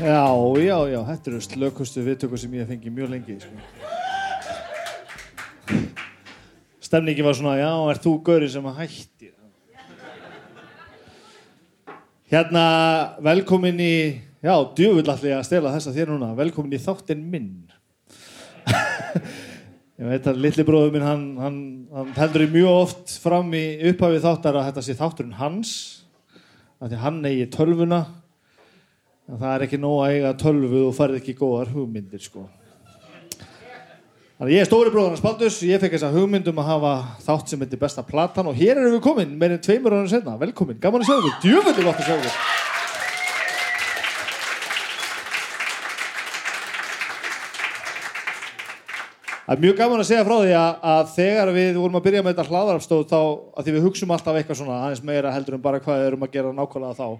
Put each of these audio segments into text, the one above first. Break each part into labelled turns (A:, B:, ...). A: Já, já, já, þetta eru slökustu viðtöku sem ég hef fengið mjög lengi sko. Stemningi var svona, já, er þú gauri sem að hætti Hérna, velkomin í Já, djúvill allir að stela þessa þér núna Velkomin í þáttinn minn Ég veit að litli bróður minn, hann, hann, hann heldur í mjög oft fram í upphafi þáttar að þetta sé þátturinn hans af því að hann eigi tölvuna en það er ekki nóg að eiga tölvu og farið ekki góðar hugmyndir sko Þannig að ég er stóri bróður hans Baldurs, ég fekk þessa hugmyndum að hafa þátt sem heitir besta platan og hér erum við komin, meirinn tveimur ára senna, velkomin, gaman að sjá ykkur, djúvöldi gott að sjá ykkur Það er mjög gaman að segja frá því að, að þegar við vorum að byrja með þetta hlaðarafstóð þá að því við hugsum alltaf eitthvað svona aðeins meira heldur en bara hvað við erum að gera nákvæmlega þá og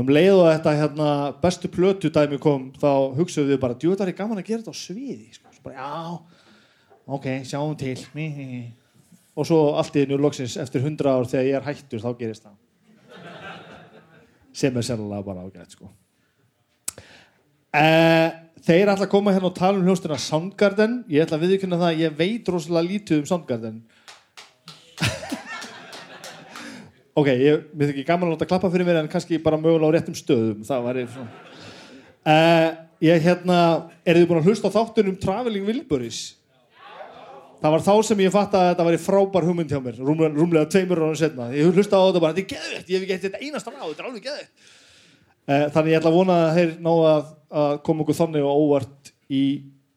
A: um leið og þetta hérna, bestu plötu dæmi kom þá hugsuðum við bara djúið það er gaman að gera þetta á sviði sko. Svo bara, já, ok, sjáum til Mí, mí, mí. og svo allt í nú loksins eftir hundra ár þegar ég er hættur þá gerist það sem er sérlega bara ágætt sko. Eh, Þeir ætla að koma hérna og tala um hljóstina Soundgarden Ég ætla að viðkynna það að ég veit rosalega lítið um Soundgarden Ok, ég, mér þykir gaman að láta klappa fyrir mér en kannski bara mögulega á réttum stöðum Það var ég svona uh, Ég hérna, eru þið búin að hlusta á þáttunum Traveling Wilburys? Það var þá sem ég fatt að þetta væri frábær hugmynd hjá mér rúmlega, rúmlega tveimur ára setna Ég hlusta á þetta bara, þetta er geðvegt, ég hef ekki eitt þetta einasta ráð, þetta er alveg geðvegt Eh, Þannig ég ætla að vona að þeir ná að, að koma okkur þannig og óvart í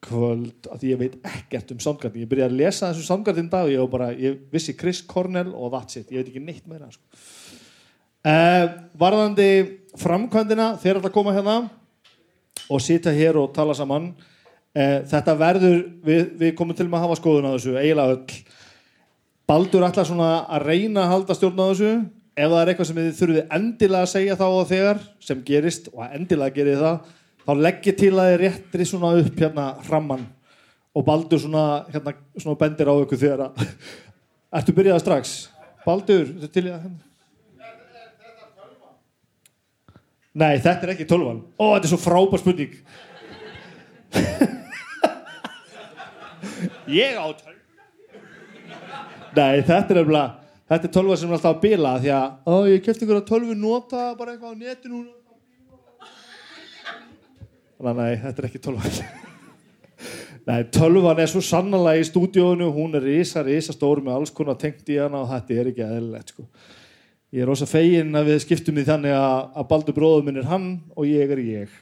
A: kvöld að ég veit ekkert um samgardin. Ég byrjaði að lesa þessu samgardin dag og ég, var bara, ég vissi Chris Cornell og that's it. Ég veit ekki neitt meira. Sko. Uh, varðandi framkvæmdina, þeir ætla að koma hérna og sitja hér og tala saman. Uh, þetta verður, við, við komum til með að hafa skoðun á þessu, eiginlega öll. Baldur ætlar svona að reyna að halda stjórn á þessu ef það er eitthvað sem þið þurfið endilega að segja þá og þegar sem gerist og endilega gerið það þá legg ég til að þið réttri svona upp hérna hramman og Baldur svona, hérna, svona bendir á ykkur þegar að Ertu byrjað strax? Baldur, þetta til ég að hérna Nei, þetta er ekki tölvan Ó, þetta er svo frábær spurning Ég á tölvan Nei, þetta er nefnilega Þetta er tölva sem er alltaf að bila Því að, ó, ég kefti einhverja tölvu nota bara eitthvað á netinu hún er alltaf að bila. Þannig að nei, þetta er ekki tölva Nei, tölvan er svo sannlega í stúdíónu Hún er risa, risa stór með alls konar tengt í hana og þetta er ekki eðlilegt sko. Ég er rosa fegin að við skiptum því þannig að, að Baldur bróður minn er hann og ég er ég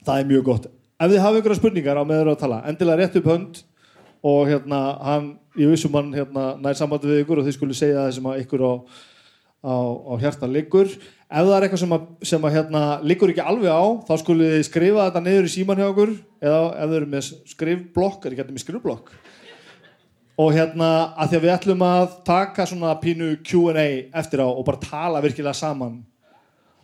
A: Það er mjög gott. Ef þið hafa einhverja spurningar á meður að tala, endilega rétt upp hönd og hérna, hann, ég vissum hann hérna, nær sambandi við ykkur og þið skulle segja það sem að ykkur á, á, á hjarta liggur. Ef það er eitthvað sem, að, sem að, hérna, liggur ekki alveg á, þá skulle þið skrifa þetta niður í síman hjá okkur eða ef þið eru með skrifblokk, er ekki hérna með skrifblokk. Og hérna, að því að við ætlum að taka svona pínu Q&A eftir á og bara tala virkilega saman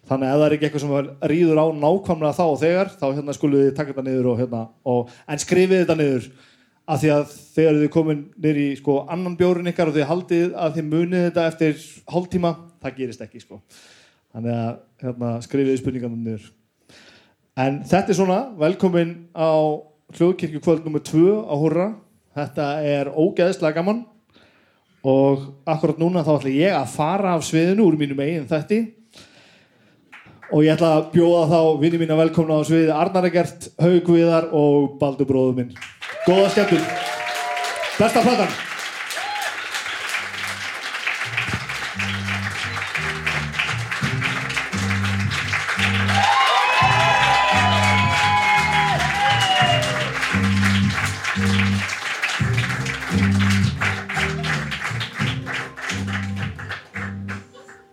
A: Þannig að ef það er ekki eitthvað sem rýður á nákvæmlega þá og þegar, þá hérna skulum við taka þetta niður og hérna, og, en skrifið þetta niður af því að þegar þið komin niður í sko annan bjórin ykkar og þið haldið að þið munið þetta eftir hálftíma, það gerist ekki sko. Þannig að hérna, skrifið spurningarnum niður. En þetta er svona, velkomin á hljóðkirkju kvöld nr. 2 á Hurra. Þetta er ógeðslega gaman og akkurat núna þá ætla ég að fara af sviðinu úr mínum eigin þætti Og ég ætla að bjóða þá vinni mína velkomna á sviðið Arnar Egert, Haug Viðar og Baldur bróður minn. Góða skemmtun. Besta platan.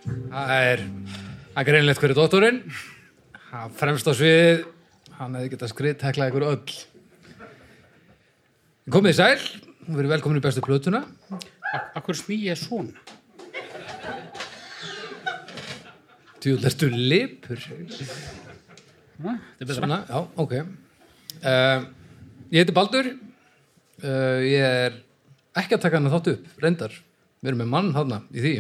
B: Það er, það er greinilegt hverju dótturinn. Hann fremst á sviðið, hann hefði getað skrið, teklað ykkur öll. Komið í sæl, verið velkomin í bestu plötuna.
C: Akkur smí ég svona?
B: Tjúl, ertu lipur.
C: Ha? Þetta er betra.
B: Svona, já, ok. Uh, ég heiti Baldur. Uh, ég er ekki að taka hann að þáttu upp, reyndar. Við erum með mann hann í því.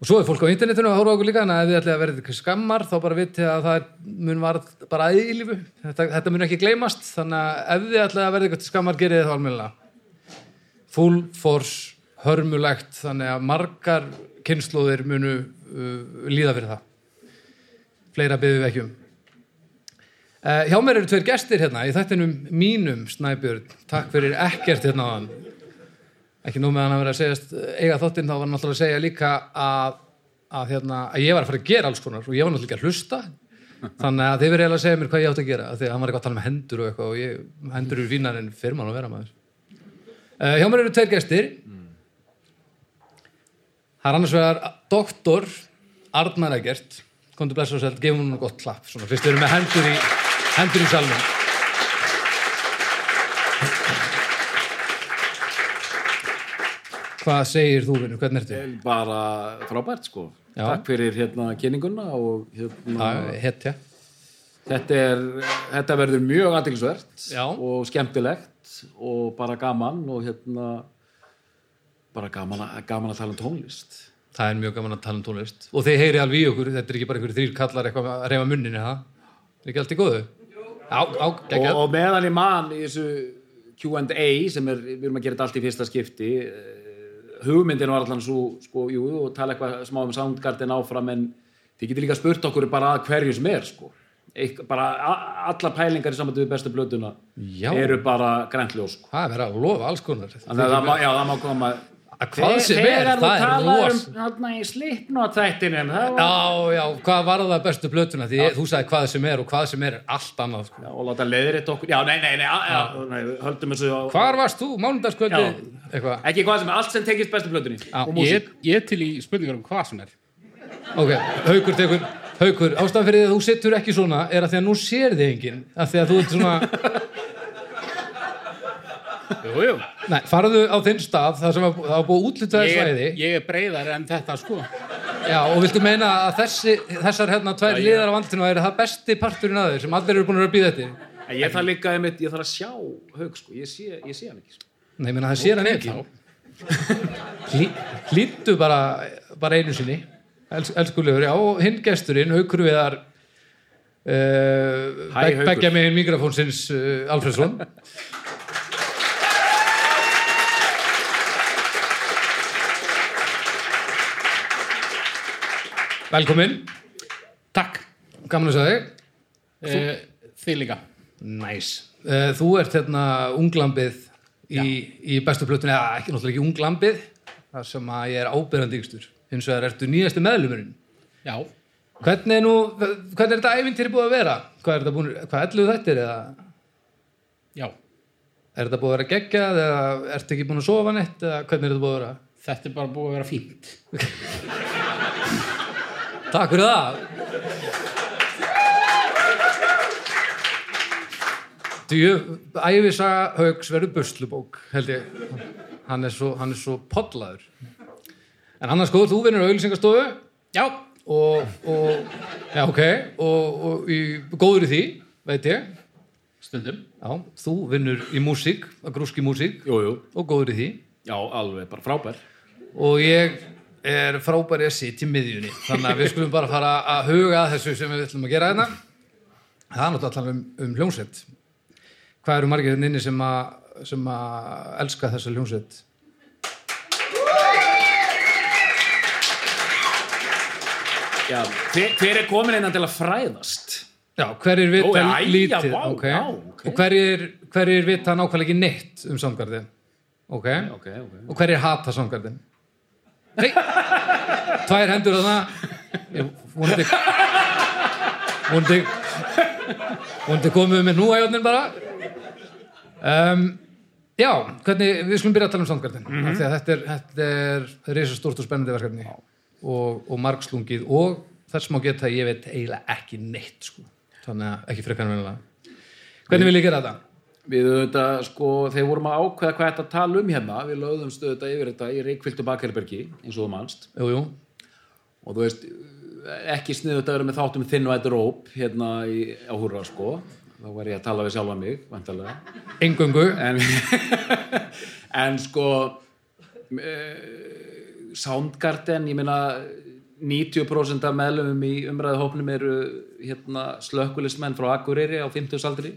B: Og svo er fólk á internetinu að horfa á okkur líka, en ef þið ætlaði að verða ykkur skammar, þá bara vitið að það mun varð bara að eilífu. Þetta, þetta mun ekki gleymast, þannig að ef þið ætlaði að verða ykkur skammar, gerið þið þá almennilega. Full force, hörmulegt, þannig að margar kynnslóðir munu uh, líða fyrir það. Fleira byggðum við ekki um. Uh, hjá mér eru tveir gestir hérna í þættinum mínum, Snæbjörn. Takk fyrir ekkert hérna á hann ekki nú með hann að vera að segjast eh, eiga þáttinn þá var hann náttúrulega að segja líka að, að, hérna, að ég var að fara að gera alls konar og ég var náttúrulega ekki að hlusta þannig að þið verið eiginlega að segja mér hvað ég átt að gera af því að hann var eitthvað að tala með hendur og eitthvað og ég, hendur eru vínar en fyrir mann að vera maður uh, hjá mér eru tveir gestir það er annars vegar doktor Arnar Egert komdu blessa og sælt, gefum hún gott klapp svona, fyrst við erum með hendur í, hendur í salnum hvað segir þú vinur, hvernig ertu?
D: bara frábært sko
B: Já.
D: takk fyrir hérna kynninguna og hérna,
B: Það er hett, já.
D: þetta, er, þetta verður mjög aðtilsvert
B: Já.
D: og skemmtilegt og bara gaman og hérna bara gaman, að- gaman að tala um tónlist
B: Það er mjög gaman að tala um tónlist. Og þið heyri alveg í okkur, þetta er ekki bara einhverjir þrýr kallar eitthvað að reyfa munninu, það? Er ekki allt í góðu? Já, já,
D: og,
B: geggjað.
D: og meðan ég man í þessu Q&A sem er, við erum að gera þetta allt í fyrsta skipti eh, hugmyndin var allan svo sko, jú, og tala eitthvað smá um Soundgarden áfram en þið getur líka spurt okkur bara að hverju sem er sko. Eik, bara a- allar pælingar í samvættu við bestu blötuna
B: Já.
D: eru bara græntljóð sko.
B: Það er verið að lofa alls konar.
D: þannig að það má, já, það má koma
B: Að hvað sem er,
D: þegar þú
B: það er
D: talar
B: los.
D: um hérna í slipnót þættinum það var
B: Já, já, hvað var það bestu blötuna? Því ég, þú sagði hvað sem er og hvað sem er er allt annað. Sko.
D: Já, og láta leiðrétt okkur já, nei, nei, nei, já, já, nei höldum þessu á,
B: Hvar varst þú, mánudagskvöldi?
D: Já.
B: Eitthvað.
D: ekki hvað sem er, allt sem tekist bestu blötunni
B: Já,
C: Ég, ég er til í spurningar um hvað sem er.
B: Ok, haukur tekur Haukur, ástæðan fyrir því að þú sittur ekki svona er að því að nú sér þig enginn að því að þú ert svona,
C: Jú, jú.
B: nei, farðu á þinn stað það sem að- það var búið útlitaði
C: Ég er,
B: svæði
C: ég er breyðar en þetta sko.
B: Já, og viltu meina að þessi, þessar hérna tvær liðar á vantinu eru það besti parturinn að þeir sem allir eru búin að vera að býða eftir?
D: En ég þarf líka einmitt, ég þarf að sjá haug sko, ég sé, ég sé hann ekki sko.
B: Nei, ég meina það sér hann ekki. Hlý, hlýttu bara, bara einu sinni, els, elskulegur, já, og hinn gesturinn, haukur viðar, uh,
D: Hæ, Haukur.
B: begja megin mikrofónsins uh, Alfredsson. Velkomin,
C: Takk.
B: gaman að segja þig.
C: Eh, Þið líka.
B: Næs. Nice. Þú ert hérna unglambið í, í bestu plötunni, eða ekki náttúrulega ekki unglambið, þar sem að ég er ábyrðandi yngstur. Hins vegar ertu nýjasti meðlumurinn.
C: Já.
B: Hvernig er nú, hvernig er þetta æfintýri búið að vera? Hvað er þetta búin, hvað ellu þetta er eða
C: Já.
B: er þetta búið að vera geggjað eða ertu ekki búin að sofa neitt eða hvernig er þetta búið að vera?
C: Þetta er bara búið að vera fínt.
B: Takk fyrir það. Djö, æfisa Hauks verður buslubók, held ég. Hann er svo, hann er svo podlaður. En annars góður, þú vinnur auðlýsingastofu
C: Já.
B: og, og, já, ok, og, og í, góður í því, veit ég.
C: Stundum.
B: Já, þú vinnur í músík, að grúski músík
D: Jú, jú,
B: og góður í því.
D: já, alveg, bara frábær
B: og ég er frábæri að sitja í miðjunni þannig að við skulum bara fara að huga að þessu sem við ætlum að gera hérna það er náttúrulega allan um, um hljónsett hvað eru margir hérna inni sem að sem að elska þessa hljónsett
D: Já, hver, hver er komin innan til að fræðast?
B: já, hverjir
D: Ó,
B: vita
D: já,
B: lítið
D: já, vá,
B: ok.
D: já, ok.
B: og hverjir, hverjir vita nákvæmlega ekki neitt um samgarði ok,
D: Ok, ok
B: og hverjir hata samgarðin nei tvær hendur þarna Ég vonandi vonandi vonandi komum við með núæjónin bara um, já, hvernig við skulum byrja að tala um samgarðin mm
D: Mhm.
B: -hmm. þegar þetta er, þetta er risastórt og spennandi verkefni og, og margslungið og þess má geta að ég veit eiginlega ekki neitt sko. þannig að ekki frekar en venjulega hvernig vil ég gera þetta?
D: Við auðvitað, sko, þegar vorum að ákveða hvað þetta tala um hérna Við lögðum stöðuta yfir þetta í Reykvildu Bakherbergi, eins og þú manst
B: Jú, jú,
D: Og þú veist, ekki sniðugt að vera með um þáttum þinn og þetta róp hérna í, á húrra, sko Þá var ég að tala við sjálfa mig, vantarlega
B: engöngu
D: en, en sko uh, eh, Soundgarden, ég meina 90% af meðlumum í umræðu hópnum eru hérna, slökkulistmenn frá Akureyri á 50 aldri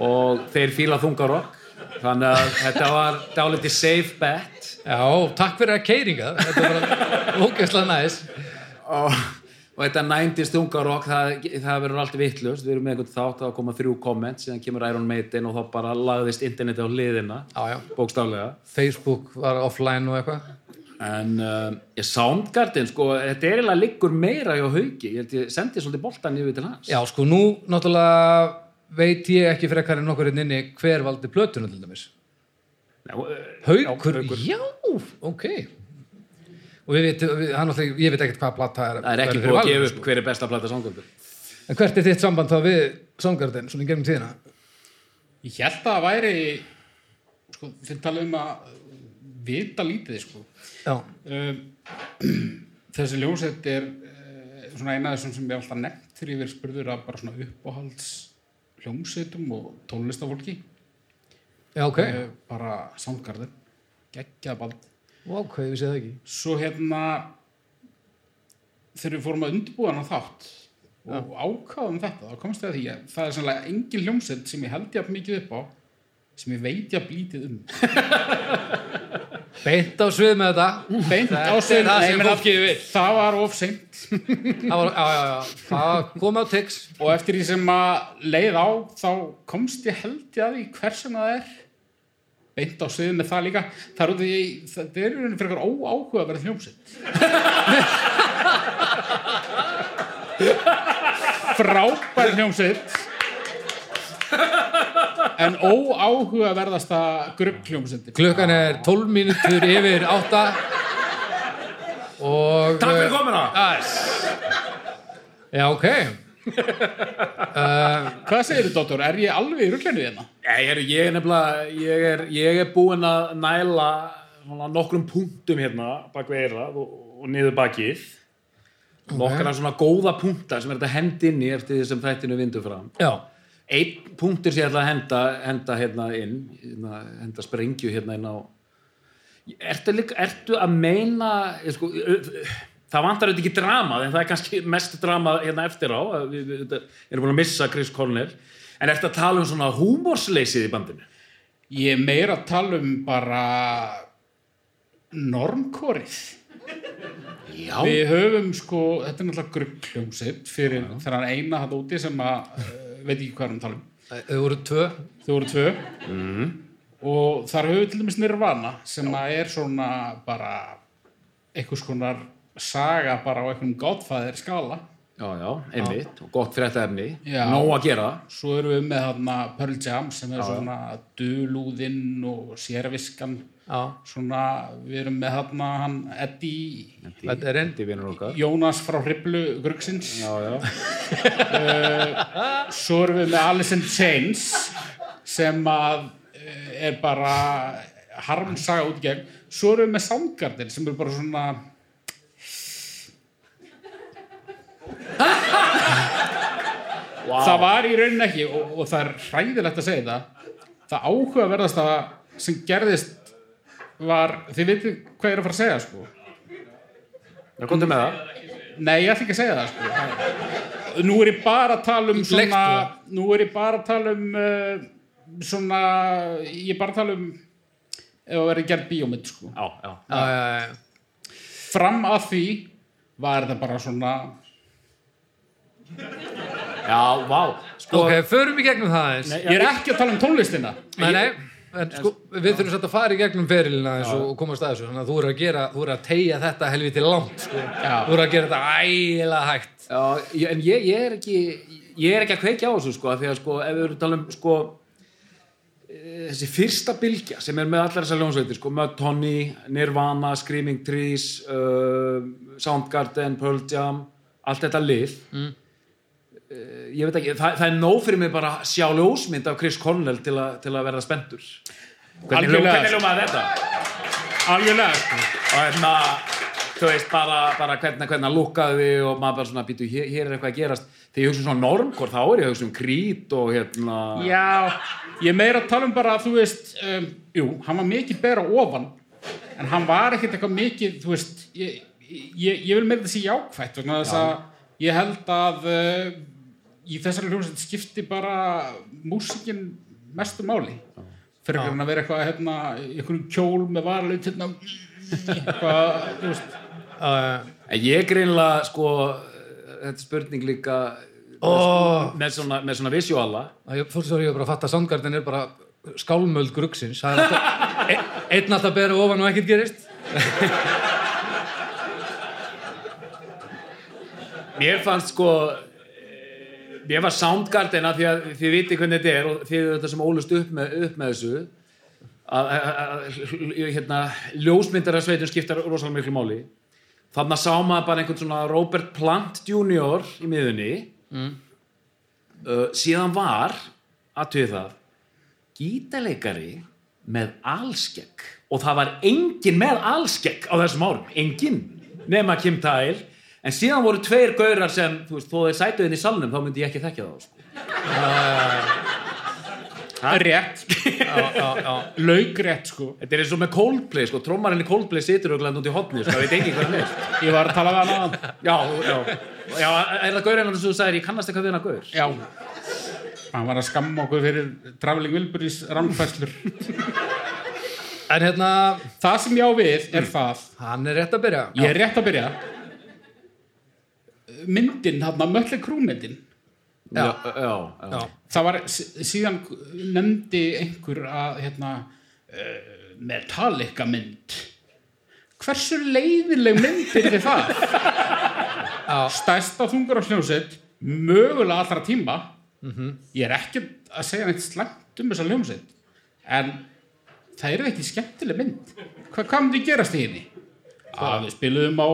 D: og þeir fíla þungarokk þannig að þetta var dálítið safe bet
B: Já, takk fyrir að keiringa Þetta var ógeðslega næs
D: og, og þetta 90s þungarokk það, það verður alltaf vittlust við erum með einhvern þátt að koma þrjú komment síðan kemur Iron Maiden og þá bara lagðist interneti á hliðina
B: Já, já,
D: bókstaflega
B: Facebook var offline og eitthvað
D: en uh, ég Soundgarden sko, þetta er eiginlega liggur meira hjá haugi ég, held ég sendi svolítið boltan yfir til hans
B: Já, sko, nú náttúrulega veit ég ekki frekar en nokkur hérna inni hver valdi plötuna til dæmis
D: Já, eh,
B: Haukur, já, ok Og við veit, við, hann náttúrulega, ég veit ekkert hvaða platta er
D: það er ekki
B: verður sko.
D: búið að
B: valin,
D: gefa upp hver er besta plata Soundgarden
B: sko. En hvert er þitt samband þá við Songarden, svona í gegnum tíðina?
C: Ég held að það væri sko, fyrir tala um að vita lítið sko.
B: Já,
C: um, þessi ljósett er uh, svona eina af þessum sem ég hef alltaf nefnt þegar ég verið spurður að bara svona uppáhalds hljómsettum og tónlistafólki
B: já, ok
C: uh, bara Soundgarden geggjað bald
B: Ok, ég vissi það ekki
C: svo hérna þegar við fórum að undirbúa hann þátt og ákvaðum þetta þá komst ég að því að það er sannlega engin hljómsett sem ég held jafn mikið upp á sem ég veit jafn lítið um
B: Beint á svið með þetta
C: beint
B: Þetta
C: á
B: er það
C: sig Nei,
B: sem
C: ég meina,
B: fólkið vill.
C: það var of seint
B: Það var, já, já, já, það kom á tix
C: og eftir því sem að leið á þá komst ég held ég að því hversum það er beint á suðu með það líka það er út af því það er einhvern frekar óáhuga að vera hljómsitt frábær hljómsitt en óáhuga að verðast að grupp hljómsitt
B: Klukkan er 12 mínútur yfir 8 og eh,
D: Takk fyrir komuna!
B: Já, ok
C: Eh, hvað segir þú dóttor, er ég alveg í hérna? rugglennu þérna?
D: Ég er, ég er nefnilega ég er, ég er búin að næla svona, nokkrum punktum hérna bak við eirað og, og niður bakið nokkra svona góða punktar sem er þetta hend inn í eftir því sem þættinu vindur fram
B: Já,
D: einn punktur sem ég ætla að henda, henda hérna inn hérna, henda sprengju hérna inn á ertu, líka, ertu að meina ég sko, ö- ö- það vantar auðvitað ekki drama en það er kannski mest drama hérna eftir á að við, við þetta- erum búin að missa Chris Cornell en ertu að tala um svona húmórsleysið í bandinu
C: Ég er meira að tala um bara normkorið.
D: já,
C: Við höfum sko, þetta er náttúrulega gruggljómsitt fyrir þennan eina hann úti sem að, eh, veit ekki hvað er um tala um,
B: þau voru tvö
C: þau voru tvö. Og þar höfum við til dæmis Nirvana sem að er svona bara einhvers konar saga bara á einhvern gátfæðir skala.
D: já, já, einmitt og gott fyrir þetta efni,
C: Já.
D: nóg að gera
C: Svo erum við með þarna Pearl Jam sem er svona dulúðinn og sérviskan.
B: Já,
C: Svona, við erum með þarna hann Eddie
B: þetta er einn
D: þetta er vinnur okkar
C: Jónas frá Hriblu Grugsins
D: já, já,
C: Eh, svo erum við með Alice in Chains sem að eh, er bara harmsaga út í gegn svo erum við með Soundgarden sem er bara svona það var í rauninni ekki og, og það er hræðilegt að segja það það áhuga verðast að sem gerðist var þið veitir hvað ég er að fara að segja sko
D: já, komdu með það
C: Nei, ég ætla ekki að segja það sko. Nú er ég bara að tala um svona,
D: sko.
C: nú er ég bara að tala um uh, svona, ég er bara að tala um ef að vera gerð bíómynd sko.
D: já, já,
B: Já, já, já, já.
C: Fram að því var það bara svona
D: já, vá sko,
B: Ok, förum í gegnum það eins
C: Ég er ekki að tala um tónlistina
B: Nei, nei, en, sko, við þurfum satt að fara í gegnum ferilina eins og, og komast að þessu þannig að þú eru að gera, þú eru að tegja þetta helviti langt sko. Þú eru að gera þetta ægilega hægt
D: Já, ég- en ég, ég er ekki ég er ekki að kveikja á þessu sko af því að sko, ef við erum að tala um sko eh, þessi fyrsta bylgja sem er með allar þessar ljónsveitir sko, Mud Honey, Nirvana, Screaming Trees uh, Soundgarden, Pearl Jam allt þetta lið mm. ég veit ekki, það, það er nóg fyrir mig bara að sjá ljósmynd af Chris Cornell til, a, til að verða spendur hvernig ljó-
C: Algjörlega.
D: hvernig ljómaði þetta?
C: Algjörlega sko.
D: og hérna þú veist bara, bara hvernig, hvernig hann lukkaði þig og maður bara svona býtu hér, hér er eitthvað að gerast þegar ég hugsa um svona normkor þá er ég að hugsa um krít og hérna
C: Já, ég er meira að tala um bara að þú veist, um, jú, hann var mikið bera ofan en hann var ekkert eitthvað mikið, þú veist ég, ég, ég vil meira þessi jákvætt vegna þess að ég held að uh, í þessari hljómsveit skipti bara músikin mestu máli fyrir ekki að vera eitthvað hérna, í einhverjum kjól með varlaut hérna, eitthvað, þú veist
B: uh,
D: En ég greinlega, sko, þetta er spurning líka
B: Ó.
D: með, svona, með svona visuala.
B: ég, Fólk svo er ég bara að fatta að Soundgarden er bara skálmöld gruggsins Það er alltaf, e, einn alltaf berið ofan og ekkert gerist
D: Mér fannst, sko, eh, mér var Soundgarden að því að þið viti hvernig þetta er og þið eru þetta sem ólust upp með, upp með þessu að, að, að hérna, ljósmyndara sveitum skiptar rosalega miklu máli. Þannig að sá maður bara einhvern svona Robert Plant Jr. í miðunni. Uh, síðan var, aðtöðu það, gítaleikari með allskegg og það var engin með allskegg á þessum árum, engin nema Kim Tyle en síðan voru tveir gaurar sem þú veist, þó þeir sætu inn í salnum þá myndi ég ekki þekka þá sko.
C: rétt, laugrétt sko
D: þetta er eins og með Coldplay, sko, trómarinn í Coldplay situr auðvitað út í hotni, sko, það veit engin hvað hann er
C: ég var að tala við hann aðan
D: já, já, já, er það gaurinn sem þú sagðir, ég kannast eitthvað við hann gaur
C: Já Hann var að skamma okkur fyrir Traveling Wilburys rangfæslur
B: En hérna,
C: Það sem ég á við er það
B: hann er rétt að byrja
C: Ég er rétt að byrja Myndin, þarna möllu krúmyndin
D: já, já, já.
C: Það var, sí- síðan nefndi einhver að hérna, uh, Metallica mynd Hversu leiðileg mynd er þið það? Stærsta þungur á hljómsveit Mögulega allra tíma Ég er ekki að segja neitt slæmt um þessa hljómsveit En það eru ekki skemmtileg mynd Hva, Hvað myndi gerast í henni? Að við spiluðum á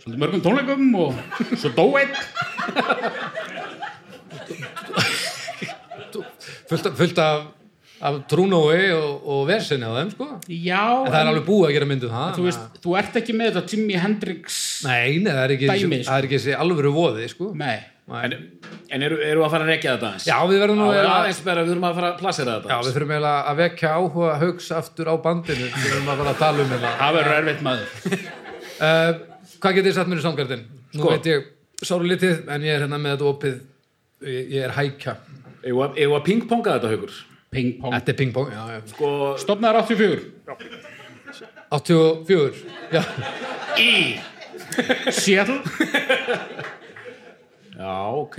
C: svolítið mörgum tónleikum og svo dó einn
B: fullt, af- fullt af, af trúnói og, og versinni á þeim sko En
C: Já,
B: það er alveg búið að gera myndið það
C: þú veist, þú ert ekki með þetta Jimi Hendrix
B: Nei, nei, það er ekki,
C: Dæmi, sko.
B: það er ekki þessi alvöru voði sko
C: Nei,
B: Nei.
D: en, en eru, eru að fara að rekja þetta aðeins
B: Já, við verðum nú
D: Já,
B: eiginlega-
D: aðeins bara, við þurfum að fara að plassera þetta
B: Já, við þurfum eiginlega að vekja áhuga haugs aftur á bandinu við þurfum að fara að tala um eiginlega.
C: það verður erfitt maður
B: uh, Hvað getið þið satt mér í Soundgarden? Nú
D: Sko.
B: veit ég sáru litið en ég er hérna með þetta opið ég, ég er hækja
D: Eigum við að- eigum við að pingponga þetta, Haugur?
C: Ping pong
B: Þetta er pingpong, já, já
D: Sko,
C: Stofnaðar 84
B: 84, já
C: Seattle
D: já, ok.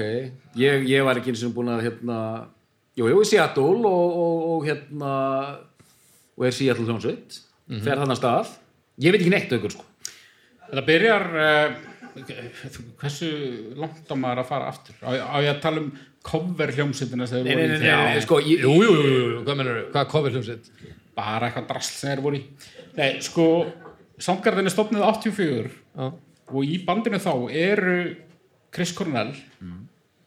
D: Ég, ég var ekki eins og búin að, hérna, jú, jú, í Seattle og, og, og hérna, og er Seattle hljónsveit,
B: Mhm.
D: fer þannig að stað. Ég veit ekki neitt, Haugur, sko.
C: Þetta byrjar uh, Hversu langt á maður að fara aftur Á, á ég að tala um cover hljómsveitina sem þeir voru í
D: Já, sko, ég,
B: Jú, jú, jú, jú, hvað menur þau? Hvað kofið hljómsveit?
C: Bara eitthvað drasl sem þeir voru í Nei, sko Soundgarden er stofnið 84
B: Já,
C: og í bandinu þá eru Chris Cornell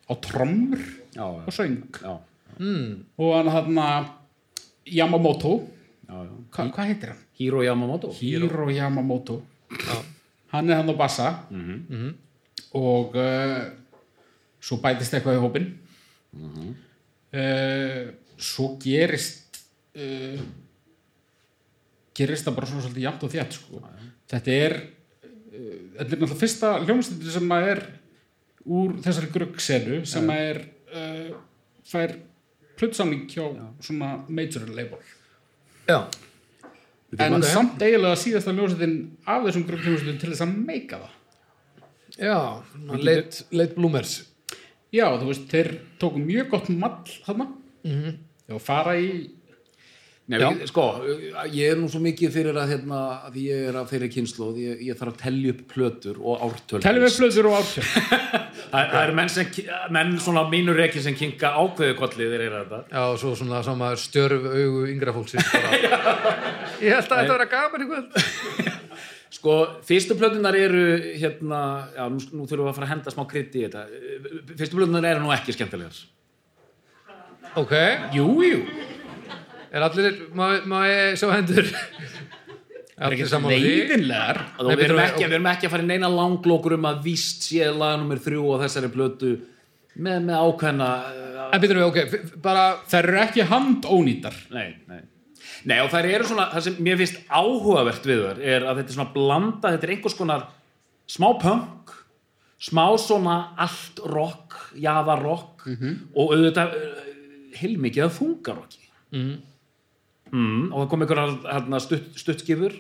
C: á trommur
D: Já, Mm. já.
C: og söng
D: já,
B: Hmm,
C: og hann hann Yamamoto
D: já, já.
C: Hva, Hvað heitir hann?
D: Hiro Yamamoto.
C: Hiro Yamamoto hann er hann á bassa
D: Mhm.
B: mhm.
C: og uh, svo bætist eitthvað í hópin mm svo gerist uh, gerist það bara svona svolítið jafnt og þjátt sko. þetta er uh, þetta er náttúrulega fyrsta hljómsnýttir sem maður er úr þessari gruggsenu sem maður er uh, fær plötsamling hjá svona major label
B: já,
C: en samt eiginlega síðasta ljósettin af þessum gröfnljósettin til þess að meika það
B: já svona leit, leit blúmers
C: já, þú veist, þeir tóku mjög gott mall þarna mm og fara í
D: Nei, við, sko, ég er nú svo mikið fyrir að, hérna, að því ég er af þeirri kynnslóð, ég, ég þarf að telja upp plötur og ártöl.
C: teljum við flöður og átjörn
D: Það, það eru menn, sem, menn svona mínur reikin sem kinka ákveðu kollið þeir eru þetta.
B: Já, og svo svona sama stjörf augu yngra fólksins bara. Ég held að þetta vera gaman í kvöld
D: Sko, fyrstu plötunar eru hérna, já, nú, nú þurfum við að fara að henda smá kriti í þetta. Fyrstu plötunar eru nú ekki skemmtilegar.
B: Ok,
C: jú, jú,
B: er allir, má, má ég sjá hendur?
C: það er
B: Allir
C: ekki
B: sammála því?
C: leiðinlegar
D: Og
B: Nei,
D: við, erum
B: betur,
D: ekki, við erum ekki að fara í neina langlókur um að víst sé laga nummer þrjú á þessari plötu með, með ákveðna... eh,
B: En býtum við, ok, f- bara,
C: þær eru ekki handónýtar
D: Nei, nei. Nei og þær eru svona, það sem mér finnst áhugavert við þær er að þetta er svona blanda, þetta er einhvers konar smá punk, smá svona allt rock, jaðarrock og auðvitað uh, heilmikið að fungarokki.
C: Mhm.
D: Mm. og það kom einhverjar hérna, stutt, stuttskifur,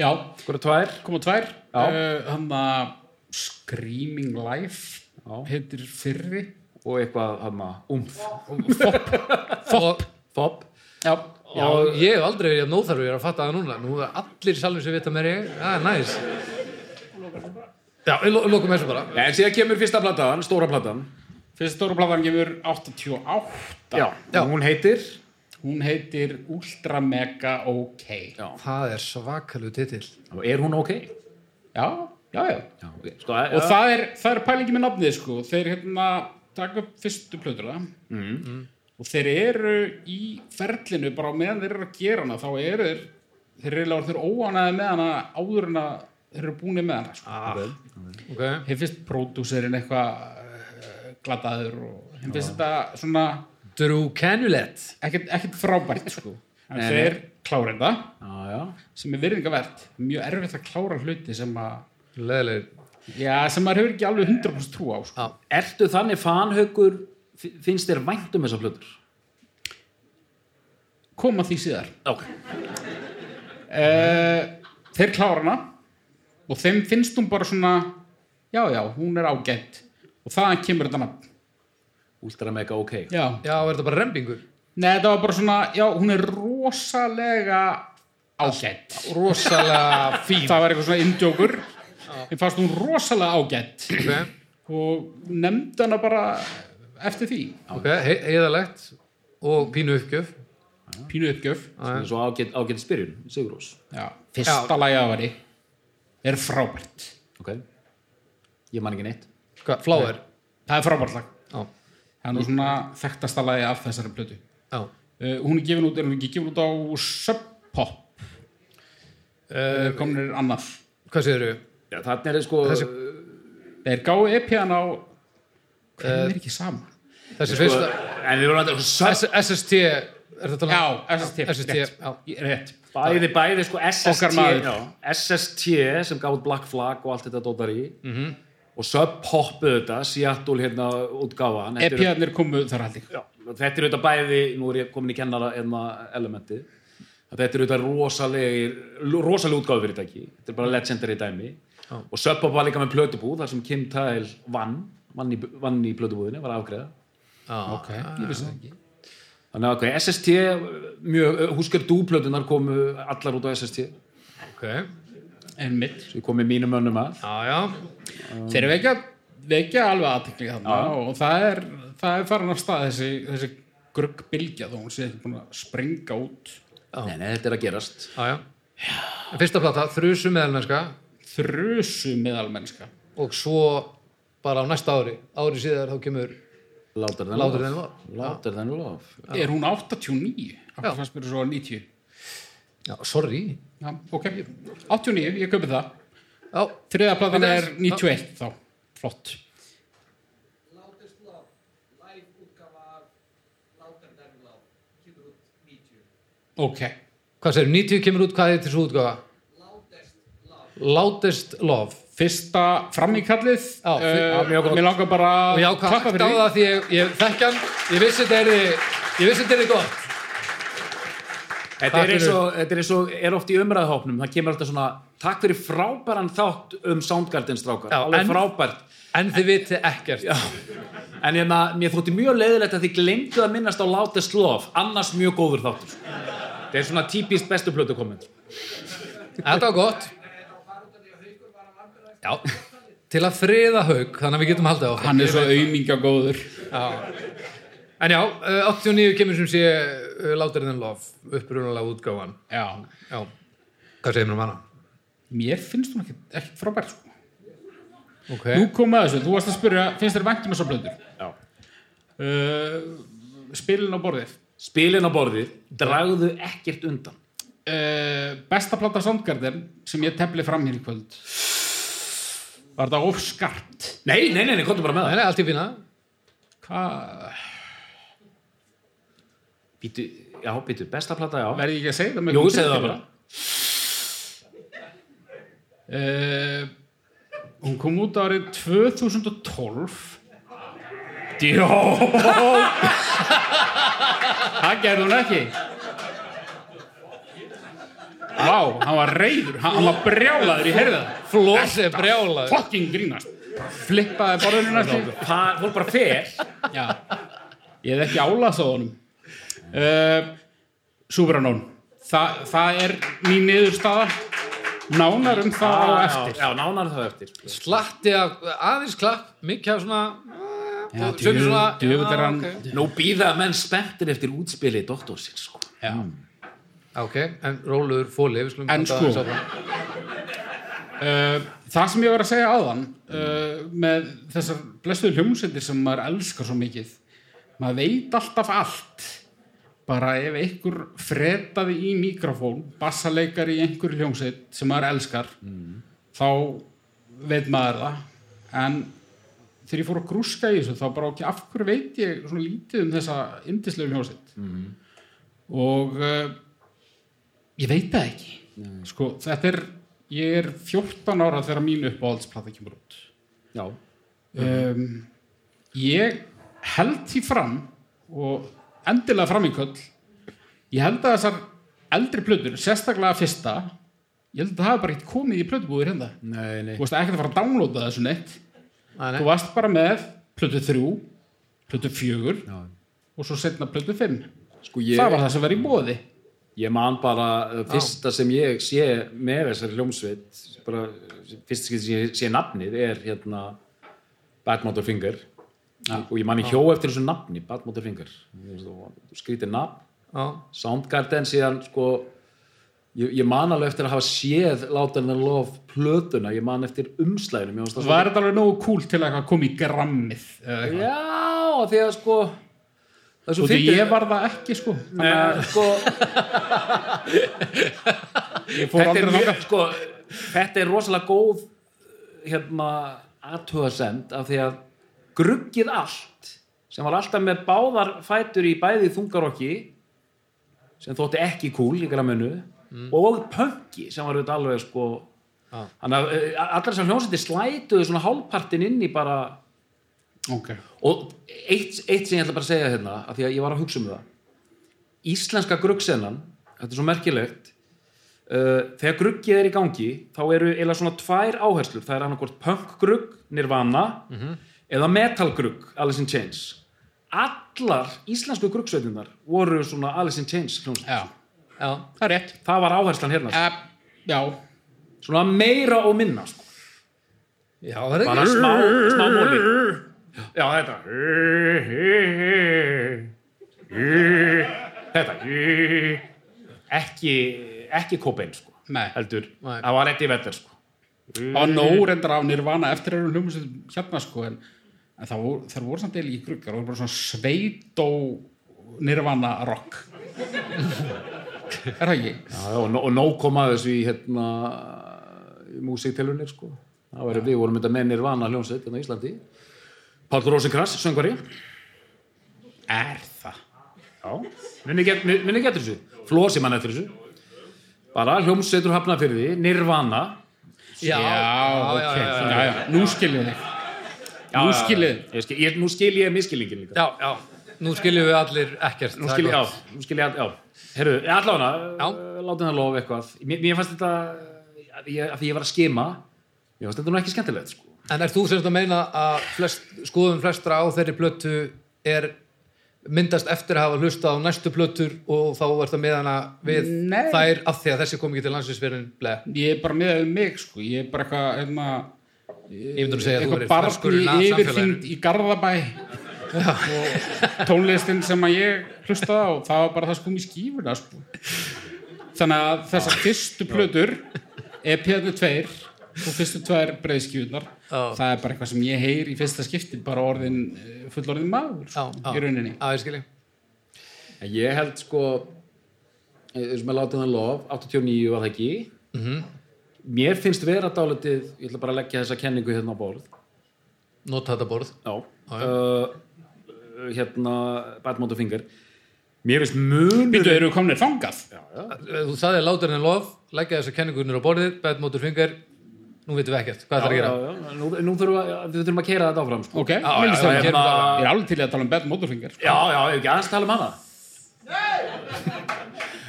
C: já,
D: einhverjar tvær.
C: koma tvær
D: Já.
C: uh, hann að Screaming Life
D: Já.
C: heitir fyrri
D: og eitthvað hann umf
B: og,
D: fob
C: já,
B: já, ég hef aldrei verið að nóþarfi ég er að fatta það núna, nú er allir í salnum sem vita mér ég, það er næs já, við lo- lokum þessu bara
D: en síðan kemur fyrsta platan, stóra platan
C: fyrsta stóra platan gefur 88
D: já,
B: Já.
D: hún heitir
C: hún heitir Ultra Mega OK já,
B: það er svakalu titill
D: og er hún ok?
C: já, já,
D: Já, ok. Sko, að,
C: og það er, það er pælingi með nafnið sko, þeir hérna taka upp fyrstu plötur það mm.
B: Mhm.
C: og þeir eru í ferlinu bara á meðan þeir eru að gera hana þá eru þeir, þeir eru eiginlega þeir óanaði með hana áður en að þeir eru búinir með hana sko. ah.
B: ok,
C: þeir finnst pródúserinn eitthvað eh, glataður og þeim finnst þetta svona
B: Drew Canulet
C: ekkert, ekkert frábært sko. en þeir klárið það
D: já, já.
C: sem er virðingavert, mjög erfitt að klára hluti sem að
B: leðilegur
C: já, sem maður hefur ekki alveg 100% trú á sko.
B: Já.
D: ertu þannig fanhaukur finnst þér vænt um þessa plötur?
C: koma því síðar
D: ok
C: uh, þeir klára hana og þeim finnst hún bara svona já, já, hún er ágætt og þaðan kemur þetta nafn
D: Ultra mega ok
C: já.
B: já, er þetta bara rembingur
C: Nei, þetta var bara svona, já, hún er rosalega ágætt
B: rosalega fín
C: það var eitthvað svona indjókur ég fannst hún rosalega ágætt
B: ok,
C: og nefndi hana bara eftir því
B: ok, he heiðalegt og pínu uppgjöf
C: pínu uppgjöf
D: Sem er svo ágætt, ágætt spyrjun, Sigurós
C: já, fyrsta lagið að veri er frábært
D: ok ég man ekki neitt
B: Hva, fláir
C: það er frábært lag
B: já,
C: það er nú svona þekktasta lagið af þessari plötu
B: já
C: uh, hún er gefin út, er hún ekki gefin út á Sub Pop uh, komin er annað
B: Eh, hvað séður þau?
D: já, þannig er sko
B: Þessi-
C: þeir gáu EP-an á hvernig er ekki sama
B: Eh, þessi
D: sko,
B: fyrsta
D: Eh, en við vorum að
B: S SST er þetta um?
C: já,
B: lag?
C: SST,
B: SST,
C: rétt,
B: já.
C: Ég- rétt.
D: bæði, bæði sko
C: Okkar
D: SST
C: maður.
D: já, SST sem gáði Black Flag og allt þetta dótar í -hmm.
C: Mhm.
D: og Sub Pop auðvitað, Seattle hérna útgáfan Þetta eru-
C: EP-anir E komu þar held ég
D: Já, þetta er auðvitað bæði, nú er ég komin í kennara enna elementi að þetta er auðvitað rosalegir rosaleg útgáðu fyrirtæki, þetta er bara legendary dæmi og Sub Pop var líka með plötubúð þar sem Kim Tile vann vann í, vann í plötubúðinni, var að afgreða
B: já,
C: Ah, ok, ég vissi það ekki
D: þannig að ok, SST mjög, húskar dúplötunar komu allar út á SST svo
B: ok
C: en mitt, Um,
D: ég kom með mínum mönnum að
B: já, já,
C: þeir vekja vekja alveg aðtekli þarna og það er, það er farin af stað þessi, þessi gruggbylgja þó hún sé ekki búin að springa út
D: nei, nei, þetta er að gerast
B: já, já. En fyrsta plata, þrjusu meðalmennska
C: þrusu meðalmennska
B: og svo bara á næsta ári ári síðar þá kemur
D: látar þenn
B: Louder Than Love.
D: látar þenn lof
C: er hún 89?
B: Já.
C: Akkur fannst mér svo 90
B: já, sorry
C: Já, ok, 89, ég köpi það
B: já,
C: Þriða platan
B: Bíddu
C: er
B: aðeins.
C: 91 þá, flott
E: Loudest Love, live útgafa af Louder Than Love, kemur út 90.
C: Ok,
B: hvað segir, 90 kemur út hvað er til svo útgáfa?
E: Loudest Love,
B: Loudest Love
C: fyrsta framíkallið
B: Já,
C: uh,
B: fyr- já, mjög gott.
C: Mér langar bara
B: og já,
C: að
B: hvað hægt á
C: því.
B: það því ég, ég þekkja hann ég vissi þetta er ég vissi þetta er gott
D: Þetta
B: Takk
D: er eins
B: fyrir.
D: og, þetta er eins og er oft í umræðahópnum, það kemur alltaf svona takk fyrir frábæran þátt um Soundgarden strákar,
B: Já,
D: alveg
B: en-
D: frábært
B: en þið viti ekkert já,
D: en hérna, mér þótti mjög leiðilegt að þið glemdu að minnast á Loudest Love, annars mjög góður þáttur þetta er svona típist bestu plötu komment
B: þetta var gott já, til að friða haug þannig að við getum haldið á
C: Hann er svo aumingagóður
B: en já, eh, 89 kemur sem sé eh, Louder Than Love upprunalega útgáfan
C: Já,
B: já, hvað segir mér um hana?
C: mér finnst hún ekkert, ekkert frábært sko.
B: ok,
C: Nú kom að þessu, þú varst að spyrja finnst þér væntum þessar blöndur?
D: Já.
C: Uh, spilin á borðið
D: spilin á borðið, dragðu ekkert undan
C: uh, Besta plata Soundgarden sem ég tefli fram hér í kvöld Var þetta ofskarpt?
D: nei, nei, nei, nei, komdu bara með
C: Ah.
B: Nei,
D: það
B: nei, allt í fína
C: Hvað?
D: Býtu, já, býtu, besta plata, já.
C: Verði ekki að segja það með
D: Jú,
C: einhverjum
D: segðu það
C: tilfinningu? Eh, hún kom út árið 2012 Jó Það gerði hún ekki Vá, hann var reyður Hann, hann var brjálaður, ég heyrði það
B: Flósi er brjálaður.
C: Fucking grínast Flippaði borðinu næstu
D: Það fór bara fer.
C: Já, ég hef ekki álað á honum uh, Súbranón Þa, Það er mín niðurstaða Nánar um það á eftir
D: Já, já nánar það á eftir.
B: Slatti af aðeins klapp, mikið af svona
C: Já,
B: eh, sumir svona,
C: djöfull- djöfull er
B: já,
C: hann-
B: ok.
D: Nú býða menn spenntir eftir útspili doktorsins, sko.
C: Já.
B: Ok, en róluður fóli við skulum
C: En
B: halda
C: sko.
B: aðeins áfram.
C: Uh, Það sem ég var að segja áðan uh, með þessar blessuðu hljómsveitir sem maður elskar svo mikið maður veit alltaf allt bara ef einhver fretaði í mikrofón, bassaleikar í einhver hljómsveit sem maður elskar þá veit maður það en þegar ég fór að grúska í þessu þá bara ok, af hverju veit ég svona lítið um þessa indislegu hljómsveit og uh, ég veit það ekki sko, þetta er ég er 14 ára þegar mín uppáhaldsplata kemur út
D: Já.
C: um, ég held því fram og endilega fram í köll ég held að þessar eldri plötur sérstaklega fyrsta ég held að það hafi bara ekkert komið í plötubúður hérna
D: Nei, nei.
C: þú veist ekkert að fara að downloada þessu neitt
B: Nei, nei.
C: þú varst bara með plötu 3 plötu 4
D: Já.
C: og svo setna plötu 5
D: Sko, ég,
C: það var það sem var í bóði
D: ég man bara uh, fyrsta sem ég sé með þessari hljómsveit, bara uh, fyrsta sem ég sé nafnið er hérna Bad Motor Finger. Og ég man ég hjó eftir þessu nafni, Bad Motor Finger. Skrítið nafn.
B: Já,
D: Soundgarden síðan sko ég, ég man alveg eftir að hafa séð Louder Than Love plötuna ég man eftir umslæðinu mér fannst það
C: var þetta alveg nógu cool til að koma í grammið eða eitthvað?
D: svo- já, af því að sko það er svo
C: Þú veit,
D: fyndið
C: ég var það ekki, sko. Þannig
D: Eh, sko,
C: að Ég fór
D: þetta, er
C: aldrei
D: mjög,
C: þangað.
D: sko, þetta er rosalega góð hérna aðtöðasend af því að gruggið allt sem var alltaf með báðar fætur í bæði þungarokki sem þótti ekki kúl í græminu og pönki sem var auðvitað alveg sko
B: Já.
D: þannig að eh, allar þessar hljómsætti slætuðu svona hálfpartin inn í bara
C: Ok.
D: og eitt, eitt sem ég ætla bara að segja hérna af því að ég var að hugsa um það íslenska gruggsennan, þetta er svo merkilegt uh, þegar gruggið er í gangi þá eru eiginlega svona tvær áherslur það er annarkvort punk-grugg, nirvana
C: Mhm.
D: eða metal-grugg, Alice in Chains allar íslensku gruggsveitunar voru svona Alice in Chains hljómsveit.
C: Já.
B: já,
C: Það er rétt.
D: það var áherslan hérna sko.
C: Uh, já.
D: svona meira og minna sko.
B: já, það er
D: bara
B: ekki
D: smá, smá móli já, þetta þetta ekki ekki Cobain, sko
C: Nei.
D: heldur,
B: Nei.
D: það var ekki verður, sko
C: Það var nóg reyndar af nirvana eftir að hljóma sem hérna, sko. En, en það voru, þeir voru samt eða í gruggar. Það voru bara svona sveit og nirvana rock. er það ekki?
D: já, já, og, nó- og nóg kom að þessu í hérna í músiktelunir, sko það var, við vorum þetta með Nirvana hljónsveit hérna á Íslandi Páll Rósinkrans, söngvari
C: Er það?
D: minni get- minni getur þessu, flósi mann eftir þessu bara hljómsveitur hafna fyrir því Nirvana
B: Já, já,
C: ok.
B: já, já,
C: já, já. Nú skiljið þig.
D: Já,
C: Nú
D: já, já.
C: skil ég.
D: Ég skil- ég- Nú skil ég miskilningin líka
B: já, já. Nú skiljum við allir ekkert
D: Nú
B: það er
D: skil ég,
B: gott.
D: já, nú skil ég, all- já Herru, allána,
B: Já.
D: eh, látum það lofa eitthvað Mér, mér fannst þetta, að ég, að því ég var að skima Mér fannst þetta nú ekki skemmtilegt, sko
B: En er þú semst að meina að flest, skoðum flestra á þeirri plötu er myndast eftir að hafa hlusta á næstu plötur og þá er það með hana við
C: Nei.
B: þær af því að þessi kom ekki til landsinsverðin blei.
C: Ég er bara miðað við mig, sko. Ég er bara eitthvað, hérna,
B: Ég myndi að segja að þú
C: eitthvað
B: verið
C: barn í
B: ferskurinn að samfélaginu.
C: yfirþyngd í Garðabæ og tónlistin sem að ég hlustaði á, það var bara það sko mér skífuna sko. þannig að þessar fyrstu plötur EP-anu tveir og fyrstu tveir breiðskjúðnar
B: Já.
C: það er bara eitthvað sem ég heyr í fyrsta skipti bara orðin, eh, fullorðin maður sko, í rauninni
B: Já, ég skilji.
D: En ég held, sko eh, eins og með látum það lofa 89 var það ekki
B: Mhm.
D: Mér finnst vera dálítið Ég ætla bara að leggja þessa kenningu hérna á borð Eh,
B: Nota þetta borð.
D: Já, uh, hérna Bad Motor Finger Mér finnst munur
C: Býtu, eru komnir þangað?
B: Þú sagði látur en lof, leggja þessar kenningunir á borðið, bett mótur fingar, nú veitum við ekkert, hvað það er að
D: Já,
B: gera?
D: já, já. Nú, nú þurfum við, að- við þurfum að keira þetta áfram sko.
C: Ok, já,
B: já, já,
C: já, já,
B: hérna-
C: Ég er alveg til í að tala um Bad Motorfinger sko.
D: Já, já, ef ekki aðeins tala um hana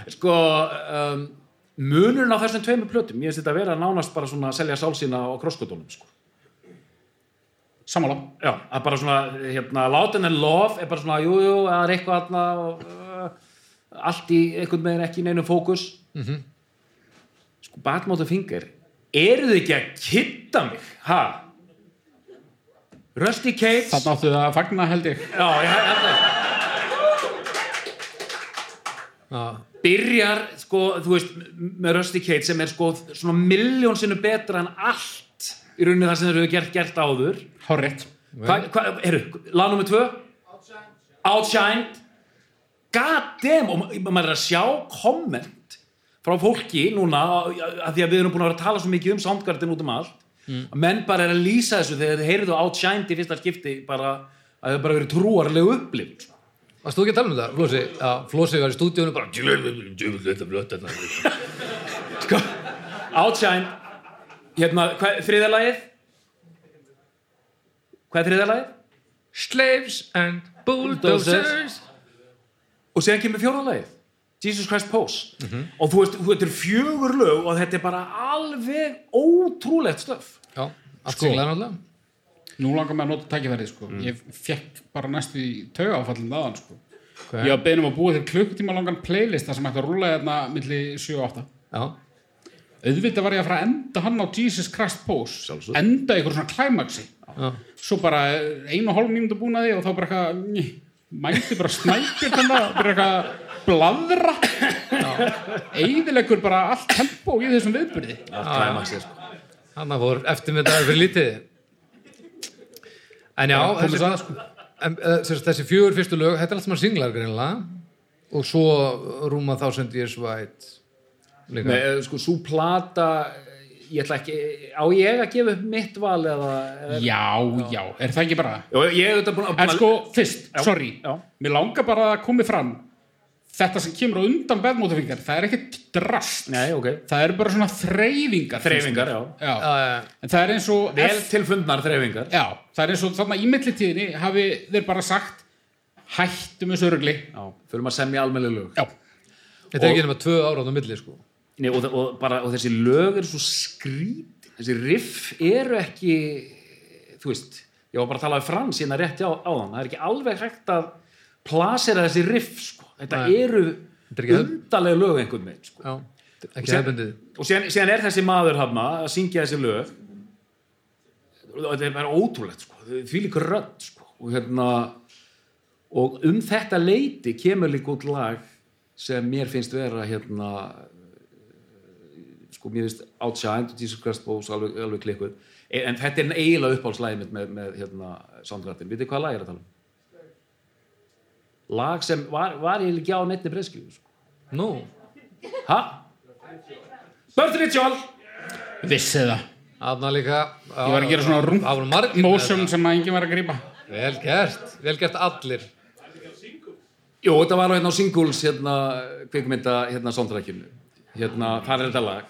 D: Sko um, Munurinn á þessum tveimur plötum Ég finnst þetta að vera nánast bara svona að selja sál sína á krosskutónum sko.
C: Sammála
D: Já, að bara svona hérna, Látin en lof er bara svona Jú, jú, það er eitthvað þarna og, uh, Allt í einhvern veginn ekki í neinum fókus mm
B: Mhm.
D: -hmm. Sko, batmóta fingur Eru þið ekki að kynna mig? Ha? Rusty Cage
C: Þarna áttu það að
B: Mm.
C: fagna held ég
D: Já, ég held það
B: Já,
D: byrjar, sko, þú veist m- með Rusty Cage sem er sko svona miljón sinnum betra en allt í rauninni það sem þeir eru gert, gert áður
C: Hárrétt
D: hvað, hva, heyrðu, lag nummer tvö Outshined God damn, og ma- ma- maður er að sjá komment frá fólki núna að því að við erum búin að vera að tala svo mikið um Soundgarden út um allt að menn bara er að lýsa þessu þegar þeir heyrðu Outshined í fyrsta skipti bara að það bara verið trúarlegu upplifn sko.
B: varst þú ekki að tala um þetta, Flósi? Já, Flósi var í stúdíunum bara, djöfull, djöfull, þetta blött, þetta.
D: Sko, Outshine Hérna, hvað, þriðalagið? Hvað er þriðalagið?
B: Slaves and bulldozers.
D: Og séðan kemur fjórðalagið Jesus Christ Pose
B: Mhm.
D: Og þú veist, þú þetta er fjögur lög og þetta er bara alveg ótrúlegt stöf
B: Já, allt singlaði náttúrulega.
C: Sko,
B: Mm.
C: Nú langar mig að nota tækifærið sko. Ég fekk bara næstu í tauga áfallin aðan sko.
B: Hvað?
C: Ég var beðin um að búa þér klukkutíma langan playlista sem ætti að rúla þarna milli 7 og 8
B: Já,
C: Auðvitað var ég að fara að enda hann á Jesus Christ Pose Sjálfsög. Enda í einhver svona klæmaksi
B: já.
C: Svo bara einu og hálf mínútu búin að því og þá bara eitthvað ný, Mæti bara snæpjur þannig og byrja eitthvað að bladra Eyðilegur bara allt tempo í þessum viðbyrði
D: Allt klæmaxið, sko
B: Hanna fór eftirmyndaður fyrir lítið En já, þessi, að, sko. en, uh, þessi, þessi fjögur fyrstu lög Þetta er allt sem að singlar greinilega Og svo eh, rúma þá sem Dears White líka
D: Nei, eh, sko, svo plata eh, Ég ætla ekki, á ég að gefa upp mitt val eða eða-
C: Já, já, er það ekki bara
D: Jó, ég hef þetta búin að
C: En sko, fyrst, sorry
D: já.
C: Mér langar bara að komi fram Þetta sem kemur á undan beðmótafingar Það er ekkert drast
D: Nei, ok,
C: Það er bara svona þreyfingar
D: þreifingar, já
C: já.
B: Já, já.
C: En það er eins og
D: Vel tilfundnar þreifingar
C: Já, það er eins og þarna í millitíðinni hafi þeir bara sagt hættum þessu örgli
D: Já, förum að semja almennileg lög
C: Já,
B: Þetta er ekki nema tvö ára á milli sko.
D: Nei, og, og, bara, og þessi lög eru svo skrít þessi riff eru ekki þú veist ég var bara að tala við frans hérna rétti á, á það er ekki alveg hægt að plasera þessi riff sko. þetta
B: Nei.
D: eru
B: Þetta er ekki-
D: undarlega lög einhvern veginn sko.
B: Já, ekki
D: Sér-
B: hefbundið
D: og síðan, síðan er þessi maður hafna að syngja þessi lög og þetta er bara ótrúlegt sko. því líka rödd sko. og, hérna, og um þetta leiti kemur líka út lag sem mér finnst vera hérna eh, sko mér finnst Outshined og Jesus Christ Bose alveg, alveg klikkuð E- en þetta er eiginlega uppáhaldslæði mitt með, með hérna Soundgarden, vitið hvað lag ég er að tala um lag sem var, var ég ekki á netni breyskju sko.
B: Nú,
D: ha? Birth Ritual
C: vissi það
B: aðna líka já,
C: Ég var að gera svona rúm
B: Það voru margir með
C: Mósum
B: þetta.
C: sem að enginn var að grípa
B: Vel gert, vel gert allir
D: Jú, þetta var á hérna á singles hérna, kvikmynda, hérna, sondrækjum hérna, þar er þetta lag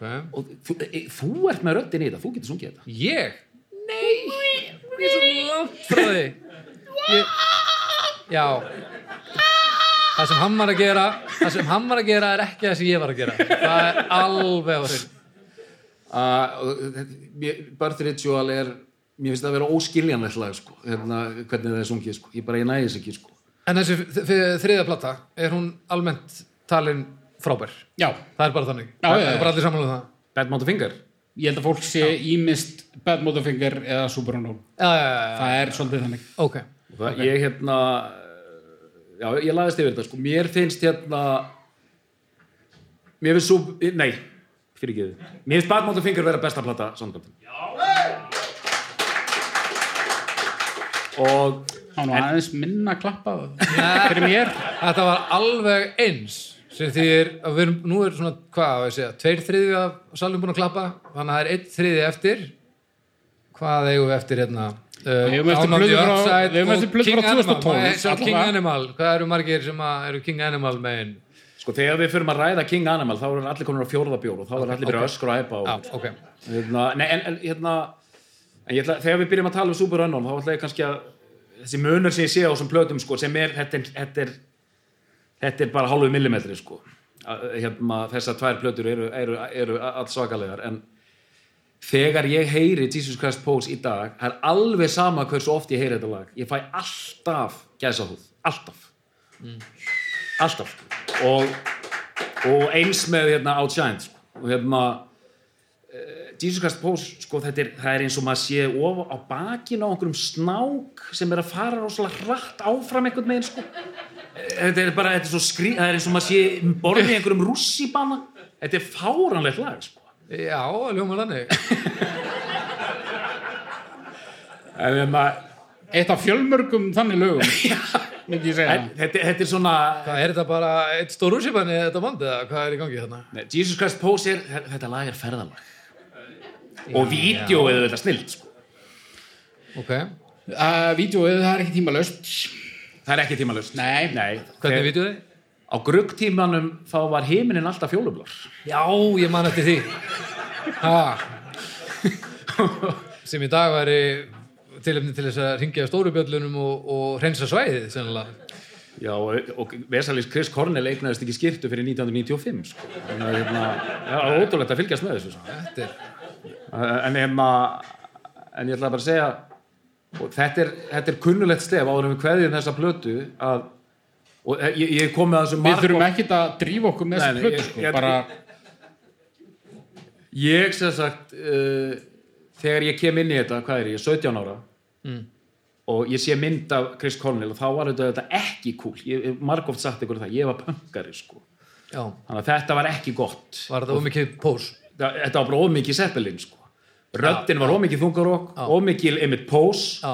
B: okay.
D: og þú, e, þú ert með röddin í þetta, þú getur sungið þetta
B: Ég? Nei, ég er svo langt frá því ég, Já Það sem hann var að gera Það sem hann var að gera er ekki það sem ég var að gera Það er alveg á hreinu.
D: uh, Birth Ritual er mér finnst það að vera óskiljanlegt lag sko, hérna, hvernig það er sungið, sko. ég bara, ég næði þess ekki sko.
B: En þessi þ- þ- þriðja plata Er hún almennt talin frábær
C: Já,
B: Það er bara þannig
C: Já,
B: Það
C: já, já.
B: er bara allir samanlega það
D: Bad Mount of Finger
C: ég held að fólk sé ímist beðmótafingar eða superanól
B: Já, já, já, já,
C: Það er svolítið þannig
B: ok
D: það, ég hérna já, ég lagðist yfir þetta, sko, mér finnst hérna mér finnst svo, nei fyrir mér finnst Bad Mount of Finger vera besta plata sondrækjum og
C: Ná, nú aðeins minna klappa fyrir mér
B: Þetta var alveg eins sem því er að við erum, nú er svona hvað á ég að segja, tveir þriði af salum búin að klappa þannig að það er einn þriði eftir hvað eigum við eftir hérna Uh,
C: Við
D: Eh,
C: höfum eftir
B: Down on the
C: plötu frá-
B: Upside
C: við höfum
B: og
C: eftir plötu frá
B: King Animal.
C: 2012,
B: Nei, sá King
C: allavega.
B: Animal, hvað eru margir sem að eru King Animal megin
D: Sko þegar við förum að ræða King Animal þá erum allir konur á fjórðabjór og þá erum allir byrjað
B: ok.
D: að öskra og æpa
B: Já,
D: og,
B: ok
D: hérna, nei, en, en hérna en ég ætla, þegar við byrjum að tala um Super Unknown þá ætla ég kannski að þessi munur sem ég sé á þessum plötum sko, sem er þetta, er- þetta er þetta er bara hálfu millimetri sko. Að- hérna, þessar tvær plötur eru, eru, eru allsvakalegar en þegar ég heyri Jesus Christ Pose í dag það er alveg sama hversu oft ég heyri þetta lag ég fæ alltaf gæsahúð alltaf
B: Mm.
D: alltaf og, og eins með hérna, Outshined sko. og hérna eh, Jesus Christ Pose sko, þetta er, það er eins og maður sé of, á bakinu á einhverjum snák sem er að fara rosalega hratt áfram einhvern veginn sko. Eh, þetta er bara, þetta er svo skrí það er eins og maður sé borðið í einhverjum rússíbana þetta er fáranlegt lag sko.
B: Já, ljóma þannig
D: en, hérna- maður,
C: Eitt af fjölmörgum þannig lögum myndi ég segja
D: en, þetta, þetta er svona
B: Hvað er þetta bara, eitt stór úrsipan er þetta band eða hvað er í gangi þarna?
D: Nei, Jesus Christ Pose er, þetta lag er ferðalag og vídeo er þetta snilt sko.
B: Ok,
C: uh, Vídeóið, það er ekki tímalöst
D: það er ekki tímalust
C: Nei.
B: hvernig vitið þið?
D: Á gruggtímanum þá var heiminin alltaf fjólublar.
B: Já, ég man eftir því ha. Sem í dag væri tilefni til þess að ringja stóru bjöllunum og, og hreinsa svæðið sennilega.
D: Já, og, og Vesalís Chris Cornell eignaðist ekki skýrtu fyrir 1995, sko. Þannig að, hérna, það var ótrúlegt að fylgjast með þessu, sko.
B: Þetta er
D: En, hérna, en ég ætla bara að segja, og þetta er, þetta er kunnulegt stef áður en við kveðjum þessa plötu að, og ég, ég kom með þessu
C: Við
D: margoft-
C: þurfum ekkit að drífa okkur með
D: Nei, nei,
C: þessu plötu
D: ég-
C: sko,
D: ég-
C: bara
D: Ég sem sagt uh, þegar ég kem inn í þetta, hvað er ég, 17 ára
C: Mm.
D: og ég sé mynd af Chris Cornell og þá var þetta, þetta ekki cool ég hef margóft sagt ykkur það, ég var punkari sko,
B: Já,
D: þannig að þetta var ekki gott
B: var þetta ómikið pós
D: Þa- þetta var bara ómikið seppelin sko röddin var ómikið þungarokk, ómikið einmitt pós
B: Já.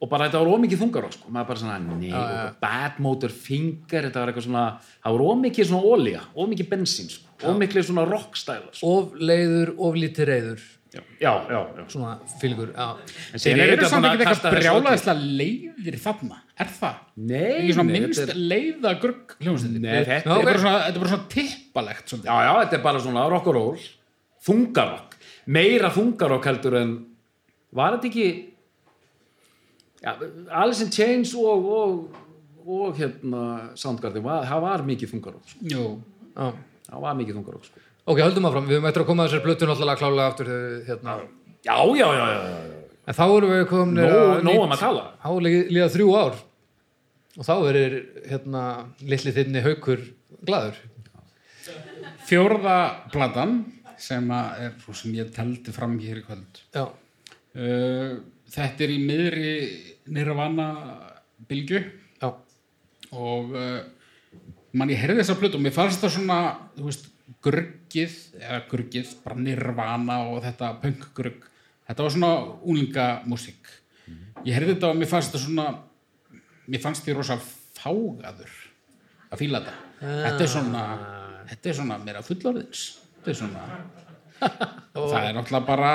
D: og bara þetta var ómikið þungarokk sko, maður bara svona, nei,
B: já.
D: og bad motor finger, þetta var eitthvað svona það var ómikið svona ólía, ómikið bensín sko, ómikið svona rockstælar sko.
B: Of leiður, of lítið reyður
D: já, já, já, já.
B: Svona fylgur, já
D: En
C: Þeir
D: síðan
C: eru
D: þetta
C: samt
D: búin að
C: ekki eitthvað
D: kasta þessu öllu.
C: brjálæðislega leiðir þarna, er það?
D: Nei,
C: Ekki svona
D: nei,
C: minnst
D: þetta er-
C: leiða grugg hljómsveitir.
D: Nei, þetta
C: Þetta er
B: er-
C: bara svona- þetta er bara svona tippalegt svolítið.
D: Já, já, þetta er bara svona rock og roll Þungarokk Meira þungarokk heldur en Var þetta ekki já, Alice in Chains og, og, og hérna Soundgarden, var, það var mikið þungarokk sko.
C: Jú.
B: Já.
D: Það var mikið þungarokk sko.
B: Ok, höldum áfram, við höfum eftir að koma að þessari blötu náttúrulega klálega aftur þegar, hérna.
D: Já, já, já, já, já.
B: En þá erum við komin
D: Nó, nóg um að tala
B: Há líða þrjú ár og þá verður hérna litli þinni haukur glaður
C: Fjórða platan sem að er svo sem ég teldi fram hér í kvöld.
B: Já,
C: Uh, þetta er í miðri nirvana bylgju
B: já,
C: og uh, mann ég heyrði þessa plötu og mér fannst það svona, þú veist, gruggið, eða gruggið, bara nirvana og þetta punkgrugg, þetta var svona úlinga músík. Ég heyrði þetta og mér fannst það svona, mér fannst því rosa fágaður að fíla þetta.
B: Ah.
C: Þetta er svona, þetta er svona meira fullorðins, þetta er svona... Það er náttúrulega bara,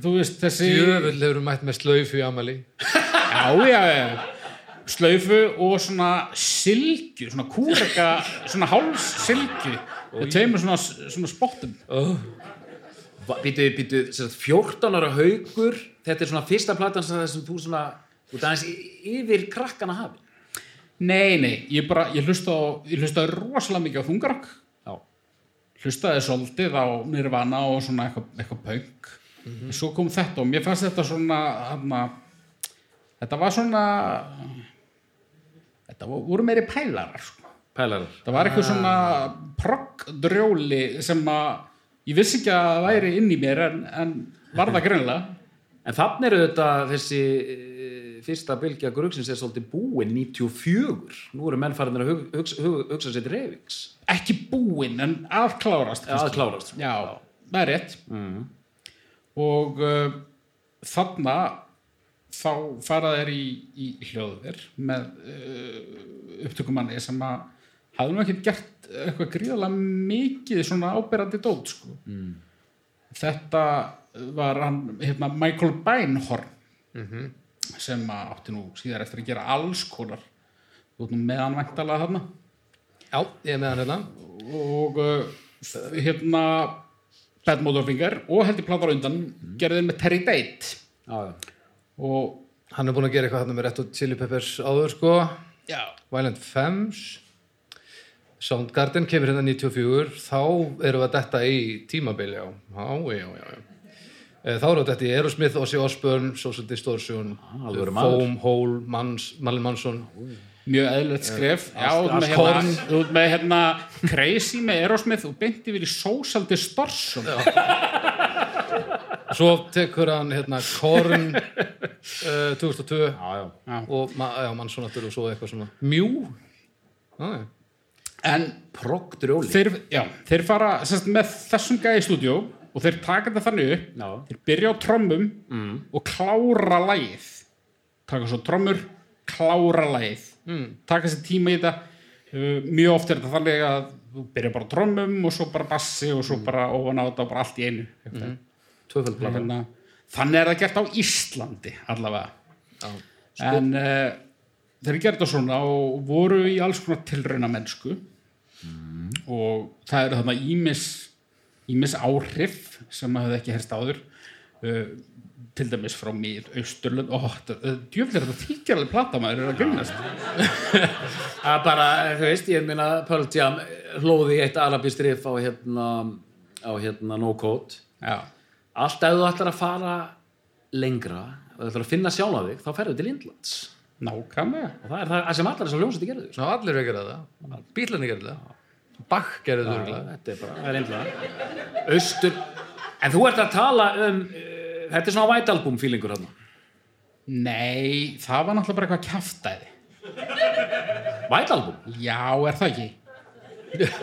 C: þú veist, þessi...
B: djöfull hefur við mætt með slaufu í amali
C: Já, já, já. Slaufu og svona silgju, svona kúraka, svona háls silgju og teimur svona, svona spottum.
D: Býtu, býtu, sem sagt, 14 ára haukur Þetta er svona fyrsta platan sem, sem þú svona Þú dæðins yfir krakkana hafi
C: Nei, nei, ég bara, ég hlustaði, á- ég hlustaði rosalega mikið á þungarokk,
D: Já,
C: hlustaði svolítið á nirvana og svona eitthvað eitthva punk. Svo kom þetta og mér fannst þetta svona, hana, þetta var svona, þetta vo- voru meiri pælarar, sko.
D: pælarar
C: Það var eitthvað svona progg-drjóli sem að ég vissi ekki að það væri inn í mér en, en var það greinlega.
D: En þannig eru þetta þessi eh, fyrsta bylgja grugsins er svolítið búin 94. Nú eru menn farinir að hug, hugsa, hug, hugsa sér til reyfings.
C: Ekki búinn en afklárast.
D: Að
C: kannski.
D: klárast.
C: Já, það er rétt. Og uh, þarna þá fara þeir í, í hljóðver með uh, upptökumanni sem að hafði nú ekkert gert eitthvað gríðalega mikið svona áberandi dót sko. mm.
B: Mhm.
C: þetta var hann hérna, Michael Beinhorn sem að átti nú síðar eftir að gera alls konar þú ert nú meðan væntalega þarna
B: Já, ég er með hann hérna.
C: og uh, hérna Bad Motorfinger og heldur platar á undan
B: Mhm.
C: gerði þeir með Terry Date
D: já, já.
C: og
B: Hann er búin að gera eitthvað hérna með Red Hot Chili Peppers áður sko.
C: já,
B: Violent Femmes. Soundgarden kemur hérna 94. Þá erum við að detta í tímabil, já. Já, já, já, já. Eh, Þá erum við að detta í Aerosmith, Ozzy Osbourne, Social Distortion,
D: Ah, alvöru maður.
B: Foam, Hole, Mans, Malin Mansson.
C: mjög eðlilegt skref
B: Eh,
C: já, þú
D: Eh,
C: ert
D: allt
C: með hérna,
D: korn.
C: þú ert með hérna Crazy með Aerosmith og beint yfir í Social Distortion
B: Svo tekur hann hérna Korn uh, 2002
D: já, já.
B: og ma já, Mansson aftur og svo eitthvað svona Mjú? Já, já.
C: en
D: Progg drjóli
C: þeir, já, þeir fara sest, með þessum gæði í stúdíó og þeir taka þetta þannig upp
D: Já.
C: þeir byrja á trommum og klára lagið taka svo trommur, klára lagið mm.
D: Hmm.
C: taka sér tíma í þetta Uh, mjög oft er þetta þannig að þú byrja bara á trommum og svo bara bassi og svo bara ofan á þetta og bara allt í einu mm.
D: Tvöföld plata.
C: hérna, þannig er það gert á Íslandi allavega en uh, þeir gerðu svona og voru í alls konar tilrauna mennsku og það eru þarna ímis ímis áhrif sem maður hefði ekki herst áður uh, til dæmis frá mið austurlönd, ó, þetta- eh, djöfull er þetta þykir alveg plata maður er að grunast
D: að Ah, bara, þú veist, ég minna Pearl Jam hlóði eitt arabist riff á hérna, á hérna No Code
C: já,
D: allt ef þú ætlar að fara lengra og þú ætlar að finna sjálfa þig þá ferðu til Indlands
C: nákvæmlega
D: og það er það sem allar þessar ljósið gerðu sko.
B: Ná, allir eru að gera það. Bílarni gerðu það. Bach gerðu það. örugglega.
D: þetta er bara, það er Indland austur, en þú ert að tala um uh, þetta er svona white album feelingur hérna
C: nei, það var náttúrulega bara eitthvað kjaftæði
D: white album,
C: já, er það ekki?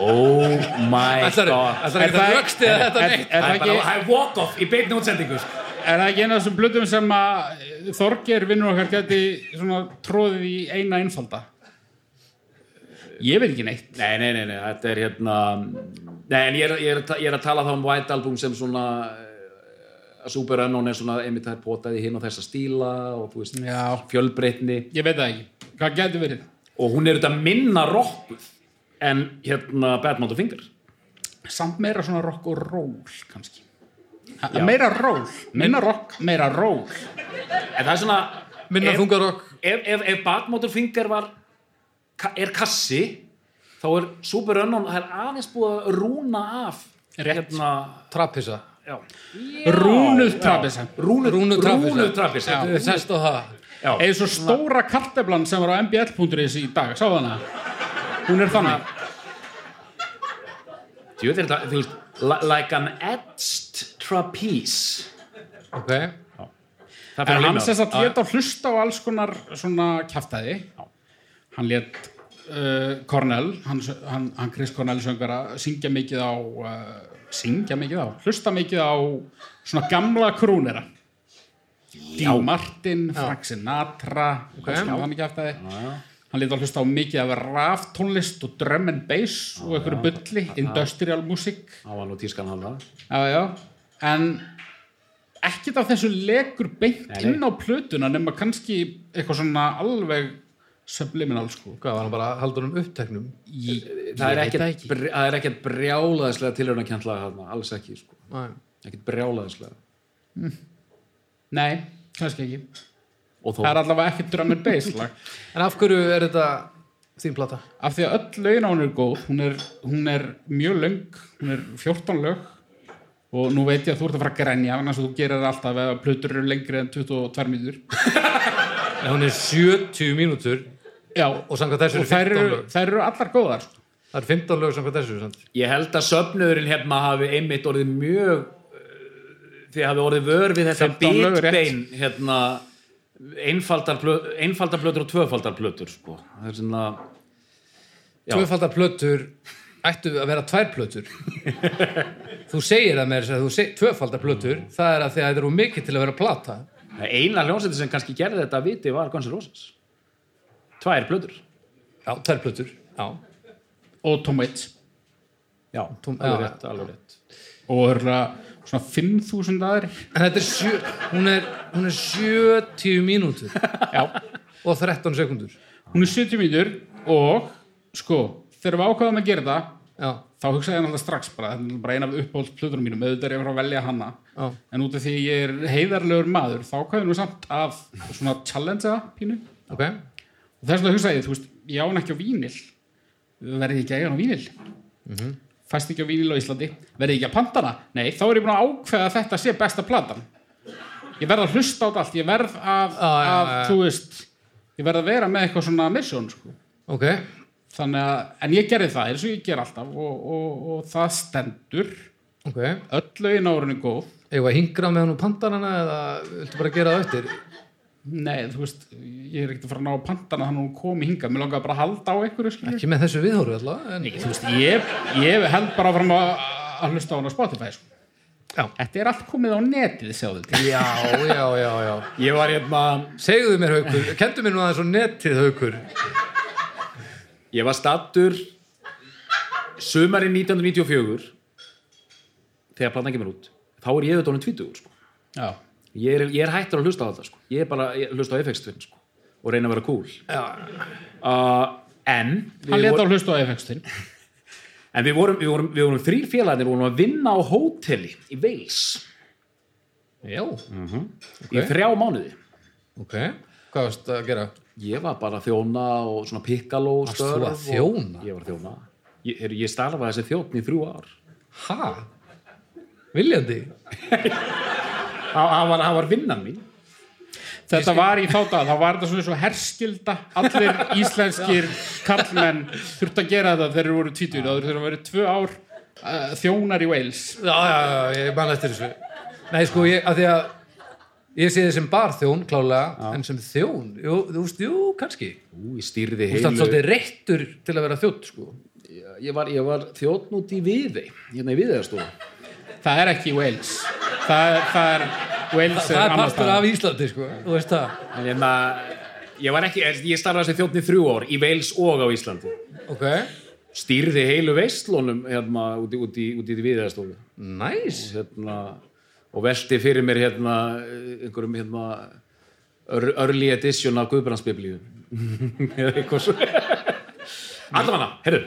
D: oh my
B: Ætlarðu-
D: god
B: ætlarðu
C: Er
B: ekki að
C: það-
B: rökst eða þetta
C: er-
B: neitt?
D: það
C: er- það
D: er bara,
C: ekki-
D: það er walk off í beinni útsendingu sko.
C: Er það ekki eina af þessum blöðum sem að Þorger vinnur okkar geti svona tróðið í eina einfalda? Ég veit ekki neitt.
D: Nei, nei, nei, nei, þetta er hérna Nei, en ég er, ég er, að ta- ég er að tala þá um White Album sem svona eh, að Super Unknown er svona einmitt það er potaði hinn á þessa stíla og þú veist,
C: Já.
D: fjölbreytni
C: Ég veit það ekki. Hvað geti verið?
D: og hún er þetta minna rockuð en hérna Bad Mount of Finger
C: Samt meira svona rock og ról, kannski. Ha, meira ról. Minna rock, meira ról.
D: en það er svona
B: Minna
D: ef,
B: þungarokk.
D: ef, ef, ef Bad Mount of Finger var ka- er kassi þá er Super Unknown það er aðeins búið að rúna af
C: Rétt.
D: hérna
B: Trappisa.
D: já,
C: Rúnuð trapisa.
D: rúnu,
B: Rúnu trappisa.
D: rúnu trappis
B: Við sest á það.
D: Já.
C: Eða svo stóra karteflan sem var á mbl.is í dag. Sá hana? Hún er þannig.
D: Jú, þetta er þetta, þú veist, li- like an etched trapeze.
B: Ok.
D: Það
C: En hann sess að leta hlusta á alls konar svona kjaftaði hann let uh, Cornell hann, hann, hann Chris Cornell söngara syngja mikið á uh, syngja mikið á, hlusta mikið á svona gamla krúnera Dean Martin, Frank Sinatra okay. sem hann kjaftaði hann let að hlusta á mikið af raftónlist og drum and bass og einhverju bulli, industrial music
D: Á hann og tískan hann það.
C: já, já, en ekkert af þessu legur beint
D: nei.
C: inn á plötuna nema kannski eitthvað svona alveg subliminal sko
B: Hvað var hann bara að halda um uppteknum?
C: í,
D: Það er
C: ég veit
D: ekkert brj- það er ekkert brjálaðislega tilhörnarkjantlega hann, alls ekki, sko.
B: Næ.
D: Ekkert brjálaðislega.
C: nei, kannski ekki
D: Og þó,
C: það er allavega ekki drum and bass lag
B: En af hverju er þetta þín plata?
C: af því að öll lögin á hún er góð hún er, hún er mjög löng hún er 14 lög og nú veit ég að þú ert að fara að grenja þannig að þú gerir það alltaf ef að plötur eru lengri en 22 mínútur
B: En hún er 70 mínútur
C: já,
B: og samkvæmt þessu
C: og
B: eru 15
C: þær eru,
B: lög.
C: þær eru allar góðar sko.
B: Það er 15 lög samkvæmt þessu. Sant?
D: ég held að söfnöðurinn hérna hafi einmitt orðið mjög, eh, þið hafi orðið vör við þetta
C: 15 lög, rétt.
D: bitbein, hérna, einfaldar, plö, einfaldar plötur og tvöfaldar plötur, sko. Það er svona, Já.
B: Tvöfaldar plötur ættu að vera tvær plötur. þú segir það með þess að þú segir tvöfaldar plötur,
C: Mm.
B: það er að því að þetta eru of mikið til að vera plata.
D: það er eina hljónsætti sem kannski gerði þetta að viti var Guns N' Roses. Tvær plötur.
B: Já, tvær plötur. Já.
C: og Tom Waits
D: Já,
B: Tóm-
D: alveg
B: já.
D: rétt, alveg rétt.
C: og, örla, svona 5.000 aðri
B: En þetta er sjö, hún er, hún er 70 mínútur
C: já,
B: og 13 sekundur.
C: hún er 70 mínútur og sko, þegar við ákvaðum að gera það
B: Já,
C: þá hugsaði ég náttúrulega strax bara, þetta er náttúrulega bara eina af uppáhalds plöðurum mínum, auðvitað er ég að fara að velja hana
B: Já.
C: en út af því ég er heiðarlegur maður þá kvæði nú samt af svona challenge að pínu,
B: ok.
C: og þess vegna hugsaði ég, þú veist, ég á hann ekki á vínil verði ekki að eiga hann á vínil
B: Mhm.
C: fæst ekki á vínil á Íslandi verði ekki að panta hana, nei, þá er ég búin að ákveða að þetta sé besta platan ég verð að hlusta á þetta allt, ég verð að,
B: Já, já, já,
C: að
B: já.
C: þú veist ég verð að vera með eitthvað svona mission, sko
B: Ok,
C: þannig að, en ég gerði það eins og ég ger alltaf og, og, og það stendur
B: ok. Eigum
C: öll lögin á árunni góð
B: við að hingra með hann og pantar hana eða viltu bara gera það eftir?
C: nei, þú veist, ég er ekkert að fara að ná að pantana þannig að hún komi hingað, mér langaði bara að halda á einhverju skilur.
B: Ekki með þessu viðhóru alltaf, en...
C: Nei, þú veist, ég, ég held bara fram að, að hlusta á hún á Spotify sko.
B: Já.
C: þetta er allt komið á netið, sjáðu til
B: Já, já, já, já.
D: Ég var hérna,
B: Segðu mér, Haukur, kendu mér nú aðeins og netið, Haukur.
D: ég var stattur sömarinn 1994 þegar platan kemur út. Þá er ég auðvitað honum 20 sko.
C: já,
D: Ég er, ég er hættur að hlusta á þetta sko. Ég er bara ég hlusta á FX-tvinn sko og reyna að vera cool. Já. Uh, en
C: hann
D: við,
C: leta
D: vor,
C: á hlusta á FX-tin
D: en við vorum, við vorum, við vorum þrýr félagarnir vorum að vinna á hóteli í Veils
B: Já,
D: í þrjá mánuði.
B: ok. Hvað varst að gera?
D: Ég var bara að þjóna og svona pikkaló
B: Varst þú að þjóna?
D: Ég var að þjóna. Ég, heyrðu, ég starfaði þessi þjónn í þrjú ár.
B: Ha? Viljandi?
D: Hann hann var, hann var vinnan mín.
C: þetta var í þáta, þá var þetta svona svo herskilda allir íslenskir karlmenn þurft að gera þetta þegar þeir voru tvítur, þá þurft að vera tvö ár uh, þjónar í Wales
B: Já, já, já, ég man eftir þessu. Nei, sko, ég, að því að ég sé þið sem barþjón, klálega, en sem þjón, jú, þú veist, jú, kannski.
D: Ú, ég stýrði
B: Þú veist, hann
D: heilu.
B: svolítið reittur til að vera þjótt, sko.
D: Ég var, ég var þjónn út í viði, hérna í viðeðarstofu.
C: Það er ekki Wales Það, það er Wales
B: Það er
C: annars
B: partur
C: staðar.
B: af Íslandi, sko, þú veist það.
D: En hérna, ég var ekki, ég starfaði þessi þjónn í þrjú ár í Veils og á Íslandi.
B: Ok,
D: Stýrði heilu veistlónum hérna út í, út í, út í viðeðarstofu.
B: næs.
D: Hérna, og velti fyrir mér hérna einhverjum hérna ör- early edition af Hérna, Guðbrandsbiblíu. Eða eitthvað svo. Allafanna, herru,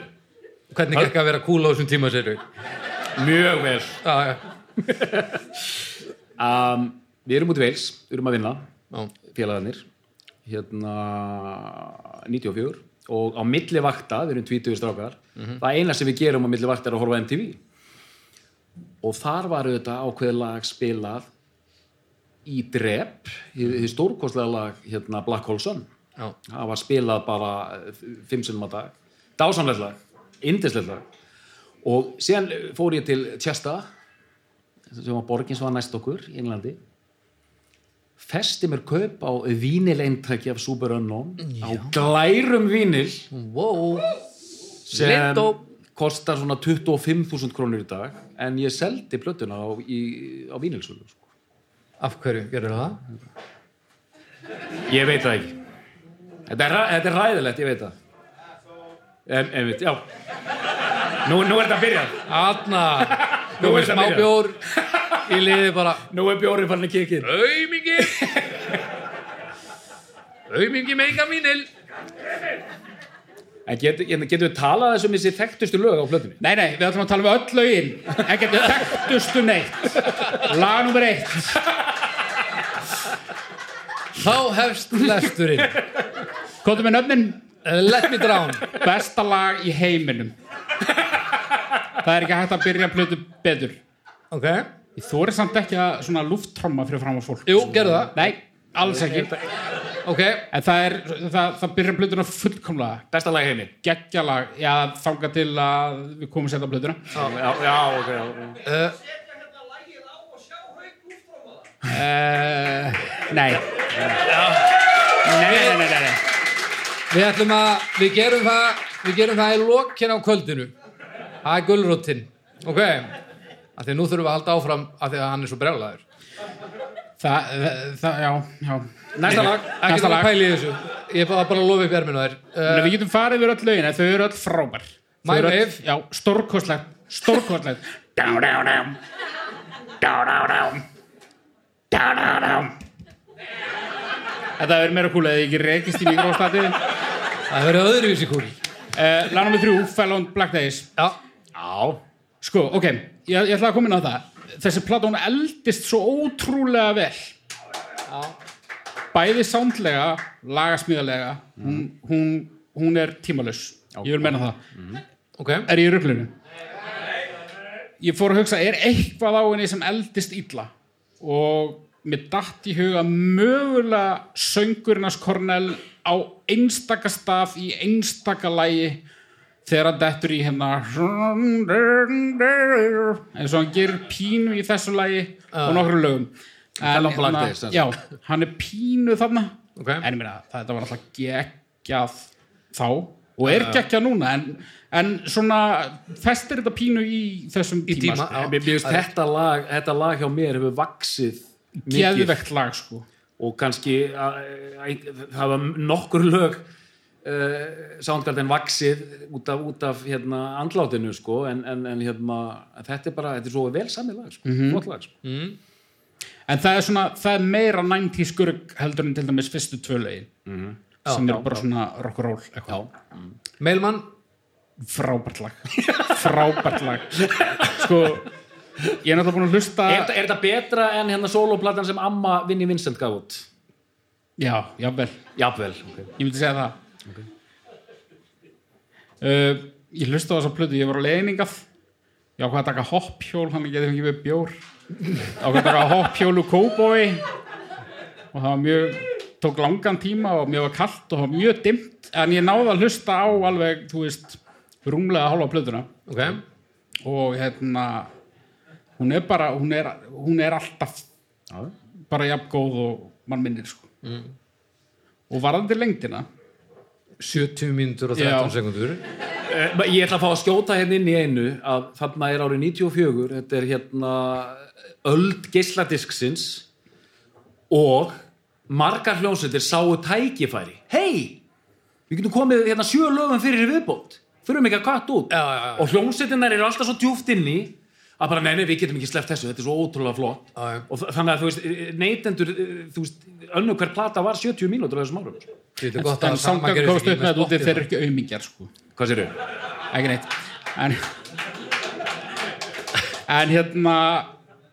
B: Hvernig gekk að vera cool á þessum tíma, segir
D: mjög vel.
B: Já, já,
D: Um, við erum út í Veils, við erum að vinna.
B: já,
D: félagarnir hérna 94 og á milli vakta, við erum 20 strákar það eina sem við gerum á milli vakta er að horfa á MTV og þar var auðvitað ákveðið lag spilað í drep því stórkostlega lag hérna Black Hole Sun
B: já.
D: það var spilað bara eh, fimm sinnum á dag dásamlega lag, indislegt lag og síðan eh, fór ég til Tjesta sem var borgin sem var næst okkur í Englandi festi mér kaup á vínileintæki af Super Unknown á glærum vínil
B: Wow,
D: sem
B: Lindó.
D: kostar svona 25.000 krónur í dag en ég seldi plötuna á, í, á vínilsölu sko.
B: af hverju gerir það?
D: ég veit það ekki þetta er, ræ- þetta er ræðilegt, ég veit það en, en veit, já nú, nú er þetta að byrja
B: Anna, þú
D: Nú er
B: veist,
D: það
B: smá
D: byrjað.
B: bjór, í liði bara,
D: nú er bjórið farin að kikið
B: aumingi, aumingi meika mínil.
D: en Hérna, getur get, getum við talað þessum þessi þekktustu lög á plötunni
C: Nei, nei, við ætlum að tala um öll lögin ekkert þekktustu neitt Lag nummer eitt
B: Þá hefst lesturinn.
C: Kóttu með nöfnin
B: Eh, Let me drown
C: Besta lag í heiminum Það er ekki hægt að byrja plötu betur
B: Ok
C: Ég þóri samt ekki að svona lufttromma fyrir fram á fólk
B: Jú, gerðu það
C: Nei, alls ekki
B: Ok
C: En það, er, það, það byrja plötuna fullkomlega
D: besta lag heimi
C: Gekkja lag, já, þanga til að við komum setja plötuna
D: já, já, ok, já.
B: Uh,
E: Setja hérna lagið á og sjá haug útróma það.
C: uh, Nei Nei, nei, nei, nei, nei.
B: Við ætlum að Við gerum það Við gerum það í lokin á kvöldinu Það er gulrótin Ok Af því að nú þurfum við að halda áfram Af því að hann er svo brjálæður
C: Það, það, það, já, já
D: Næsta lag,
B: Ekki
C: Næsta
B: það
C: lag
B: að pæla í þessu Ég er bara bara að lofa upp erminu þær
C: Nei,
B: uh,
C: Við getum farið yfir öll lögin en Þau eru öll frábær Þau
B: My
C: eru öll-
B: Wave.
C: Já, stórkostlegt Stórkostlegt Dá, dá, dá Dá-dá-dám Dá-dá-dám Þetta verður meira kúl eða ég ekki rekist í mikrofónstati
B: Það verður öðruvísi kúl.
C: uh, Lana með þrjú, Fell on Black Days
B: Já,
C: Já Sko, ok, ég, ég ætla að koma inn á það Þessi plata hún eldist svo ótrúlega vel Já Bæði sándlega, lagasmíðalega hún, hún, hún er tímalus Ég vil menna það
B: ok.
C: Er ég í rugglinu? Ég fór að hugsa, er eitthvað á henni sem eldist illa? Og mér datt í huga mögulega söngurinnars Kornel á einstaka staf í einstaka lægi þegar hann dettur í hérna eins og hann gerir pínu í þessu lægi og nokkru lögum
D: Fell
C: En
D: on Black
C: hérna-
D: Days, sem sagt.
C: Já, hann er pínu þarna
B: Ok.
C: en ég meina, þetta var alltaf geggjað þá og er geggjað núna en, en svona festir þetta pínu í þessum
B: Í
C: tíma,
B: tíma,
C: sko.
B: já.
D: Mér mér finnst þetta lag, þetta lag hjá mér hefur vaksið mikið
C: geðvegt lag sko
D: og kannski að- að- það var nokkur lög uh, Soundgarden vaksið út af, út af hérna, andlátinu sko, en, en, en hérna, þetta er bara þetta er svo vel samið lag, sko,
B: Mhm.
D: flott lag sko.
C: en það er svona, það er meira 90 skurg heldur en til dæmis fyrstu tvölaugin mm -hmm. sem eru bara svona rock'n'roll eitthvað,
B: Mailmann,
C: frábært lag frábært lag sko, ég er náttúrulega búin að hlusta
D: er, þetta- er þetta betra en hérna soloplatan sem Amma Vinni Vincent gaf út?
C: já, jável,
D: Jafnvel okay.
C: ég myndi segja það uh, ég hlusta á þessa plötu, ég var á leiningað ég ákvað að taka hopphjól hann getið fengið við bjór ákvað að taka hopphjól úr kóbói og það var mjög tók langan tíma og mjög var kallt og það var mjög dimmt en ég náði að hlusta á alveg, þú veist, rúmlega hálfa plötuna
B: ok.
C: og hérna hún er bara, hún er, hún er alltaf bara jafn góð og mann minnir sko mm. og varðandi lengdina
B: 70 mínútur og
C: Já.
B: 13 sekundur.
D: Eh, Ég ætla að fá að skjóta hérna inn í einu að þarna er árið 94 þetta er hérna öld geisladisksins og margar hljómsveitir sáu tækifæri hei, við getum komið hérna sjö lögum fyrir í viðbót þurfum ekki að katt út
B: Já, já, já.
D: og hljómsveitinnar eru alltaf svo djúft inni að bara, nei, nei, við getum ekki sleppt þessu, þetta er svo ótrúlega flott
B: Já, já.
D: og þa- þannig að, þú veist, eh, neytendur eh, þú veist, önnu hver plata var 70 mínútur á þessum árum, sko.
B: Þetta er gott
C: en
B: að sama
C: samkvæmt
B: gerist
C: komst
B: ekki
C: upp með
B: með
C: þetta úti
B: spottið.
C: þeir eru ekki auðmingjar sko
D: hvað sér þau?
C: ekki neitt en, en hérna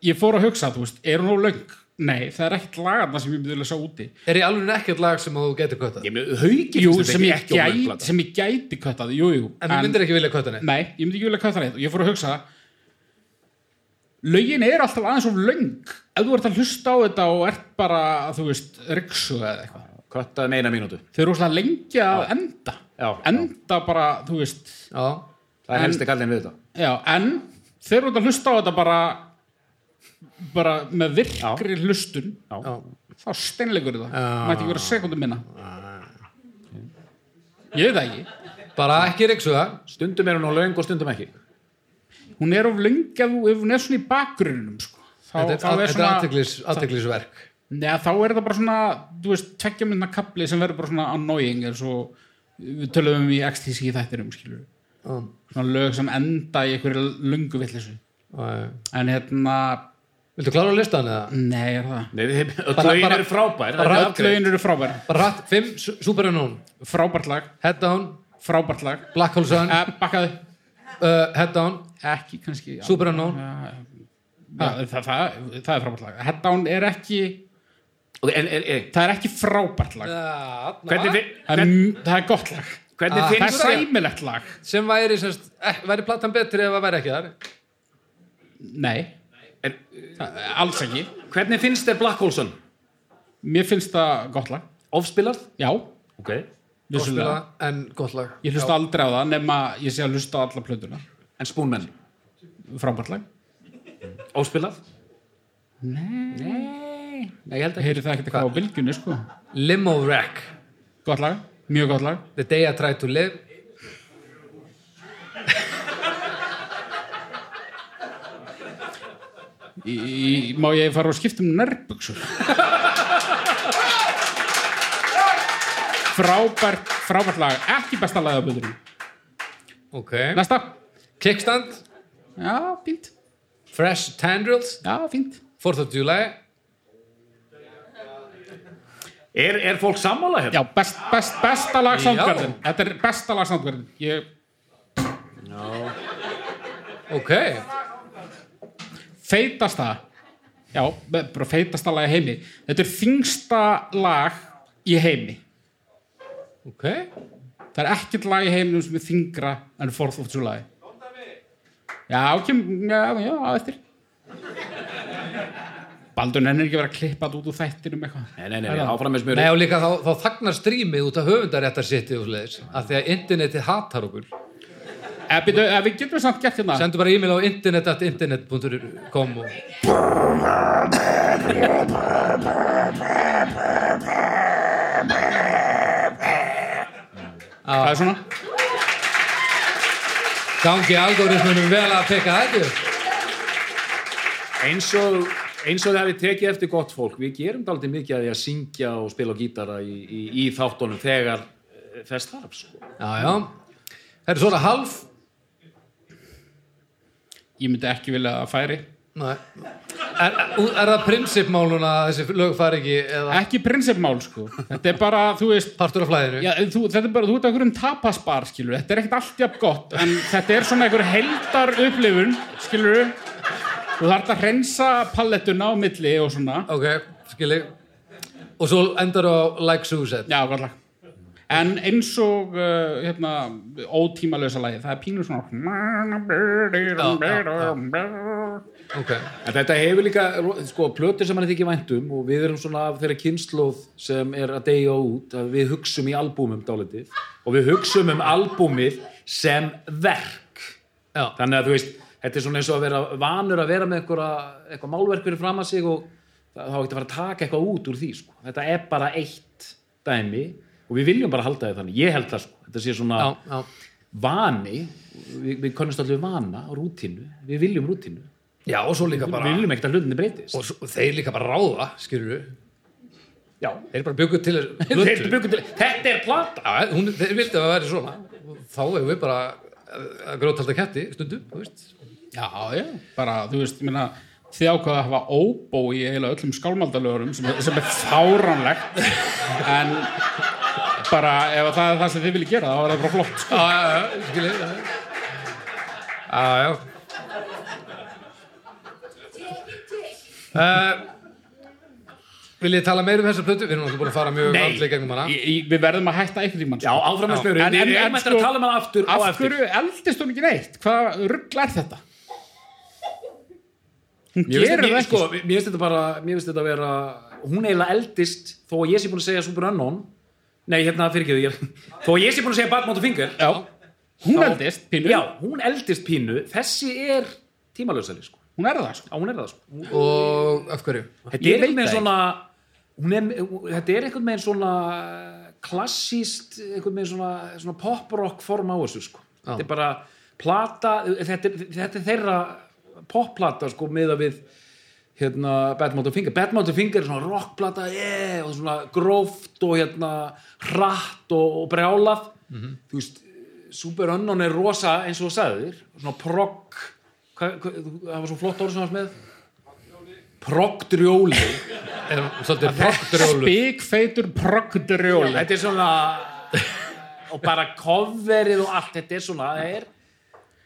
C: ég fór að hugsa, þú veist, er hún á löng? Nei, það er ekkert lagarna sem ég myndi vilja sá úti
B: Er í alveg ekkert lag sem þú getur köttað?
D: Hauki
C: Jú, sem ég, gæti, sem ég gæti köttað Jú, jú
B: En þú myndir ekki vilja kötta neitt?
C: Nei, ég myndi ekki vilja kötta neitt og ég fór að hugsa lögin er alltaf aðeins of löng ef þú ert að hlusta á þetta og ert bara þú veist, ryksu eða eitthvað
D: Köttaði meina mínútu.
C: þau eru rosalega lengi að enda
D: Já, já.
C: enda bara, þú veist
B: Já.
D: Það er helsti kallin við þetta.
C: já, en þeir eru að hlusta á þetta bara bara með virkri hlustun
B: Já.
C: þá steinleikur þetta mætti ekki vera sekundum minna ég veit það ekki
B: Bara ekki reyksuða.
D: Stundum er hún á löng og stundum ekki.
C: hún er of löng ef þú- ef hún er svona í bakgrunum sko. þá,
B: Þetta
C: þá
B: er- þetta er athyglis- athyglisverk.
C: Nei, þá er það bara svona, þú veist, tvekkja minna kapli sem verður bara svona annoying eins og við töluðum um í XTC þættirum, skilur við.
B: Já.
C: Svona lög sem enda í einhverju lungu villisu.
B: Já, já.
C: En hérna,
B: Viltu klára listan eða?
C: nei, er það.
D: Nei, þið- öll
B: Bara-
D: lögin
B: bara-
D: eru frábær.
B: bara-
D: Þetta er
C: Öll lögin eru frábær.
B: Bara rætt, 5, Superunknown,
C: Frábært lag,
B: Head Down,
C: frábært lag.
B: Black Hole Sun,
C: Eh, bakkaði,
B: uh, Head Down,
C: ekki kannski. já.
B: Superunknown.
C: Það, það, það, það er frábært lag. Headdown er ekki,
D: alveg- Ok, en- en- en-
C: það er ekki frábært lag.
D: Hvernig
B: Hvernig
D: fi-
C: Það er, m- það er gott lag.
D: hvernig
B: Ah,
C: Það er
D: finnst þér?
C: sæmilegt lag.
B: Sem væri, semst, ek, væri platan betri ef það væri ekki þar?
C: Nei,
D: en-
C: það, alls ekki.
D: Eh, Hvernig finnst þér Black Hole Sun?
C: Mér finnst það gott lag.
D: Ofspilað?
C: Já,
D: Ok.
C: Vissulega.
B: Góðspila, En gott lag.
C: Ég hlusta aldrei á það nema ég sé að hlusta á alla plötuna.
D: En Spoonman?
C: Frábærtleg.
D: Ofspilað?
C: Nei, ég held ekki. Heyri það ekkert eitthvað á bylgjunni, sko.
B: Limo Wreck,
C: Gott lag, mjög gott lag.
B: The Day I Tried to Live.
C: Í, í, má ég fara og skipta um nærbuksur? frábært, frábært lag. Ekki besta lagið á plötunni.
B: Ok.
C: Næsta.
B: Kickstand,
C: Já, fínt.
B: Fresh Tendrils,
C: já, fínt
B: 4th of July
D: Er, er fólk sammála hérna?
C: já, best, best, besta lag
B: Já.
C: soundgarden þetta er besta lag soundgarden ég,
B: Ok,
C: feitasta já, bara feitasta lag í heimi þetta er þingsta lag í heimi
B: ok
C: það er ekkert lag í heiminum sem er þingra en 4th of July já, kem, já, já, á eftir Baldur nennir ekki að vera að klippað út úr þættinum eitthvað
D: Nei, nei, nei, nei, áfram með smjöri
B: Nei og líka þá, þá þagnar strímið út af höfundaréttar sitti og sliðis að því að internetið hatar okkur
C: Ef við, ef við getum samt gert hérna
B: Sendu bara e-mail á internet.internet.com og...
C: Það er svona
B: Gangi algoritmunum vel að peka þetta upp.
D: eins og eins og þið hafið tekið eftir gott fólk við gerum daldið mikið að því að syngja og spila á gítara í, í, í þáttunum þegar eh, þess þarf sko.
B: Já, já. Það er svona half.
C: Ég myndi ekki vilja að færi
B: Nei. Er, er það prinsipmál núna að þessi lög fari ekki eða
C: Ekki prinsipmál sko Þetta er bara, þú veist
B: partur af flæðinu?
C: já, þú, Þetta er bara, þú ert okkur um tapasbar skilur Þetta er ekkert allt jafn gott En þetta er svona einhver heldar upplifun Skilur Þú þarf að hreinsa palettuna á milli og svona
B: Ok, skilji. Og svo endar á Like Suicide.
C: Já, gott lag En eins og uh, hérna, ótímalösa lagi, það er pínur svona
B: Ok.
D: en þetta hefur líka sko, plötur sem hann þykir væntum og við erum svona af þeirra kynnslóð sem er að deyja út að við hugsum í albúmum dálítið og við hugsum um albúmið sem verk
B: Já.
D: þannig að þú veist, þetta er svona eins og að vera vanur að vera með einhverja, eitthvað málverk fyrir fram að sig og það- þá ekkert að fara að taka eitthvað út úr því sko. þetta er bara eitt dæmi og við viljum bara halda því þannig, ég held það sko. þetta sé svona
B: Já, já.
D: vani við, við konnumst allir vana og rútínu, við viljum rútínu
B: Já, og svo líka
D: við
B: bara...
D: viljum ekkert að hlutinni breytist
B: Og svo, þeir líka bara ráða, skilju.
D: já,
B: Þeir bara byggu til þessu
D: þetta,
B: blötu.
D: byggur til, þetta er plata
B: Já, hún, þeir vildi að það væri svona. Þá hefur við bara eh, að grótalda ketti stundum, þú veist.
C: Já, já, bara, þú veist, ég meina þið ákvaða að hafa óbó í eiginlega öllum skálmaldalögurum sem, sem er fáránlegt en bara ef það er það sem þið viljið gera þá er það bara flott sko.
B: Já, já, já, skilji. já. Já, já. Uh, vil ég tala meir um þessa plötu? Við erum náttúrulega búin að fara mjög
D: Nei.
B: vandlega gegnum hana.
C: Í, í, Við verðum að hætta einhvern tímann
D: já,
C: sko.
D: áfram með smjöru,
C: En-
D: við
C: en-
D: erum
C: en
D: eftir
C: sko,
D: að tala með aftur á
C: Af
D: eftir
C: hverju eldist hún ekki neitt? Hvað rugl er þetta? Hún
D: Mér finnst
C: gerir
D: þetta-
C: það
D: mér-
C: ekki
D: sko,
C: sko.
D: mér finnst þetta bara mér finnst þetta að vera, hún eiginlega eldist þó að ég sé búin að segja Super Unknown nei, hérna fyrirgeðu ég þó að ég sé búin að segja Bad Motor Finger
C: Já, hún eldist pínu,
D: já, hún eldist pínu, þessi er tímalösari, sko,
C: hún er það sko.
D: já, hún er það sko. Hún-
B: Og af hverju?
D: þetta
C: Ég
D: er einhvern
C: veit
D: veginn
C: það
D: svona hún er, þetta er einhvern veginn svona klassíst einhvern veginn svona, svona poprock form á þessu sko. þetta er bara plata þetta, er- þetta er þeirra popplata sko meða við hérna Bad Mountain Finger Bad Mountain Finger er svona rockplata yeah, og svona gróft og hérna hratt og, og brjálað
B: Mhm.
D: þú veist, Super Unknown er rosa eins og þú sagðir, svona progg hvað- hvað- þú- það var svo flott orð sem hans með proggdrjóli
B: Er hún svolítið prokkdrjólu?
C: Spikfeitur proggdrjóli
D: þetta er svona og bara coverið og allt þetta er svona, það er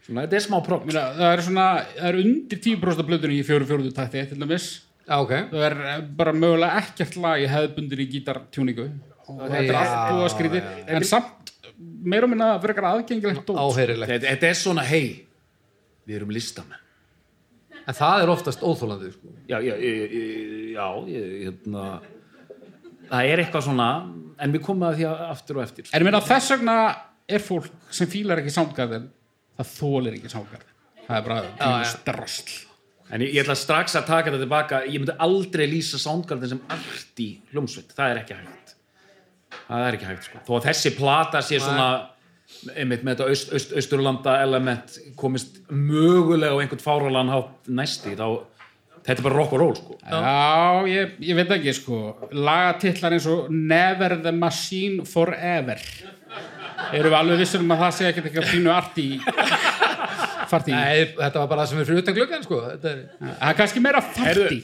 D: svona, þetta er smá progg
C: Meina, það er svona, það er undir 10% af blöðunni í fjóru fjóruðu takti til dæmis
B: Já, ok.
C: það er eh, bara mögulega ekkert lag í hefðbundin í gítartjúningu þetta er
B: já,
C: allt búið að skrýti en samt meira og minna fyrir eitthvað aðgengilegt dót
B: Áheyrilegt.
D: þetta, þetta er svona, hei við erum listamenn
B: En það er oftast óþólandi, sko.
D: já, já, ég- ég- já, ég, hérna það er eitthvað svona en við komum að því að- aftur og eftir sko.
C: en ég meina þess vegna er fólk sem fílar ekki soundgarden það þólir ekki soundgarden það er bara tíma
B: já.
C: strasl
D: en ég, ég ætla strax að taka þetta tilbaka ég myndi aldrei lýsa Soundgarden sem art í hljómsveit, það er ekki hægt það er ekki hægt sko þó að þessi plata sé svona einmitt með þetta aust, aust, austurlanda element komist mögulega á einhvern fáralan hátt næsti þá þetta er bara rock og roll sko
C: já, ég, ég veit ekki sko lagatillar eins og Never the Machine Forever erum við alveg vissur um að það sé ekkert eitthvað pínu arti í fartí
B: Nei, þetta var bara það sem er fyrir utan gluggan sko. Þetta er...
C: það er kannski meira fartí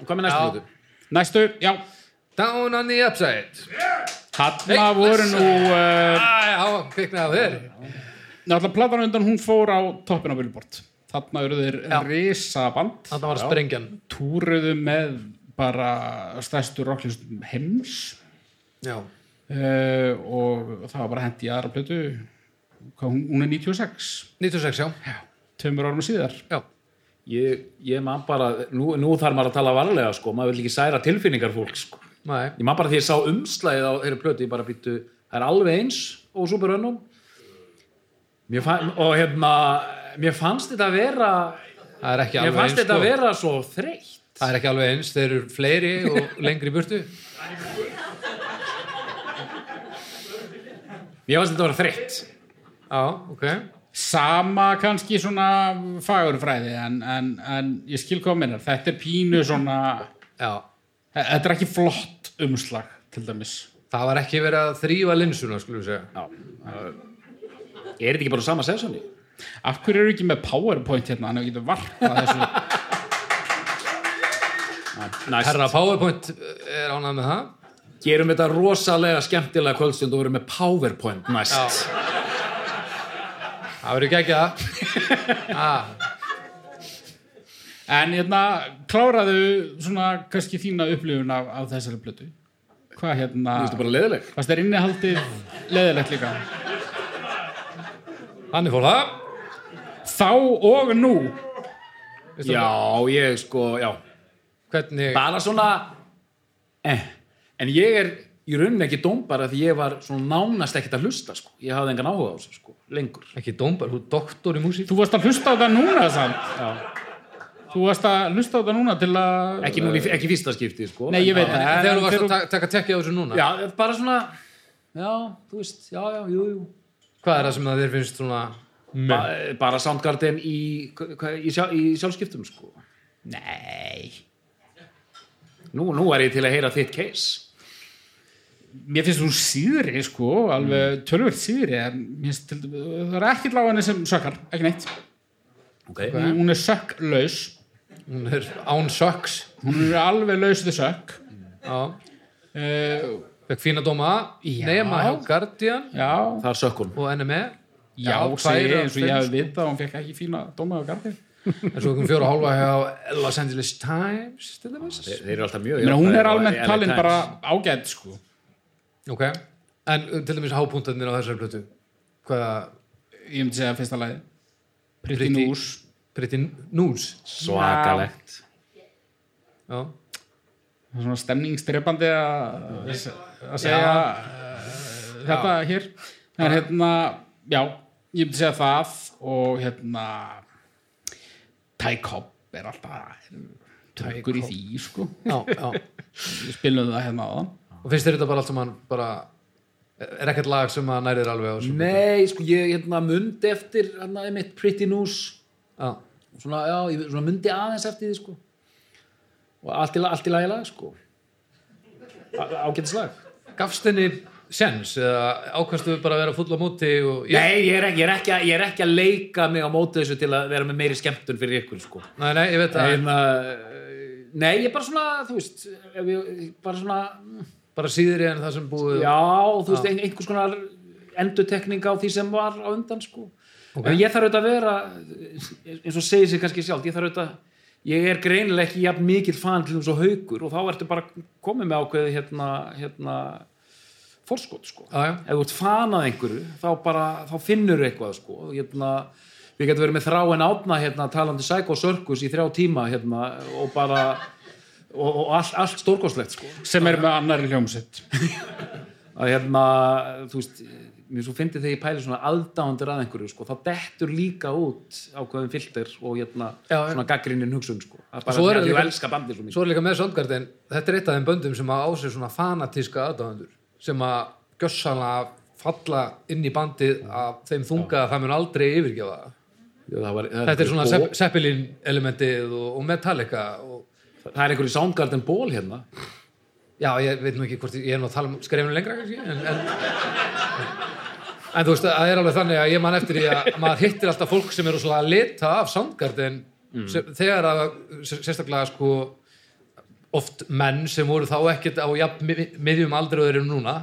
D: Hvað með næstu
B: Já.
D: hlutu?
C: næstu, já
B: Down on the upside
C: þarna
B: Nei,
C: voru nú uh,
B: Æ, á, kviknaði á þér
C: náttúrulega platan á undan hún fór á toppin á Billboard þarna eru þeir
B: Já.
C: risaband
B: Þannig var sprengjan
C: túruðu með bara stærstu rocklistum heims
B: Já,
C: uh, og það var bara hendi í aðra plötu Hvað, hún, hún er 96
B: 96, já,
C: tveimur árum síðar
B: já.
D: Ég, ég man bara, nú, nú þarf maður að tala varlega sko, maður vil ekki særa tilfinningar fólks sko.
B: Nei,
D: Ég man bara því ég sá umslæðið á þeirri plötu, ég bara býttu, það er alveg eins og Super Unknown. Mér fann, og hérna, mér fannst þetta að vera,
B: það er ekki
D: mér
B: alveg
D: fannst
B: eins
D: þetta að
B: sko.
D: vera svo þreytt.
B: Það er ekki alveg eins, þeir eru fleiri og lengri í burtu
D: Mér fannst þetta að vera þreytt.
B: Já, ok
C: sama kannski svona fagurfræði en, en, en ég skil hvað minnar þetta er pínu svona
B: Já,
C: þetta er ekki flott umslag til dæmis
B: það var ekki verið að þrýfa linsuna, skulum við segja
D: Er þetta ekki bara sama sessóni?
C: af hverju eru ekki með powerpoint hérna þannig að getur varpað þessu
D: Næst.
B: Herra PowerPoint eh, er ánægð með það
D: Gerum þetta rosalega skemmtilega kvöldstund og verum með PowerPoint næst.
B: Það verður ekki ekki það
C: Ah. en hérna kláraðu svona kannski þína upplifun af, af þessari plötu hvað hérna
D: Þetta er bara leðileg.
C: fannst þér innihaldið leðilegt líka
B: Þannig fór það
C: þá og nú
B: Veistu
D: Já, ég sko, já.
B: Hvernig
D: Bara svona, eh. en ég er í rauninni ekki dómbara því ég var svona nánast ekkert að hlusta sko. Ég hafði engan áhuga á þessu sko, lengur.
B: Ekki dómbar, þú er doktor í músík
C: þú varst að hlusta á það núna samt þú varst að hlusta á það núna til að
D: Ekki, núna, í- ekki fyrsta skipti sko.
C: nei ég veit
D: það.
C: það en
B: Þegar þú varst
C: þegar
B: að ta- taka tekja á þessu núna
D: Já, bara svona, já, þú veist, já, já, jú, jú.
B: Hvað er það sem það þér finnst svona
D: Ba bara Soundgarden í, hva, í, sjá, í sjálfskiptum sko. Nei. Nú, nú er ég til að heyra þitt case.
C: mér finnst hún síðri sko, alveg tölvöld síðri en mér finnst til- það er ekkert lág henni sem sökkar, ekki neitt
D: Okay.
C: hún hún er sökklaus,
B: Hún er án söks
C: hún er alveg laus við sökk
B: Já Eh,
C: uh,
B: Fekk fína dóma
C: Já.
B: Nema hjá Guardian
C: já,
D: Það er sökkun.
B: og NME
C: já,
B: tvær
C: segir
B: af
C: eins og
B: þeim,
C: ég
D: sko.
C: hefði vitað hún fekk ekki fína dómaðu gardi
B: En svo kom fjóra og hálfa hjá Los Angeles Times til dæmis.
D: Þeir, þeir eru alltaf mjög
C: Menna, hún
D: jákvæðir
C: er
D: á
C: almennt
D: LA
C: talin
D: Times.
C: bara ágætt sko.
B: Ok En uh, til dæmis hápuntarnir á þessari plötu Hvaða
C: ég myndi segja fyrsta lagi Pretty,
B: Pretty-
C: News
B: Pretty News
D: Svakalegt
B: Já
C: Það er svona stemningsdrepandi að að segja eh, þetta hér það er hérna, já, ég myndi segja það og hérna Ty Cobb er alltaf tökur í því, sko
B: Já, já
C: við spilum það hérna á þann
B: Og finnst þér þetta bara allt sem hann bara Er ekkert lag sem að nærið alveg á þessu
D: Nei, sko, ég hérna mundi eftir hérna, mitt Pretty News
B: Já
D: svona, já, ég svona mundi aðeins eftir því, sko og allt í, la- allt í lagi lag, sko ágættislag
B: Gafst henni sens eða ákastu bara að vera fulla á móti og ég,
D: Nei, ég er, ekki, ég, er ekki, að- ég er ekki að leika mig á móti þessu til að vera með meiri skemmtun fyrir ykkur, sko
B: nei, nei, ég veit að
D: Hérna, eh, Nei, ég er bara svona, þú veist ef ég, bara svona,
B: bara síðri en það sem búið
D: já, þú veist ein, einhvers konar endutekning á því sem var á undan, sko
B: Ok.
D: En ég þarf auðvitað að vera, eins og segir sig kannski sjálf, ég þarf auðvitað, ég er greinilega ekki jafn mikill fan til þess að haukur og þá ertu bara komið með ákveði hérna, hérna, forskot, sko.
B: Já, já.
D: Ef þú ert fan að einhverju, þá bara, þá finnur eitthvað, sko. Hérna, við getum verið með þráin átna, hérna, talandi Psycho Circus í þrjá tíma, hérna, og bara, og, og allt, allt stórkostlegt, sko
C: sem er með annari hljómsitt
D: að hérna, þú veist mér svo fyndi þegar ég pæli svona aðdándir að einhverju, sko, það dettur líka út ákveðin filter og hérna
B: Já, já.
D: svona gaggrinnin hugsun, sko Það er bara
B: Svo
D: því
B: er
D: að
B: það
D: ég
B: líka-
D: elska bandið svo mikið
B: Svo er líka með Soundgarden, þetta er eitt af þeim böndum sem að á sig svona fanatíska aðdáðendur sem að gjössanlega falla inn í bandið af þeim þunga að það mun aldrei yfirgefa það.
D: Já, sko- það var, það
B: Þetta er svona
D: ból-
B: Zepp- Zeppelin elementið og, og Metallica og
D: það er einhverju Soundgarden ból hérna
B: já, ég veit nú ekki hvort ég ég er nú að tala um skrefinu lengra kannski en, en En þú veist, það er alveg þannig að ég man eftir því að maður hittir alltaf fólk sem eru svona að lita af Soundgarden
D: Mm.
B: sem, þegar að sérstaklega sko oft menn sem voru þá ekkert á jafn mi- miðjum aldröður en núna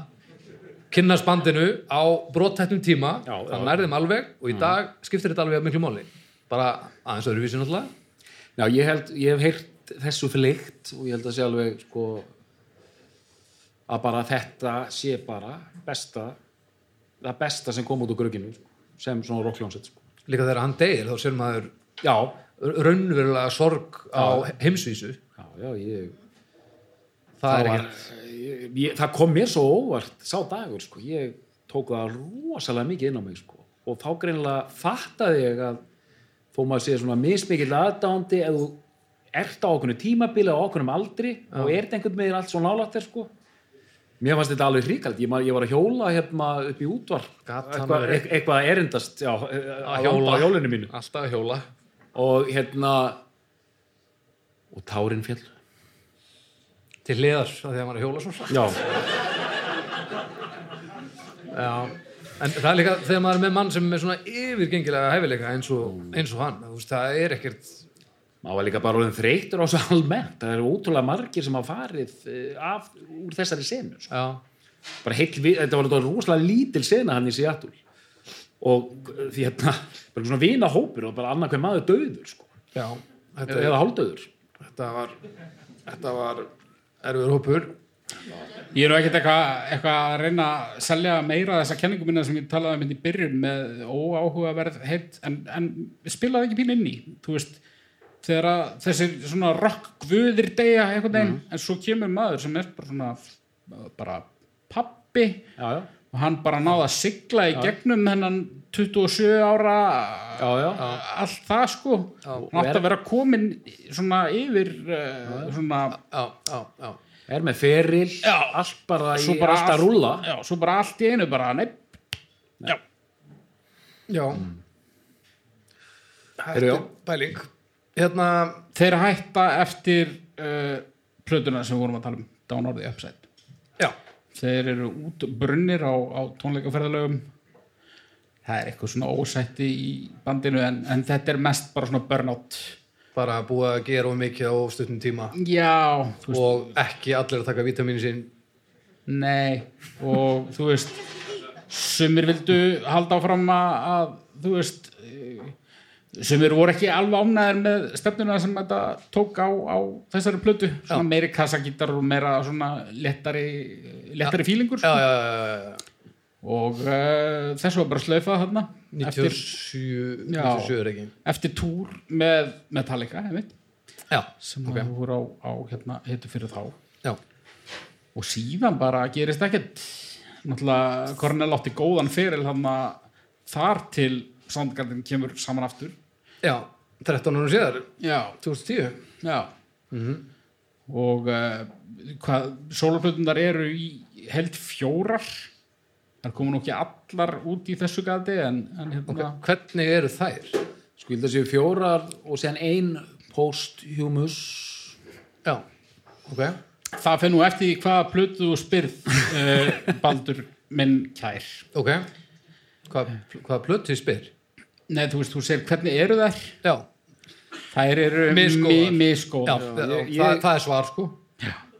B: kynnast bandinu á brottættum tíma
D: Já, Mm. já.
B: það nærðum alveg og í dag skiptir þetta alveg miklu máli bara aðeins öðruvísi náttúrulega
D: Já, ég held, ég hef heyrt þessu flykt og ég held að sé alveg sko að bara þetta sé bara besta það besta sem kom út úr grugginu sko, sem svona rockljónsett sko.
B: líka þegar hann deyr þá sér maður
D: Já,
B: raunverulega sorg á heimsvísu
D: já, já, ég
B: það er
D: var-
B: ekkert
D: ég, ég, það kom mér svo óvart sá dagur sko, ég tók það rosalega mikið inn á mig sko og þá greinilega fattaði ég að þó maður sé svona mismikill aðdándi ef þú ert á okkurnu tímabili og okkurnu aldri og ert einhvern veginn allt svo nálægt þér sko mér fannst þetta alveg hríkald, ég, man- ég var að hjóla hérna upp í útvarp
B: Gat hann
D: eitthvað,
B: verið?
D: eit- eitthvað að erindast já, að hjóla á hjólinu mínu
B: alltaf að hjóla
D: og hérna og tárin fjall
B: til hliðar af því að maður er að hjóla svo hratt.
D: já,
B: Já. en það er líka þegar maður er með mann sem er svona yfirgengilega hæfileika eins og,
C: Mm.
B: eins og hann Þú veist, það er ekkert
D: maður var líka bara orðin þreytur á svo almennt, það eru ótrúlega margir sem hafa farið eh, af, úr þessari senu sko.
B: já,
D: bara heill, við- þetta var þetta rosalega lítil sena hann í Seattle og eh, því hérna, bara svona vinahópur og bara annar hver maður döður sko.
B: já. Þetta,
D: eða hálfdöður
B: þetta var þetta var erfiður hópur
C: Ég er nú ekkert eitthvað eitthva að reyna að selja meira þessa kenningu minna sem ég talaði um hérna í byrjun með óáhugaverð heitt en, en spilaði ekki pínu inn í þú veist, þegar að þessir svona rock guðir deyja einhvern veginn
B: Mhm.
C: en svo kemur maður sem er bara svona bara pappi
D: já, já,
C: og hann bara náði að sigla í gegnum hennan 27 ára
D: já, já,
C: allt það sko hann átti að vera komin svona yfir uh, svona
B: já, já, já.
D: er með feril allt bara í
C: svo bara
D: allt að rúlla
C: já, svo bara allt í einu bara, nei, já,
B: já.
D: Heyrðu,
B: Þetta
D: já.
B: er pæling hérna,
C: þeir hætta eftir uh, plötuna sem við vorum að tala um Down or the Upside
B: já,
C: þeir eru út brunnir á, á tónleikaferðalögum það er eitthvað svona ósætti í bandinu en, en þetta er mest bara svona burnout
B: bara búið að gera of mikið á of stuttum tíma
C: já, þú veist,
B: og ekki allir að taka vítamínu sín
C: nei og þú veist sumir vildu halda áfram að, að þú veist eh, sumir voru ekki alveg ánæðir með stefnuna sem þetta tók á, á þessari plötu, svona meiri kassagítar og meira svona lettari lettari fílingur
B: já, já, já, já, já.
C: og uh, þessu var bara slaufað þarna eftir,
B: 97,
C: Já.
B: 97 er ekki
C: eftir túr með Metallica einmitt,
B: já,
C: sem okay. voru á, á hérna, hittu fyrir þá
B: já,
C: og síðan bara gerist ekkert náttúrulega Cornell átti góðan fyrir þarna þar til Soundgarden kemur saman aftur
B: já 13 árum síðar,
C: já,
B: 2010
C: já
B: Mhm.
C: og uh, hvað sólarplötundar eru í held fjórar þar komu nú ekki allar út í þessu gati en, en hérna
B: hvernig eru þær?
D: sko, ég held að séu fjórar og séðan ein posthumus
B: já, ok
C: Það finn nú eftir því hvaða plötu þú spyrð uh, Baldur minn kær
B: ok, Hva, hvaða plötu spyr?
C: Nei, þú veist, þú segir hvernig eru þær
B: já,
C: Þær eru
B: Misgóðar.
C: mi-
B: já,
C: misgóðar
B: já
D: ég-
B: það,
D: ég-
B: það er svar sko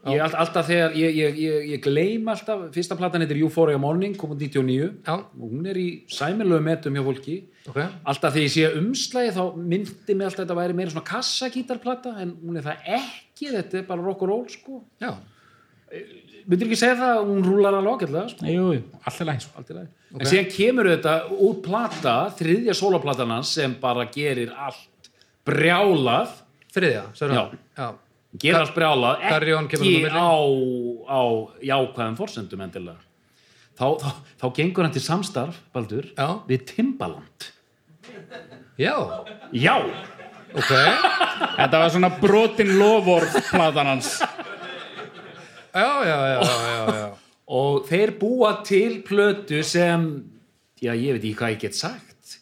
D: Ég, all, alltaf þegar, ég, ég, ég, ég gleym alltaf, fyrsta platan heitir Euphoria Morning, kom út 99
B: Já.
D: og hún er í sæmilögu metum hjá fólki
B: ok,
D: alltaf þegar ég sé umslæði þá myndi mig alltaf að þetta væri meira svona kassakítarplata en hún er það ekki, þetta er bara rock and roll sko,
B: já,
D: myndir ekki segja það hún rúlar alveg ágætlega sko,
C: Nei, Jú, jú, alltaf læg sko.
D: allt í lagi en síðan kemur þetta út plata þriðja sólaplatan hans sem bara gerir allt brjálað
B: þriðja, sagði hann. já
D: gerir allt brjálað,
B: Darri Jón kemur
D: ekki
B: þarna á
D: á, á jákvæðum forsendum endilega þá, þá, þá gengur hann til samstarf Baldur,
B: Já.
D: við Timbaland
B: Já,
D: já,
B: ok,
C: Þetta var svona brotin lovorð platan hans
B: já, já, já, já, já, já.
D: og þeir búa til plötu sem já, ég veit ekki hvað ég get sagt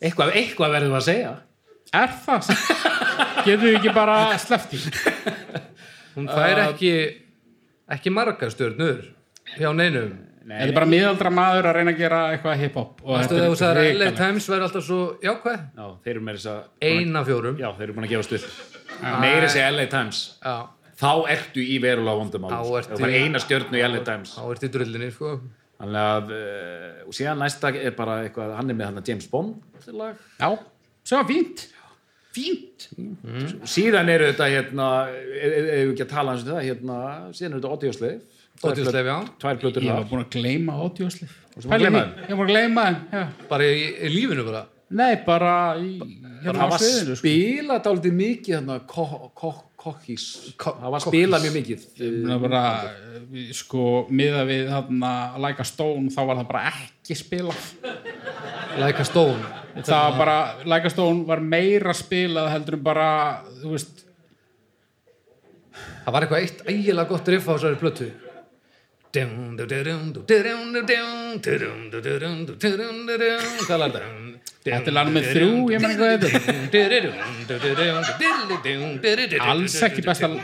D: eitthvað, eitthvað verðum við að segja
C: Er það? samt? Getum við ekki bara sleppt í Uh,
B: Hún fær ekki, ekki marga stjörnur hjá neinum.
C: Þetta er bara miðaldra maður að reyna að gera eitthvað hip-hop og
B: Þú
C: þetta er
B: veist að LA
C: hrikalegt.
B: Times væri alltaf svo jákvæð
D: Já, þeir eru meira þess að
B: eina fjórum
D: Já, þeir eru búin að gefast upp Meira þess að LA Times
B: Já,
D: Þá ertu í verulega vondumál
B: Þá
D: sko.
B: ertu-
D: Það er eina stjörnu í LA Times
B: þá ertu í drullinni sko
D: Þannig að uh, og síðan næsta er bara eitthvað hann er með hann að James Bond lag
C: Já, sem var fínt Fínt
D: síðan eru þetta hérna hefur við ekki að tala hans um þetta hérna, síðan eru þetta Oddiosleif
B: Ódýrsleif, já.
D: tvær plötur
C: Ég
D: þar
C: var búin að gleyma ódjóslið
D: varst búin að gleyma
C: Ég var búin að gleyma þeim já.
B: Bara í, í lífinu bara
C: Nei, bara í,
D: það
C: hérna á
D: var
C: sviðinu sko.
D: spilað dálítið mikið hérna, ko- ko- kokkís
B: Ko-
D: það var spilað mjög mikið
C: Það var bara, eh, sko, miða við þarna Like a Stone, þá var það bara ekki spilað
B: Like a stone
C: Það var bara, Like a Stone var meira spilað heldur en bara, þú veist
B: Það var eitthvað eitt ægilega gott riff á þessari plötu Dum, dum, dum, dum, dum, dum, dum, dum, dum, dum, dum, dum, dum. Hvað lag er það?
C: Þetta er lag númer þrjú, ég man ekki hvað þetta Alls ekki besta Alls ekki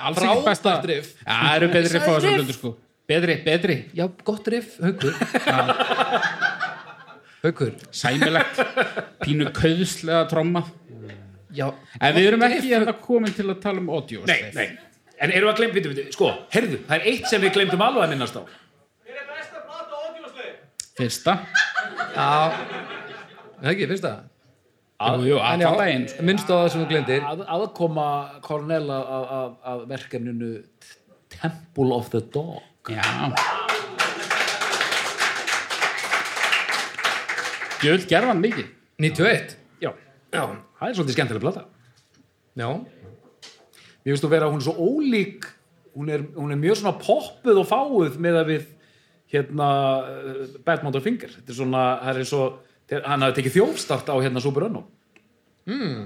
B: Frábært
C: besta
B: riff.
C: Já, það eru betri riff á þessum blöndu, sko Betri, betri,
B: Já, gott riff, haukur Haukur
C: sæmilegt Pínu kauðslega tromma
B: Já,
C: En við erum ekki hérna komin til að tala um audio
D: nei, nei en erum við að glemja við þetta sko, herðu, það er eitt sem við glemdum alveg að minnast á
E: Hver er besta plata ódjósli?
C: Fyrsta
B: það ekki, finnst það?
C: Jú, jú,
B: En já,
C: allan daginn sko.
B: Minnst á það sem þú glindir
D: að, aðkoma Cornell að, að, að verkefninu Temple of the Dog
C: Já Jöld gerðan mikið
B: 91
D: já, já. það er svolítið skemmtilega plata
B: Já,
D: Mér finnst þú vera, hún er svo ólík hún er, hún er mjög svona poppuð og fáuð með að við hérna eh, Bad Mountain Finger þetta er svona, það er svo þeir- hann hafði tekið þjófstart á hérna Super Unknown mm.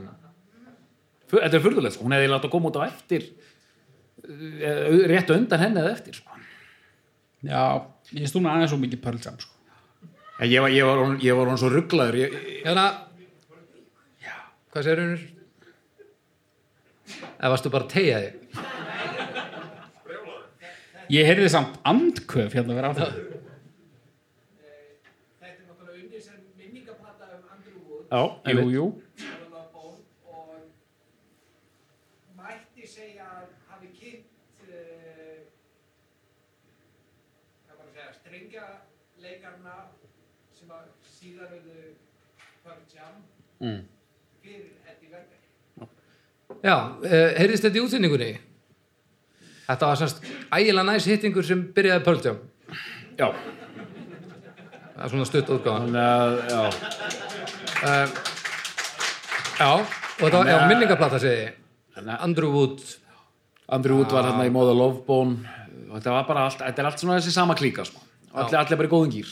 D: Þetta er furðulegt, sko. hún hefði látt að koma út á eftir eh, rétt á undan henni eða eftir sko.
C: Já, ég stúna aðeins svo mikið Pearl Jam sko.
D: En ég var, ég var, hún, ég var hún svo rugglaður ég,
B: hérna Hvað segir húnur? Eða varstu bara að tegja þig?
C: Ég heyrði samt andköf hérna vera á það
E: Þetta er náttúrulega unnið sem minningaplata um Andrew Wood,
D: Já,
C: Jú, jú
E: Sjöla Bón og mætti segja að hafi kynnt uh, hvað var að segja, strengjalekarna sem að síðar verðu Pearl Jam mm. fyrir Eddie Verbeck.
B: Já, uh, heyrðist þetta í útfinningunni? Þetta var sannst ægilega næs hittingur sem byrjaði Pearl Jam
D: já,
B: Það er svona stutt útgáðan
D: þannig að já.
B: Já, og þetta var já, minningaplata segi ég.
D: Þannig að-
B: Andrew Wood
D: Andrew Wood var hérna í Móða Lovebone og þetta var bara allt, þetta er allt svona þessi sama klíka sko. allir, allir bara í góðum gýr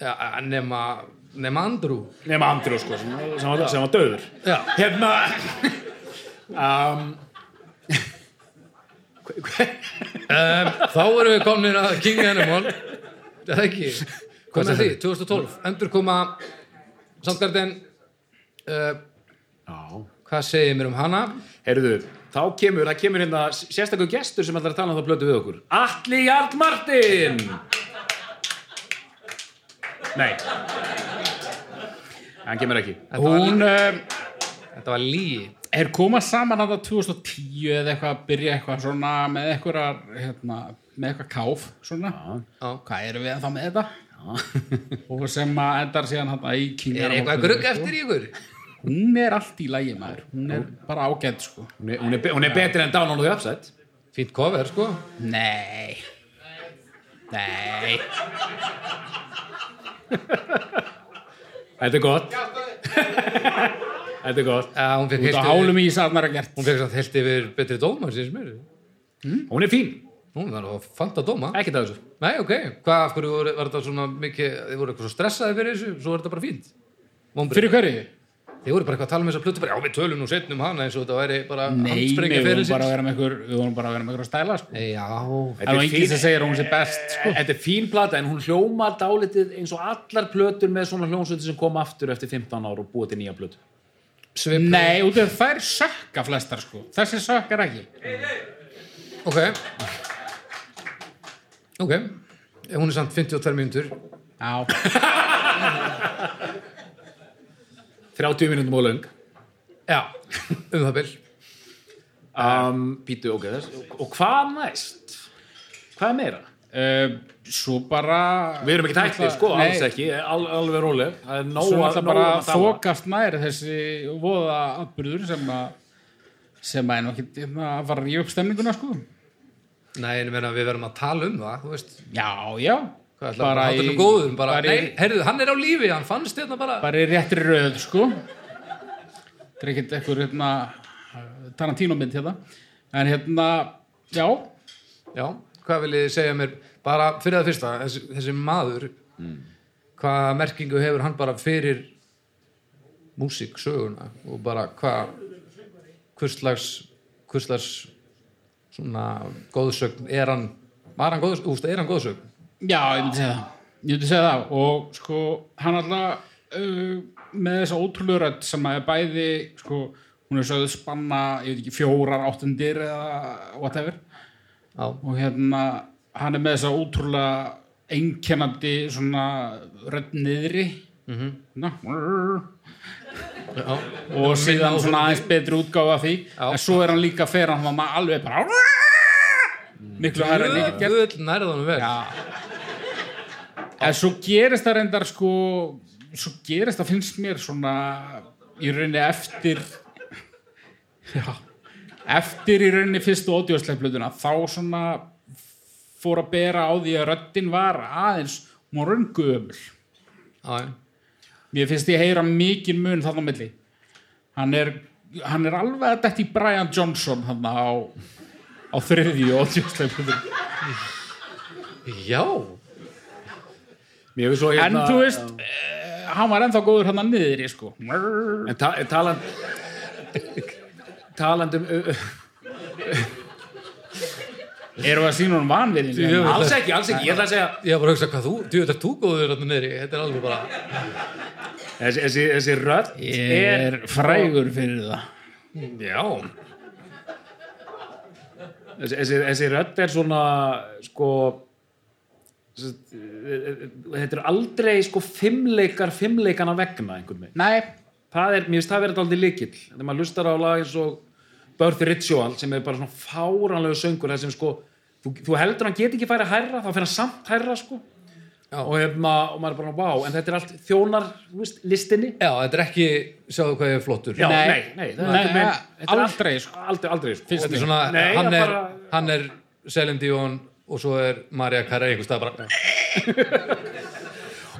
B: já, nema, nema Andrew
D: nema Andrew sko, sem, sem, var, sem var döður
B: Já,
D: hérna um, hver- hver-
B: Um, þá erum við komin að King Animal Það ekki Hvað er því? 2012 Endur koma Soundgarden uh,
D: já,
B: Hvað segir mér um hana?
D: heyrðu þá kemur, það kemur hérna sérstakur gestur sem ætlar að tala um það blötu við okkur Atli Jarl Martin nei hann kemur ekki eh,
C: Hún um,
B: Þetta var lí
C: er koma saman að það 2010 eða eitthvað að byrja eitthvað svona með eitthvað, hérna, með eitthvað káf svona
B: Já.
C: Hvað erum við ennþá með þetta? og sem að endar síðan hann í King
B: Er
C: Animal
B: eitthvað
C: Club,
B: grugg
C: sko.
B: eftir í ykkur?
C: Hún er allt í lægi maður Hún er bara ágætt sko
D: hún er, hún er, be- hún er betri en Down on the Upside
B: Fínt cover sko
C: Nei Nei
D: Þetta er gott Þetta er gott
B: Já, hún fekk
C: Út á
B: heilt
C: hálum
B: yfir,
C: í sarnar að gert Hmm?
B: hún fekk samt heilt yfir betri dóma sem mér
D: Hún er fín,
B: Hún var að fanta dóma
D: ekkert af þessu
B: Nei, ok, hvað, af hverju voru, var þetta svona mikið, þið voru eitthvað svo stressaði fyrir þessu, svo var þetta bara fínt. Vonbrigði.
C: Fyrir hverju?
B: Þið voru bara eitthvað að tala um þessa plötu, bara já, við tölum nú setnum hana eins og þetta væri bara
C: Nei, nei,
B: handsprengja
C: við
B: fyrir
C: vorum bara að vera með ykkur Við vorum bara að vera með ykkur að stæla sko
B: Já,
D: Þetta er
C: Það var
D: fín-
C: enginn sem segir að hún sé best sko
D: Eh, Þetta er fín plata en hún hljóma dálitið eins og allar plötur með svona hljómsveitir sem kom aftur eftir 15 ár og búið til nýja plötu
B: svip.
C: Nei, út af þær sökka flestar sko Þessi sökkar ekki
B: Ok. Ok, hún er samt 52 mínútur
C: Já,
D: 30 minnundum og löng
B: já, um það bil
D: um, Pítu, ok, þess Og hvað næst? Hvað er meira?
C: uh, svo bara
D: Við erum ekki tæknir, sko,
C: Nei,
D: alls ekki Al, Alveg róleg Það er nóg
C: svo er
D: að-
C: það
D: nóg
C: bara
D: um að tala.
C: þokast nær þessi voða atbyrður sem að sem að er nú ekki hérna, að fara að ríða upp stemninguna sko
B: Nei, en ég meina, við verðum að tala um það, þú veist
C: já, já
B: Hvað ætlaðu bara að háttunum góðum bara, Nei,
C: bara, í,
B: heyrðu, hann er á lífi, hann fannst hérna bara
C: bara í réttri röð sko þetta er ekkert ekkur hérna, Tarantino mynd hérna en hérna, já
B: Já, hvað vil ég segja mér bara fyrir það fyrsta, þessi, þessi maður
D: Mm.
B: hvaða merkingu hefur hann bara fyrir músiksöguna og bara hvað hvurslags hvurslags svona góðsögn er hann, var hann góðsögn, úst, er hann góðsögn
C: já, ég myndi segja það ég myndi segja það og sko hann alltaf uh, með þessa ótrúlega rödd sem að er bæði sko, hún er sögðu spanna ég veit ekki, fjórar áttundir eða whatever
B: Já,
C: og hérna hann er með þessa ótrúlega einkennandi svona rödd niðri mm -hmm.
B: Mhm. já,
C: og síðan svona aðeins betri útgáfa af því
B: Já.
C: en svo er hann líka fer hann var maður alveg bara miklu hærri en ég get gert.
B: Guðl nærðanum vel
C: Já. en svo gerist það reyndar sko svo gerist það finnst mér svona í rauninni eftir já eftir í rauninni fyrstu ódjóðsleifblöðuna þá svona fór að bera á því að röddin var aðeins hún var raungöful
B: Já, já.
C: Mér finnst ég heyra mikið mun þarna á milli. Hann er, hann er alveg að detti Brian Johnson hann á, á þriðju og tjóðsleifur.
B: já,
D: Mér hefur svo
C: En
D: hérna
C: þú veist, eh, hann var ennþá góður hann að niður í sko. Mörr.
D: En ta taland Talandum
C: Erum við að sína hún vanverðin?
B: Jú.
D: Alls ekki, alls ekki Ég ætla að segja
B: ég var bara að hugsa hvað þú, djú, þetta er þú góður hérna niðri, þetta er alveg bara
D: Þessi, þessi, þessi rödd
C: Ég er frægur fyrir það.
B: Já,
D: þessi, þessi, þessi rödd er svona sko sem sagt, eh, eh, þetta er aldrei sko fimmleikar fimmleikana vegna einhvern veginn
C: Nei,
D: það er, mér finnst það verið aldrei líkill þegar maður lustar á lag eins og Birth Ritual sem er bara svona fáranlegu söngur þar sem sko, þú, þú heldur hann geti ekki færi hærra, þá fyrir hann samt hærra sko
B: Já.
D: og, hefna, og maður er bara, wow, en þetta er allt þjónar þú veist, listinni
B: Já, þetta er ekki, sjáðu hvað ég er flottur
D: Já,
C: Nei.
D: nei, nei, það er
C: Nei,
D: einhvern veginn- þetta er
C: aldrei,
D: allt-
C: sko.
D: aldrei, aldrei sko.
C: Finnst
B: Þetta
C: mér.
B: er svona,
D: Nei,
B: hann,
D: það
B: er,
D: bara-
B: hann er Selin Dion og svo er Maria Carey einhvers stað bara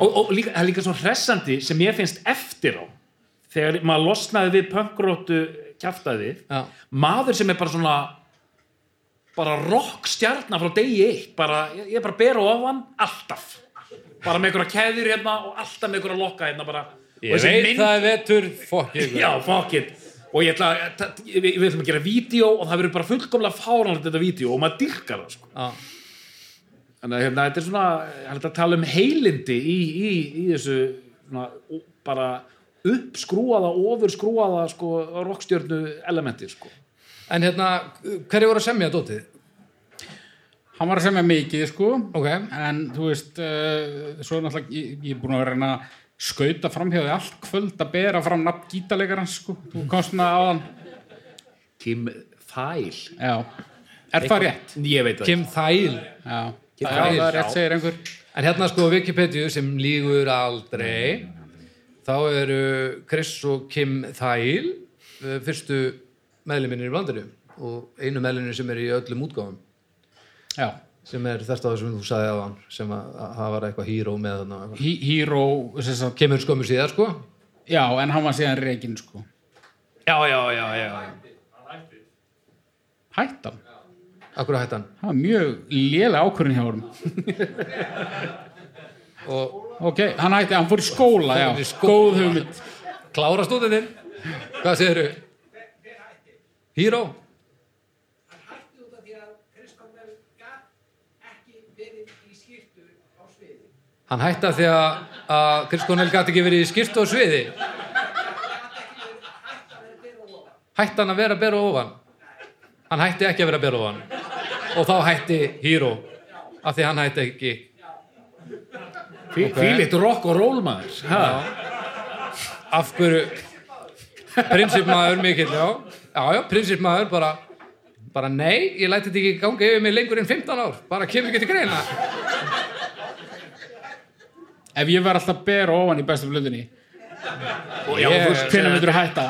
D: og, og líka, það er líka svo hressandi sem ég finnst eftir á þegar maður losnaði við pöngróttu kjaftaði
B: Já.
D: maður sem er bara svona bara rockstjarnar frá degi eitt bara, ég, ég er bara að bera ofan alltaf bara með einhverja keðir hérna og alltaf með einhverja lokka hérna bara
B: Ég veit það er vetur, fokk ég
D: já, fuck it og ég ætla, að- ta- við, við ætlum að gera vídeo og það verður bara fullkomlega fáránlegt þetta vídeo og maður dyrkar það sko
B: Já.
D: Þannig að hérna, þetta er svona, hægt að tala um heilindi í, í, í þessu svona, ó- bara uppskrúaða, ofurskruaða sko, rockstjörnu elementi sko.
B: En hérna, hverju voru að semja dótið?
C: hann var að semja mikið sko.
B: Ok.
C: En þú veist, uh, svo er náttúrulega, ég, ég er búin að vera að reyna að skauta framhjáði allt kvöld að bera fram nafn gítalegarans sko. Þú komst með á hann.
D: Kim Thæl
C: Já. Er það rétt?
D: Ég veit það
B: Kim Thæl
C: Já,
D: Kim
C: það
D: Kyle,
C: er
D: já.
C: rétt segir einhver
B: En hérna sko á Wikipedia sem lígur aldrei þá eru Chris og Kim Thæl eh, fyrstu meðluminir í blandinu og einu meðluminir sem er í öllum útgáfum
C: já.
B: sem er þetta sem þú sagði á hann sem að að það var eitthvað híró með hann og eitthvað.
C: Hí- Hero sem sagt,
B: kemur skömmu síðar sko
C: Já, en hann var síðan reygin sko
B: Já, já, já, já, já.
C: Hættan,
B: Akkur hætti hann
C: það var mjög lélega ákvörðin hjá honum
B: og
C: Ok, hann hætti, hann fór í skóla, já
B: Fór í skóla.
C: Góð hugmynd
B: klára stúdinin hvað segirðu? Híró?
E: Hann hætti út af því að Chris Cornell gat ekki verið í skýrtu á sviði.
B: Hann hætti af því að að Chris Cornell gæti ekki verið í skýrtu á sviði hætti hann að vera að bera ofan hann hætti ekki að vera að bera ofan og þá hætti Híró af því hann hætti ekki
D: Því litt rock og roll maður ha?
B: af hverju prinsipmaður mikill, já, já, já prinsipmaður bara, bara nei, ég læti þetta ekki gangi yfir mig lengur en 15 ár bara kemur ekki til greina
C: Ef ég verð alltaf bera ofan í bestu blöndinni
D: og já,
C: yeah,
D: þú
C: Hvernig myndur þú hætta?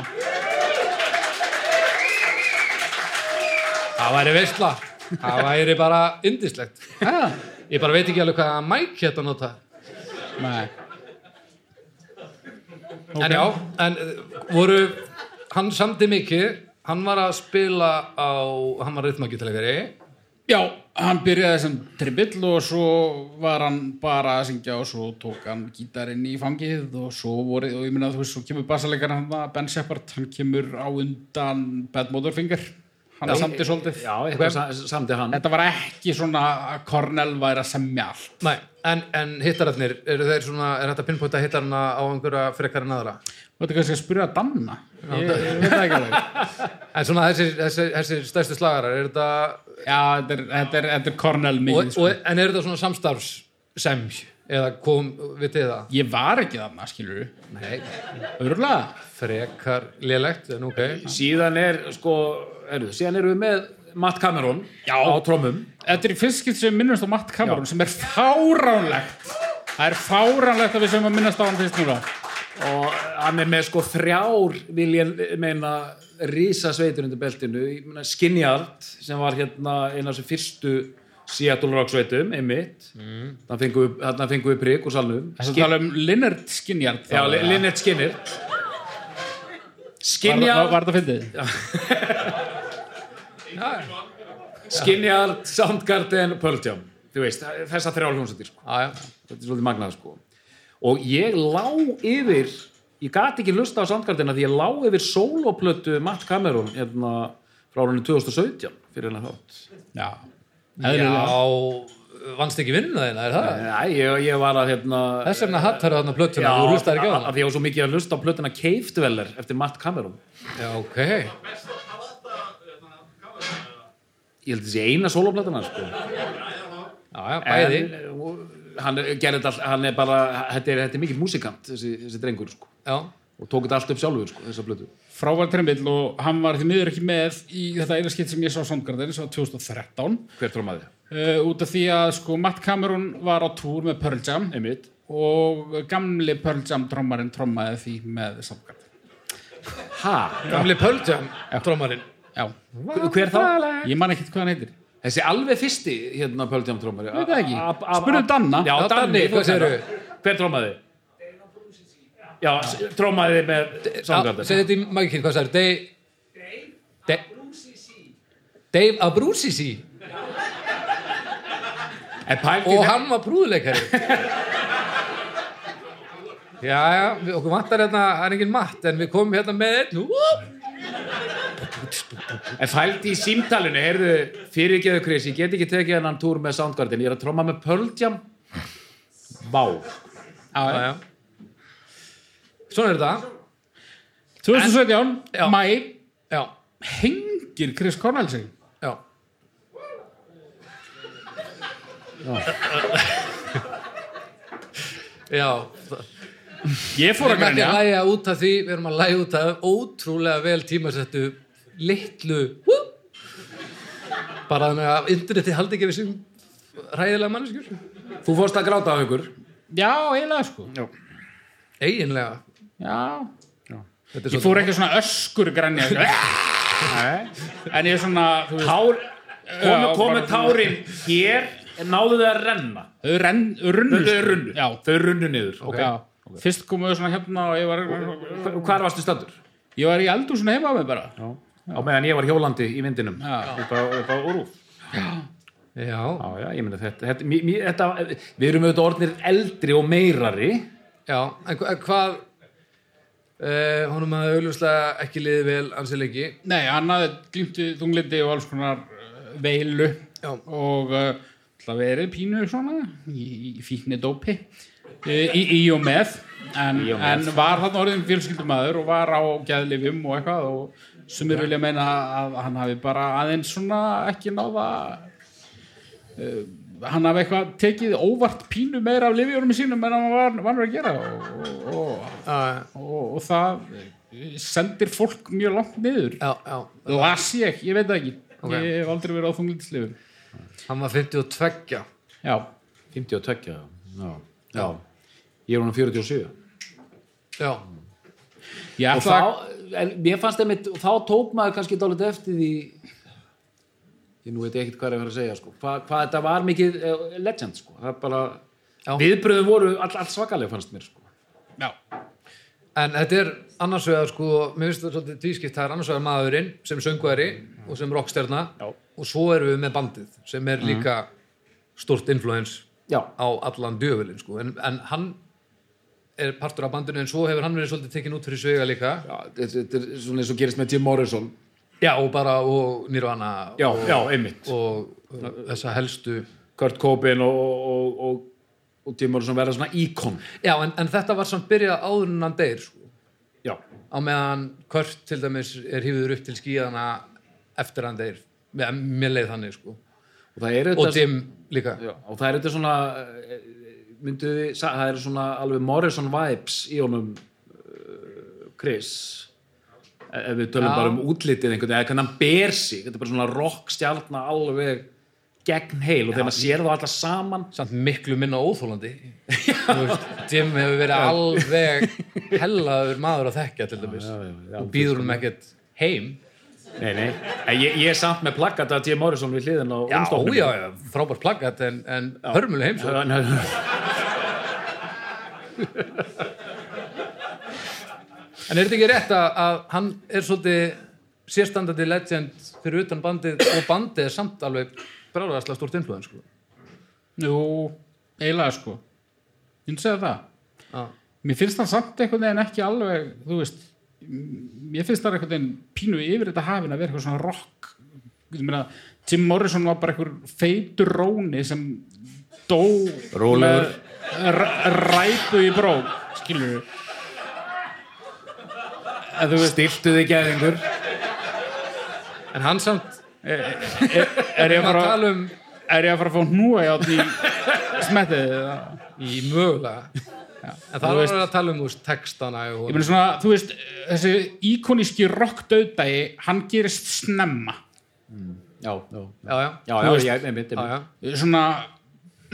B: það væri veistla það væri bara indislegt
C: Ha?
B: ég bara veit ekki alveg hvaða mæk hérna að nota
C: Nei
B: en já, en eh, voru hann samdi mikið hann var að spila á hann var rytmagítalegari
C: Já, hann byrjaði sem tribill og svo var hann bara að syngja og svo tók hann gítarinn í fangið og svo voru, og ég minna þú veist, svo kemur bassalegar hann að Ben Shepard, hann kemur á undan Bad Motorfinger, hann
B: Já.
C: er samtið svolítið.
D: já, eitthvað sa- samdi hann
C: Þetta var ekki svona að Cornell væri að semja allt.
B: Nei, en, en hittararnir eru þeir svona, er þetta pinnpóta hittararna á einhverja frekar en aðra
C: Þú veit kannski að spyrja að danna. Ég, ég veit það ekki alveg.
B: En svona þessir, þessir, þessir stærstu slagarar, er þetta,
C: Já, þetta er, þetta er, þetta er Cornell
B: og,
C: mikið. sko.
B: og, en er þetta svona samstarfs semj, eða kom við til það?
C: Ég var ekki þarna, skilur við.
B: Nei,
C: Örgulega.
B: frekar lélegt, en ok.
D: síðan er sko er, síðan erum við með Matt Cameron
C: Já.
D: á trommum
C: Þetta er í fyrst skipt sem við minnumst á Matt Cameron sem er fáránlegt. Það er fáránlegt að við sem að minnast á hann fyrst núna.
D: og hann er með sko þrjár vil ég meina rísa sveitur undir beltinu ég meina, Skinyard sem var hérna eina af þessum fyrstu Seattle Rock sveitum einmitt, mm. þannig fengum við prigg úr salnum
C: Þess að tala um Linnert Skinjard.
D: Já, Li- Lynyrd Skynyrd
C: Var,
D: Skynjard
C: var þetta fyndið?
D: Skynjard, Soundgarden og Pearl Jam þú veist, þess að þrjá hljómsættir sko.
B: Aja,
D: þetta er svolítið magnað sko og ég lá yfir ég gat ekki hlusta á Soundgarden af því ég lá yfir soloplötu Matt Cameron hérna frá árunni 2017 fyrir hennar þátt
C: Já. Eðlilega.
B: já, vannst ekki vinnu þeirna, er það?
D: Nei, ég, ég var að hérna
B: Þess vegna hattar þarna plötuna,
D: Já,
B: þú hlustar ekki á
D: af
B: það?
D: því ég var svo mikið að hlusta á plötuna Cave Dweller eftir Matt Cameron
B: Já, ok.
D: ég held að þessi eina soloplötuna sko
B: Aja,
D: En,
B: bæði.
D: og hann gerði þetta all- hann er bara, þetta er, þetta er mikið músikant þessi, þessi drengur sko
B: Já,
D: og tók þetta allt upp sjálfur sko, þessa blötu
C: Frávar tremmill og hann var því miður ekki með í þetta eina skipt sem ég sá Soundgarden sem var 2013.
D: hver trómaði,
C: Uh, út af því að sko Matt Cameron var á túr með Pearl Jam.
D: einmitt
C: og gamli Pearl Jam trommarinn trommaði því með samkvæmt
D: ha,
B: gamli Pöldjam, trómarinn.
C: já,
D: hver þá?
C: ég man ekkert hvað hann heitir
D: Þessi alveg fyrsti hérna Pearl trómari
C: Veit það ekki.
D: A- a- a-
C: Spurðu Danna.
D: Já,
B: Já,
D: Danni,
B: Danni,
D: þú
B: hvað
D: segirðu?
B: segirðu?
C: hérna.
D: Hver trómaði? Já, trómaði með
B: Segð
D: Soundgarden
B: þetta í mækinn, hvað sagður? Dave Dave Abruzzi
D: En pældi
B: og
D: þe-
B: hann var prúðleikari já, já, við, okkur vantar hérna það er engin matt, en við komum hérna með einn Whoop!
D: en pældi í símtalinu heyrðu, fyrirgeðu Chris, ég get ekki tekið hennan túr með Soundgarden, ég er að tróma með Pearl Jam Vá
B: já, já svona er þetta,
C: 2017,
B: Já.
C: mæ
B: já,
C: hengir Chris Cornell sig
B: já já
C: ég
B: við
C: fór að
B: erum ekki
C: grænja
B: að læja út af því við erum að læja út af ótrúlega vel tímasettu litlu Whoop! bara þannig að interneti haldi ekki við sem ræðilega manneskjur
D: Þú fórst að gráta á ykkur
C: já, eiginlega sko já.
B: eiginlega Þetta er
C: ég
B: svolítið-
C: fór ekki svona öskur grænja sko. Nei. en ég svona þú veist,
D: Tár, komu,
C: Já,
D: komu
C: bara-
D: tárin hér, en náðu þau að renna
C: þau renn, runnu
D: Þau
C: sko.
D: runnu,
C: já,
D: þau runnu niður
C: okay. já. fyrst komuðu svona hérna og ég var,
D: Hvar- Hvar varstu stöndur?
C: ég var í eldur svona heima á mig bara
D: Já. Á meðan ég var hjólandi í vindinum upp á, upp á Úrúf
B: Já,
D: Já, já, ég meina þetta, þetta, mí, mí, þetta Við erum auðvitað orðnir eldri og meirari
B: já, en hva- en hvað uh, honum hafði auðvitað ekki liðið vel ansið lengi
C: Nei, hann hafði glýmti þunglindi og alls konar uh, veilu
B: Já.
C: og uh, það verið pínu svona í, í fíkni dópi í, í og með en,
D: Í og með.
C: en var þarna orðin fjölskyldumæður og var á gæðlifum og eitthvað og sumir vilja meina að hann hafi bara aðeins svona ekki náða uh, hann hafi eitthvað tekið óvart pínu meira af livjórum sínum en hann var vanur að gera og, og,
B: já,
C: og, og það sendir fólk mjög langt niður
B: já, já.
C: las ég, ég veit það ekki
B: Ok.
C: ég hef aldrei verið á þunglindisleifum
B: Hann var 52
C: já,
D: 52 já. Já. já, ég er hún 47
B: Já,
C: ég
D: og
C: ætla
D: þá, en mér fannst einmitt og þá tók maður kannski dálit eftir því ég nú veit ekkert hvað er að vera að segja sko. Hva, hvað þetta var mikið eh, legend sko. það er bara,
B: Já.
D: viðbröðum voru all, all svakalega fannst mér sko.
C: já,
B: en þetta er annars vegar sko, mér finnst þetta svolítið tvískipt það er annars vegar maðurinn sem söngveri og sem rockstjarna
C: Já.
B: og svo erum við með bandið sem er líka stort influence
D: Mhm. já,
B: á allan djöfulinn sko. en, en hann er partur af bandinu en svo hefur hann verið svolítið tekinn út fyrir svega líka
D: já þetta, þetta er svona eins og gerist með Jim Morrison
B: já og bara og Nirvana
D: já,
B: og,
D: já einmitt
B: og uh, þessa helstu
D: Kurt Cobain og, og, og, og Jim Morrison verða svona íkon
B: já en, en þetta var samt byrjað áður en hann deyr sko.
D: já,
B: á meðan Kurt til dæmis er hífiður upp til skíðana eftir hann deyr mér, mér leið þannig sko
D: og það er
B: og
D: þetta
B: Jim líka
D: já, og það er þetta svona eh, myndu þið, sa- það er svona alveg Morrison vibes í honum eh, Chris E- ef við tölum
B: Já.
D: bara um útlitið einhvern veginn, eða hvernig hann ber sig, þetta er bara svona rockstjálna alveg gegn heil og þegar maður sér þá alla saman
B: samt miklu minna óþólandi Þú veist, Jim hefur verið alveg hellaður maður að þekkja til dæmis
D: já, já,
B: og býður hún ekkert heim
D: nei, nei, En ég, ég er samt með plakkat að Jim Morrison við hliðin á
B: já, já, já, frábært plaggat en, en hörmuleg heimsókn
D: já
B: en er þetta ekki rétt að, að hann er svolítið sérstandandi legend fyrir utan bandið og bandið er samt alveg bráðarslega stórt influðan sko.
C: jú eiginlega sko ég segi það
B: Já.
C: mér finnst það samt einhvern veginn ekki alveg þú veist, m- mér finnst það einhvern veginn pínu yfir þetta hafin að vera eitthvað svona rock Ég meina, Tim Morrison var bara einhver feitur róni sem dó
D: Rólegur.
C: með r- ræpu í brók skilur
D: þú veist, stiltu þig gæðingur
B: en hann samt
C: er ég að
B: að
C: fara,
B: tala um
C: er ég að fara að fá hnúa játn í smettið eða?
B: í mögulega en það
C: þú
B: var
C: veist-
B: að tala um þú veist, textana og,
C: ég meina svona, þú veist, þessi íkoníski rock döðdægi, hann gerist snemma
D: já, já, já,
B: já, já,
D: já,
C: Þú veist-
D: já, ég, einmitt,
B: já, já.
D: einmitt.
C: svona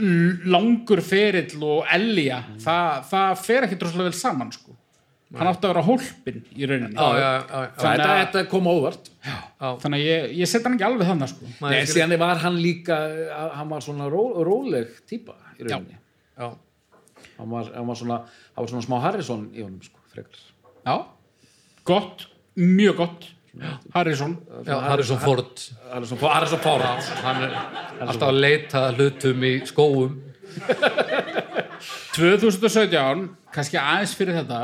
C: l- langur ferill og elja
D: Mm.
C: það, það fer ekki droslega vel saman sko. hann átti að vera hólpin í rauninni
B: Já, já, já, já.
D: Þetta,
C: Þannig að-
D: þetta kom á óvart
C: þannig að ég, ég setja hann ekki alveg þannig sko.
B: Maður
D: Nei,
B: er
D: en
B: ekki-
D: síðan var hann líka, að- hann var svona ró, róleg típa í rauninni.
B: já.
D: Hann var, hann var svona, hann var svona smá Harrison í honum, sko, frekar.
C: já, gott mjög gott, Harrison
B: Já, Harrison Ford
D: Harrison, Ford- Harrison Ford.
B: hann er alltaf að leita að hlutum í skóum
C: 2017, kannski aðeins fyrir þetta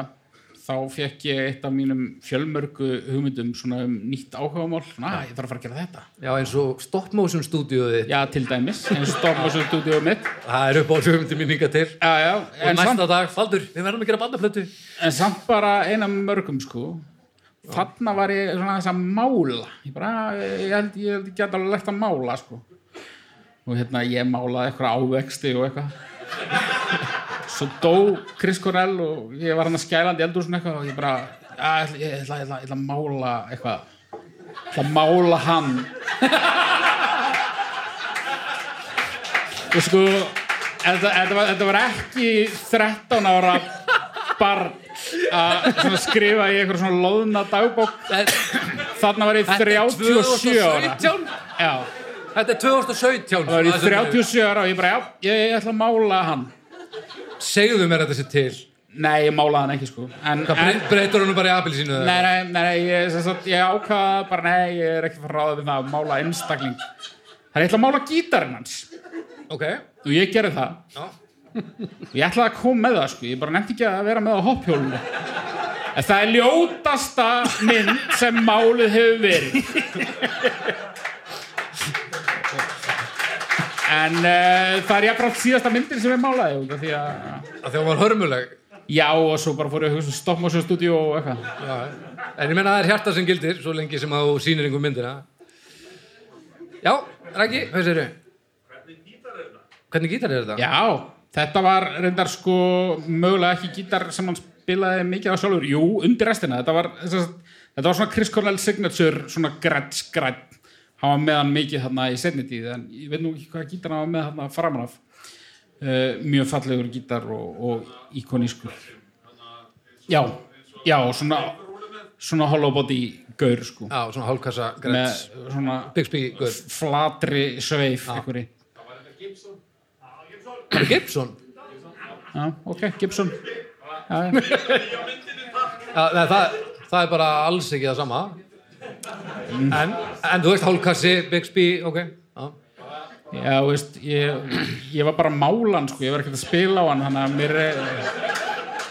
C: þá fekk ég eitt af mínum fjölmörgu hugmyndum svona um nýtt áhugamál na, ég þarf að fara að gera þetta
B: já, eins og stop motion stúdíuði
C: já, til dæmis, en stofn og svo stúdíu mitt
B: það er upp á hugmyndi mín hinga til
C: já, já,
B: og
C: en
B: næsta
C: samt
B: dag, Faldur, við verðum að gera bandaplötu
C: En samt bara eina mörgum sko Þarna var ég svona þess að mála Ég bara, ég held ég, held ég get alveg legt að mála sko Og hérna ég málaði eitthvað ávexti og eitthvað Svo dó Chris Corell og ég var hann að skælandi eldur svona eitthvað og ég bara, "Já, ég ætla, ég ætla, ég ætla, ég ætla að mála eitthvað Ég ætla að mála hann Og sko, þetta, þetta, var, þetta var ekki 13 ára barn að svona skrifa í einhver svona loðna dagbók Þarna var ég 37 ára Já,
B: þetta er 2017
C: það var ég
B: svona,
C: 37 ára og ég bara, já, ég, ég ætla að mála hann
B: segðu mér þetta sér til
C: Nei, ég málaði hann ekki sko en,
B: hvað
C: en,
B: bre- breytir honum bara í apil sínu
C: Nei, nei, nei, nei ég, sem sagt, ég ákvaða bara, nei, ég er ekki fara ráða við það að mála einstakling Það er eitthvað að mála gítarinn hans
B: ok,
C: og ég gerði það
B: já,
C: og ég ætlaði að koma með það sko, ég bara nefndi ekki að vera með á hoppjólinu En það er ljótasta mynd sem málið hefur verið En uh, það er jafnframt síðasta myndin sem ég málaði út af því að
B: Af því að hún var hörmuleg
C: Já, og svo bara fór ég að hugsa um stop motion studio og eitthvað
B: Já, en ég menna það er hjarta sem gildir svo lengi sem að þú sýnir einhver myndina Já, Rækki, hvað segirðu? Hvernig Hvernig gítar er þetta?
C: Já, þetta var reyndar sko mögulega ekki gítar sem hann spilaði mikið á sjálfur, jú, undir restina þetta var, þess að- þetta var svona Chris Cornell signature, svona grætt, grætt hann var með hann mikið þarna í setni tíð en ég veit nú ekki hvað gítar hann var með þarna framan af uh, mjög fallegur gítar og, og íkonískur Já, já, svona svona hollow body gaur sko
B: Já, svona hálfkassa
C: með
B: græts
C: svona
B: Bixby Gull
C: flatri sveif einhverji
B: Gibson
C: Já, ok, Gibson Já, já.
B: Já, nei, það, það er bara alls ekki það sama en, en þú veist hálfkassi, Bixby, ok já.
C: Já, þú veist, ég, ég var bara að mála hann, sko, ég var ekkert að spila á hann, þannig að mér eh, er...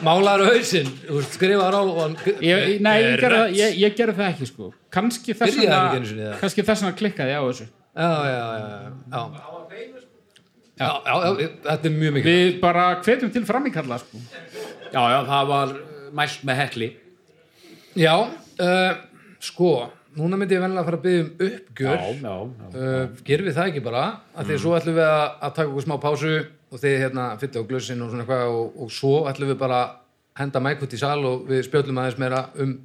B: Málaður á hausinn, þú veist, skrifaður á og hann
C: Ég, nei, ég
B: Rödd.
C: gerði, það, ég, ég gerði það ekki, sko. Kanski þess
B: Byrjaði hann ekki einu sinni,
C: vegna,
B: eða?
C: kannski þess vegna klikkaði ég á þessu.
B: Já, já, já, já, já. Já, já, já, þetta er mjög mikið
C: Við bara hvetjum til framíkalla, sko.
D: já, já, það var eh, mælt með hekli
B: Já, uh, sko, núna myndi ég venlega að fara að byggja um uppgjör
D: já, já.
B: uh, gerum við það ekki bara að því svo ætlum við að, að taka okkur smá pásu og þið hérna fylla á glössin og svona eitthvað og, og svo ætlum við bara að henda mæk út í sal og við spjöllum aðeins meira um,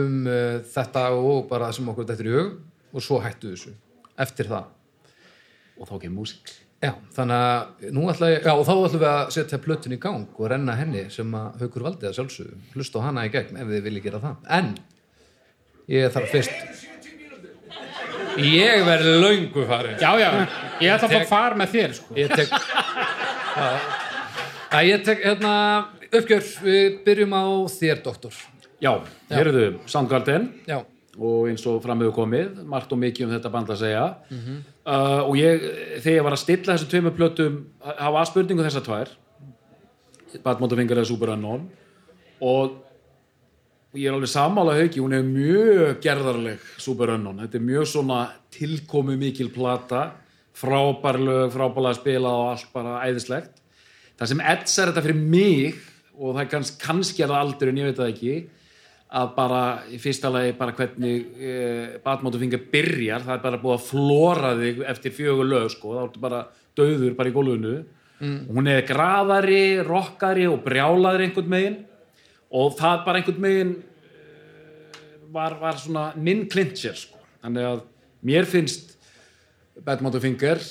B: um uh, þetta og bara sem okkur þetta er í hug og svo hættu við þessu eftir það
D: og þá kemur músík
B: Já, þannig að nú ætla ég, já og þá ætlum við að setja plötun í gang og renna henni sem að haukur valdið að sjálfsögum, hlusta á hana í gegn ef þið viljið gera það, en ég þarf fyrst Ég verði löngu farið
C: Já, já, ég ætla að fá
B: Tek-
C: að fara með þér, sko.
B: ég tek Já. Æ, ég tek hérna uppgjör, við byrjum á þér doktor,
D: já, heyrðu, Soundgarden
B: já
D: og eins og fram hefur komið margt og mikið um þetta band að segja uh, og ég, þegar ég var að stilla þessu tveimur plötum, það var spurningu þessar tvær Batmótafingar eða Superunknown og og ég er alveg sammála hauki, hún er mjög gerðarleg Superunknown, þetta er mjög svona tilkomu mikil plata frábær lög, frábærlega spila og allt bara æðislegt það sem etsar þetta fyrir mig og það er kanns, kannski er það aldur en ég veit það ekki að bara í fyrsta lagi bara hvernig eh, batmótufingar byrjar það er bara búið að flóra þig eftir fjögur lög sko, þá ertu bara döður bara í gólfinu og hún er graðari, rokkari og brjálaðri einhvern megin og það bara einhvern megin eh, var, var svona minn klincher sko, þannig að mér finnst sko, batmótufingar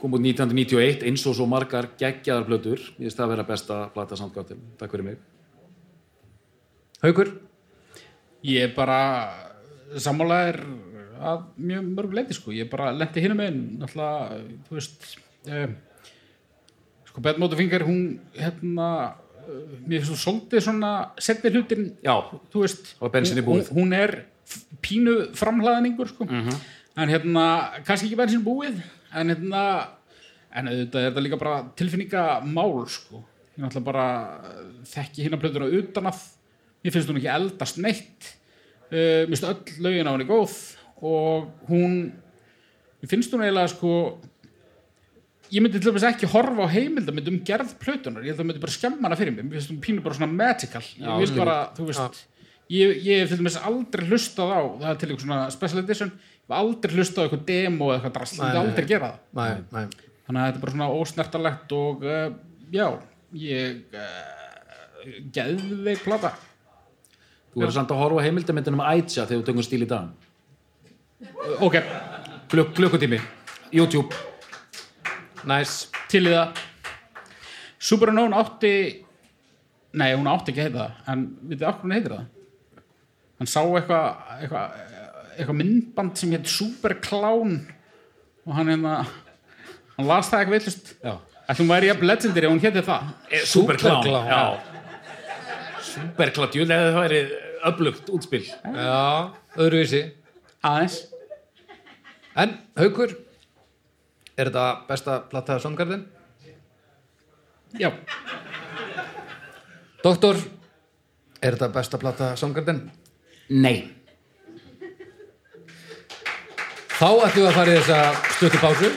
D: kom út 1991 eins og svo margar geggjaðar blöður, ég finnst það að vera besta plata samtgáttin, takk fyrir mig
B: Haukur,
C: Ég er bara sammálaðir að mjög mörg leiti, sko. Ég bara lendi hinum einn, náttúrulega, þú veist, eh, sko, Bad Motorfinger, hún, hérna, eh, mér finnst þú svolítið svona, setni hlutin
D: Já,
C: þú veist,
D: Og bensínið
C: hún,
D: búið. Mhm.
C: hún er f- pínu framhlaðningur sko. en hérna, kannski ekki bensin búið en hérna en auðvitað er þetta líka bara tilfinningamál sko, ég náttúrulega bara eh, þekki hérna plötuna utan að mér finnst hún ekki eldast neitt uh, mér finnst öll lögin á henni góð og hún mér finnst hún eiginlega sko ég myndi til dæmis ekki horfa á heimildamind um gerð plötunar, ég held að það myndi bara skemma hana fyrir mig mér finnst hún pínu bara svona magical ég vil bara, þú veist ég, ég hef til dæmis aldrei hlustað á það er til eitthvað svona special edition ég hef aldrei hlustað á eitthvað demo eða eitthvað drast ég myndi
B: Nei, nei,
C: aldrei gera það
B: næ, næ
C: þannig að þetta er bara svona ósnertalegt og uh, já, ég uh, geðveik plata
D: Þú verður samt að horfa á heimildamindin um Aitja þegar þú tökum stíl í dag.
C: Uh, ok,
D: Klukk, klukkutími, YouTube.
B: Næs,
C: til í það Supernón átti nei, hún átti ekki að heita það en vitið okkur hún heitir það hann sá eitthvað eitthvað eitthva myndband sem heit Superclown og hann hérna hann las það eitthvað villust
D: Já.
C: ætlum væri jafn legendary ef hún héti það
D: Superklán.
B: Superklám.
D: Já. Superklán, jú, eða það væri öflugt útspil.
B: já, öðruvísi
C: aðeins
B: En, Haukur er þetta besta plattaða songarðin?
C: já,
B: Doktor, er þetta besta plattaða songarðin?
D: Nei.
B: Þá ætlum við að fara í þessa stuttu pásu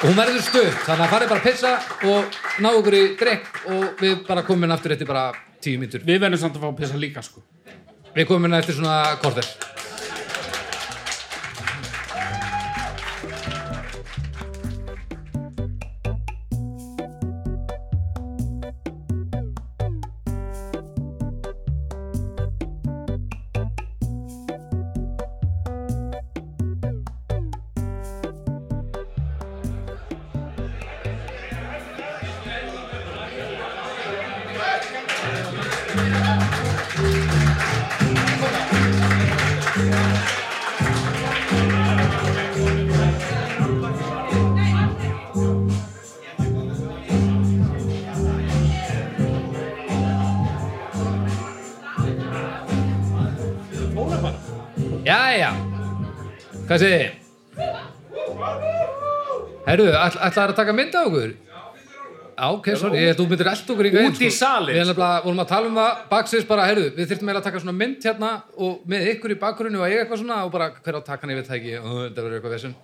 B: og hún verður stutt þannig að farið bara að pissa og ná okkur í drekk og við bara komum inn aftur eftir bara tíu mínútur
C: við verðum samt að fá að pissa líka sko
B: Við komum inn eftir svona korter. Jæja, hvað segir þið? Herru, all, ætlaðar að taka mynd af okkur? Já, ok, sorry, ég held að þú myndir eld okkur í sko.
D: Út í salinn,
B: Við erum að vorum að tala um það baksins bara, herru, við þyrftum eiginlega að taka svona mynd hérna og með ykkur í bakgrunni og eiga eitthvað svona og bara hver á takan ég veit það ekki, og þetta verður eitthvað vesen.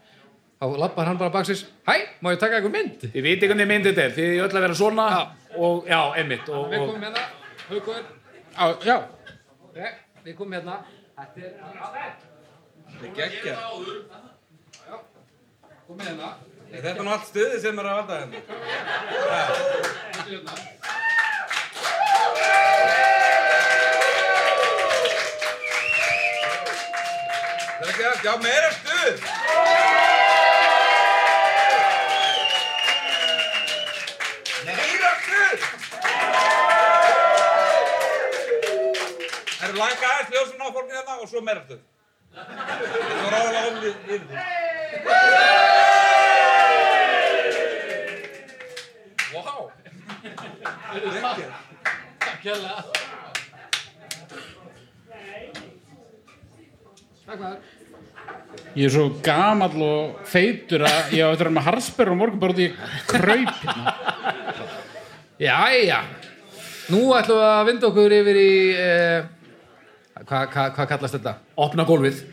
B: Þá lappar hann bara baksins, hæ, má ég taka eitthvað mynd?
D: Þið viti hvernig mynd þetta er, þið er öll að vera svona og já, einmitt og,
B: Við
D: og
B: komum hérna, haukur,
C: Á, já,
B: ok, við komum hérna, þetta er
F: Þetta er geggja.
B: komum hérna,
F: Er Þetta er nú allt stuði sem er að valda hérna. Það er ekki að, já, meira stuð! Meira stuð! Það eru langa aðeins ljósun á fólkið hérna og svo meira stuð. Það er ráðilega ofnið yfir því. Vá!
B: Hérna. takk maður.
C: ég er svo gamall og feitur að ég á eftir að vera með harsperr og morgun bara út í kraup hérna.
B: Jæja, nú ætlum við að vinda okkur yfir í, eh, hvað hva, hva kallast þetta?
D: opna gólfið.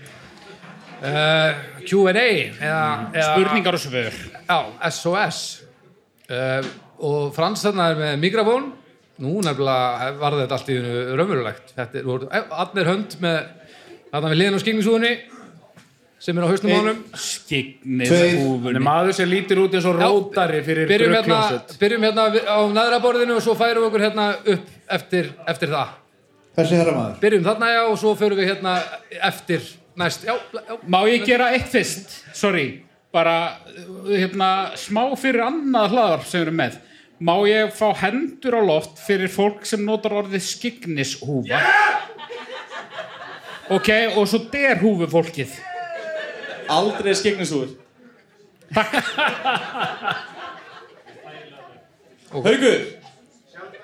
B: Eh, Q&A eða,
D: Mm.
B: eða
C: Spurningar og svör.
B: Já, SOS. Eh, og Frans þarna er með mikrofón, nú nefnilega varði þetta allt í hennu raunverulegt. Þetta er, voru, eh, allir hönd með, þarna við liðin á skingmisúðunni, sem er á hausnum ánum.
A: Tveir.
C: Skignið
D: Þannig
C: húfunni.
D: maður sem lítir út eins og rótari fyrir
B: byrjum hérna,
D: glöggljóset.
B: byrjum hérna við- á næðra borðinu og svo færum við okkur hérna upp eftir, eftir það.
A: Þessi herra maður.
B: Byrjum þarna já og svo förum við hérna eftir næst. Já, já.
C: Má ég gera eitt fyrst? Sorry. Bara, uh, hérna, smá fyrir annað hlaðarp sem við erum með. Má ég fá hendur á loft fyrir fólk sem notar orðið skiggnishúfa? Ok, og svo der húfu fólkið.
G: Aldrei skegnisúður. Haugur,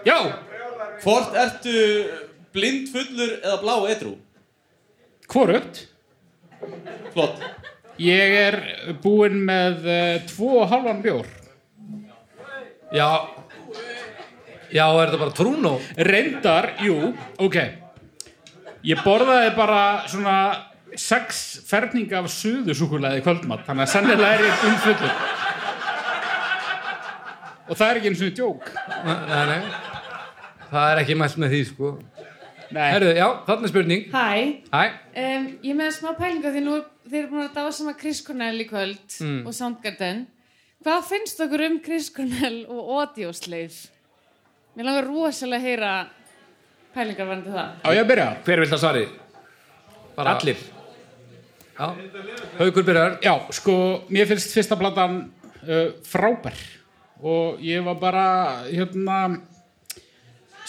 C: Já,
G: hvort ertu blindfullur eða blá eitrú?
C: hvorugt.
G: Flott.
C: Ég er búinn með uh, tvo og halvan bjór.
B: Já, já er þetta bara trúnó?
C: Reyndar, jú, ok Ég borðaði bara svona sex ferninga af suðusúkulæði kvöldmatt þannig að sennilega er ég um fullur og það er ekki eins og djók
B: Nei, nei. Það er ekki mælt með því sko.
C: Nei,
B: Herðu, já, þarna er spurning.
H: Hæ,
B: Hæ,
H: um, ég er með smá pælinga því nú þeir eru búin að dáa sama Chris Cornell í kvöld
B: Mm.
H: og Soundgarden. Hvað finnst okkur um Chris Cornell og Audioslave? Mér langar rosalega að heyra pælingar varandi það.
C: á ég að byrja
D: Hver vil það svari?
B: bara
D: Allir.
B: Já. Haukur byrjar.
C: Já, sko, mér finnst fyrsta platan uh, frábær og ég var bara hérna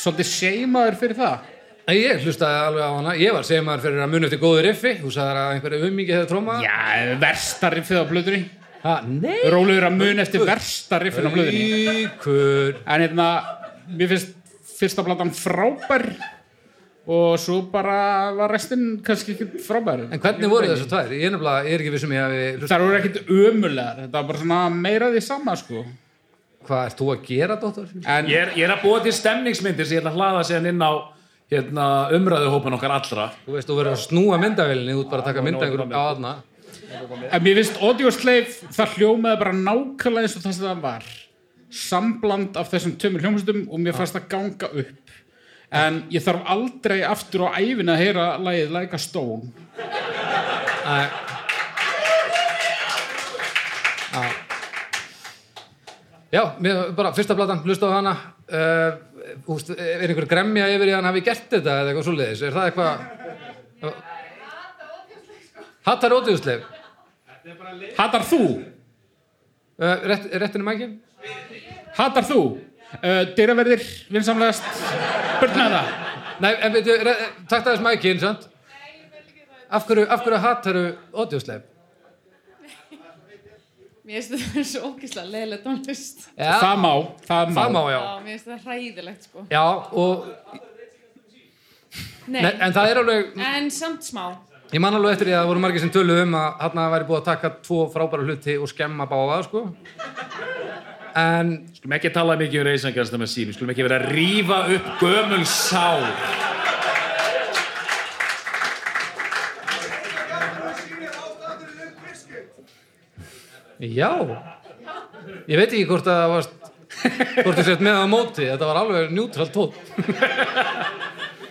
C: svolítið seimaður fyrir það
B: Nei, Ég hlustaði alveg á hana. Ég var segmaður fyrir að muni eftir góðu riffi. Þú sagðir að einhverju ummingi hefði trómað.
C: Já, versta riffið á blöðunni
B: Ha, nei.
C: Rólegur að mun eftir versta riffin á blöðunni
B: Haukur.
C: En hérna, mér finnst fyrsta platan frábær og svo bara var restinn kannski ekki frábær.
B: En hvernig voru þessu tvær? Ég er nefnilega, ég er ekki vissum ég að við hlusta.
C: Það voru ekkit ömulegar, þetta var bara svona meira því sama, sko.
B: Hvað ert þú að gera, dóttor?
C: En
D: Ég er, ég er að búa til stemningsmyndir sem ég ætla að hlaða síðan inn á hérna, umræðuhópan okkar allra.
B: Þú veist, þú verður að snúa myndavélinni, þú ert bara að taka mynda einhverjum á aðna.
C: en mér finnst Audio Slave, það hljómaði bara nákvæmlega eins og það sem það var. Sambland af þessum tömur hljómsveitum og mér fannst það ganga upp. En ég þarf aldrei aftur á æfina að heyra lagið Like a Stone.
B: Já, mér, bara fyrsta platan, hlusta á hana. Uh, úst, er einhver gremja yfir í hann hafi gert þetta eða eitthvað svoleiðis? Er það eitthvað... Hattar ódýðusleif.
C: Hattar þú?
B: Uh, rétt, réttinu mækin?
C: Hattar þú?
B: Eh,
C: Uh, Dyraverðir, vinsamlegast, börnaða það.
B: Nei, en veitu, takk það þess mækin, sant? Af hverju, af hverju hattaru ódýðusleif?
H: Mér finnst þetta svo ógislega leiðilegt tónlist.
B: Já,
C: það má, það má,
B: það má, já.
H: Já, mér finnst þetta hræðilegt sko.
B: Já, og,
H: Nei,
B: nei, en það er alveg,
H: en samt smá.
B: Ég man alveg eftir því að það voru margir sem töluðu um að hann væri búið að taka tvo frábæra hluti og skemma báða, sko. En
D: Skulum ekki tala mikið um reysangarsta með sín, skulum ekki vera að rífa upp gömul sár.
B: já, ég veit ekki hvort að það varst, hvort þú sett með það á móti, þetta var alveg njútrál tótt.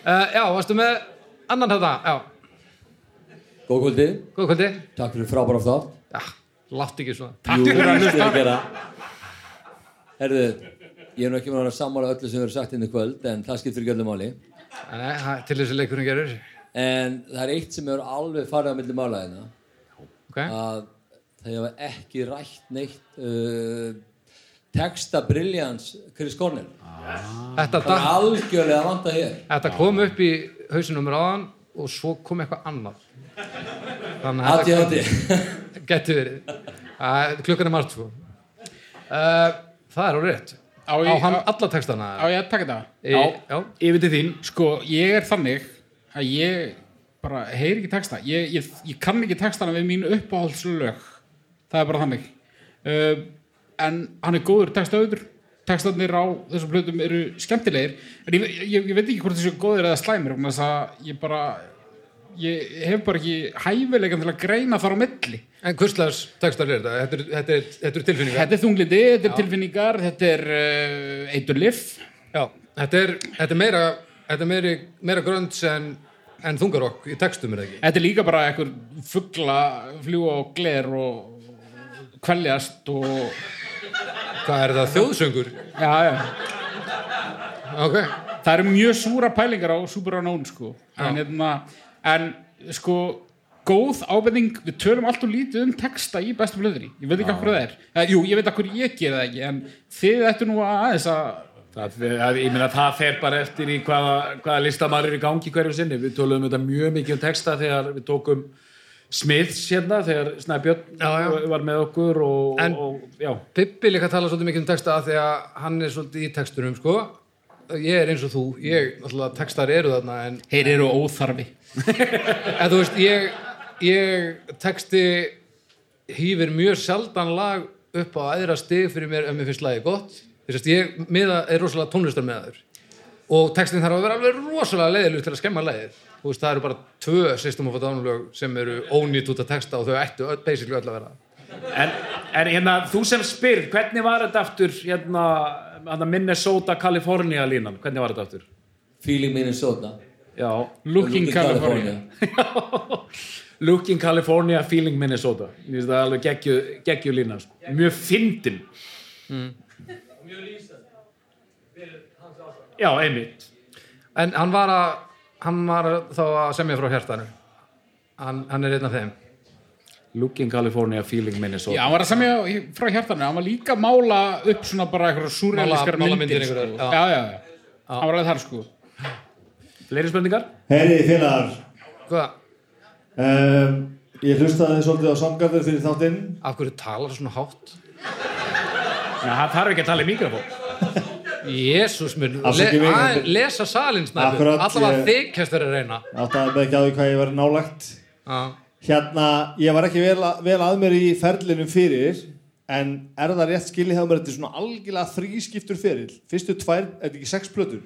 B: uh, já, varstu með annan þetta, já,
I: Góð kvöldi,
B: góð kvöldi.
I: takk fyrir frábæra þátt.
B: Já, látt ekki svona.
I: Takk fyrir að gera. Herðu, ég er nú ekki með að sammála öllu sem verður sagt inn í kvöld, en það skiptir ekki öllu máli.
B: Nei, það- til þess að leikurinn gerur.
I: En það er eitt sem er alveg farið á milli mála hérna,
B: Ok,
I: að það hefur ekki rætt neitt uh, texta briljans Chris Cornell.
B: Ah. þetta,
I: Það er
B: datt-
I: algjörlega vanda hér.
B: þetta kom upp í hausinum ráðan og svo kom eitthvað annað. Þannig að
I: Hatti,
B: þetta
I: hatti.
B: Gæti verið. Uh, klukkan er margt sko. Uh, það er á rétt. Á,
C: Á í-
B: hann
C: á-
B: alla textana?
C: Á ég að taka þetta?
B: Í- já.
D: Yfir til þín.
C: Sko, ég er þannig að ég bara heyri ekki texta ég, ég, ég kann ekki textana við mín uppáhaldslög það er bara þannig uh, en hann er góður textaður textarnir á þessum hlutum eru skemmtilegir en ég, ég, ég veit ekki hvort þessu góðir eða slæmir vegna þess að ég bara ég hef bara ekki hæfilegan til að greina þar á milli
B: En hvurslags textar er þetta? Þetta eru- Þetta er, þetta er tilfinningar?
C: þetta er þunglindi, þetta er tilfinningar þetta er uh, eitur lif
B: Já. Þetta er, þetta er meira, þetta er meiri, meira grönts en, en þungarokk í textum er það ekki?
C: Þetta er líka bara einhver fuggla fljúa og gler og kveljast og
B: Hvað er það? Þjóðsöngur?
C: já, já.
B: Ok.
C: það eru mjög súra pælingar á Superanón sko. en, hérna, en sko góð ábending, við tölum allt og lítið um texta í bestu blöðri, ég veit ekki hvað það er eh, jú, ég veit hvað ég gera það ekki en þið ættu nú að aðeins að
D: Það, það- ég meina það fer bara eftir í hvaða, hvaða listamæður er í gangi hverju sinni. Við tölum þetta mjög mikið um texta þegar við tókum Smiths hérna, þegar Snæbjörn
B: Já, já.
D: var með okkur og,
B: En-
D: og já.
B: Pippi líka tala svolítið mikið um texta af því að hann er svolítið í textunum sko. Ég er eins og þú, ég, náttúrulega textar eru þarna en
C: heyr eru óþarfi
B: En þú veist, ég, ég texti hýfir mjög sjaldan lag upp á aðra stig fyrir mér ef mér finnst lagi gott. Þú veist, ég miða, er rosalega tónlistar með þur. Og textin þarf að vera alveg rosalega leiðileg til að skemma lagið. Þú veist, það eru bara tvö system of a down lög sem eru ónýtt út að texta og þau ættu öll, basically öll að vera.
D: En, en hérna, þú sem spyr, hvernig var þetta aftur hérna, hérna Minnesota, California línan? Hvernig var þetta aftur?
I: Feeling Minnesota.
D: Já.
C: looking California
D: Looking California, feeling Minnesota. Ég finnst það alveg geggju, geggju lína, sko. Mjög fyndin. Mjög lýsandi. Já, einmitt.
B: En hann var, að, hann var þá að semja frá hjartanu. Hann, hann er einn af þeim.
D: Looking California, feeling Minnesota.
C: Já, hann var að semja frá hjartanu hann var líka að mála upp svona bara einhverja súrrealiskar
B: Mála- mála
C: myndir,
B: myndir
C: sko.
B: einhverjar,
C: já,
B: já.
C: já, já. hann var alveg þar sko
D: Fleiri spurningar?
A: Heyri félagar,
B: Hvað?
A: um, ég hlustaði svolítið á samgarður fyrir þáttinn.
B: Af hverju talar svona hátt?
D: Já, það þarf ekki að tala um- í mikrofón.
B: Jésús minn, le,
A: Afsakið mig,
B: að,
A: Andri.
B: lesa salin snæfi
A: Akkurat,
B: allavega
A: ég-
B: þykjast verið að reyna
A: Áttaði mig ekki á því hvað ég var nálagt.
B: Já.
A: Hérna, ég var ekki vel, að- vel að mér í ferlinum fyrir, en er það rétt skilið hjá mér þetta er svona algjörlega þrískiptur feril. Fyrstu tvær, er þetta ekki sex plötur?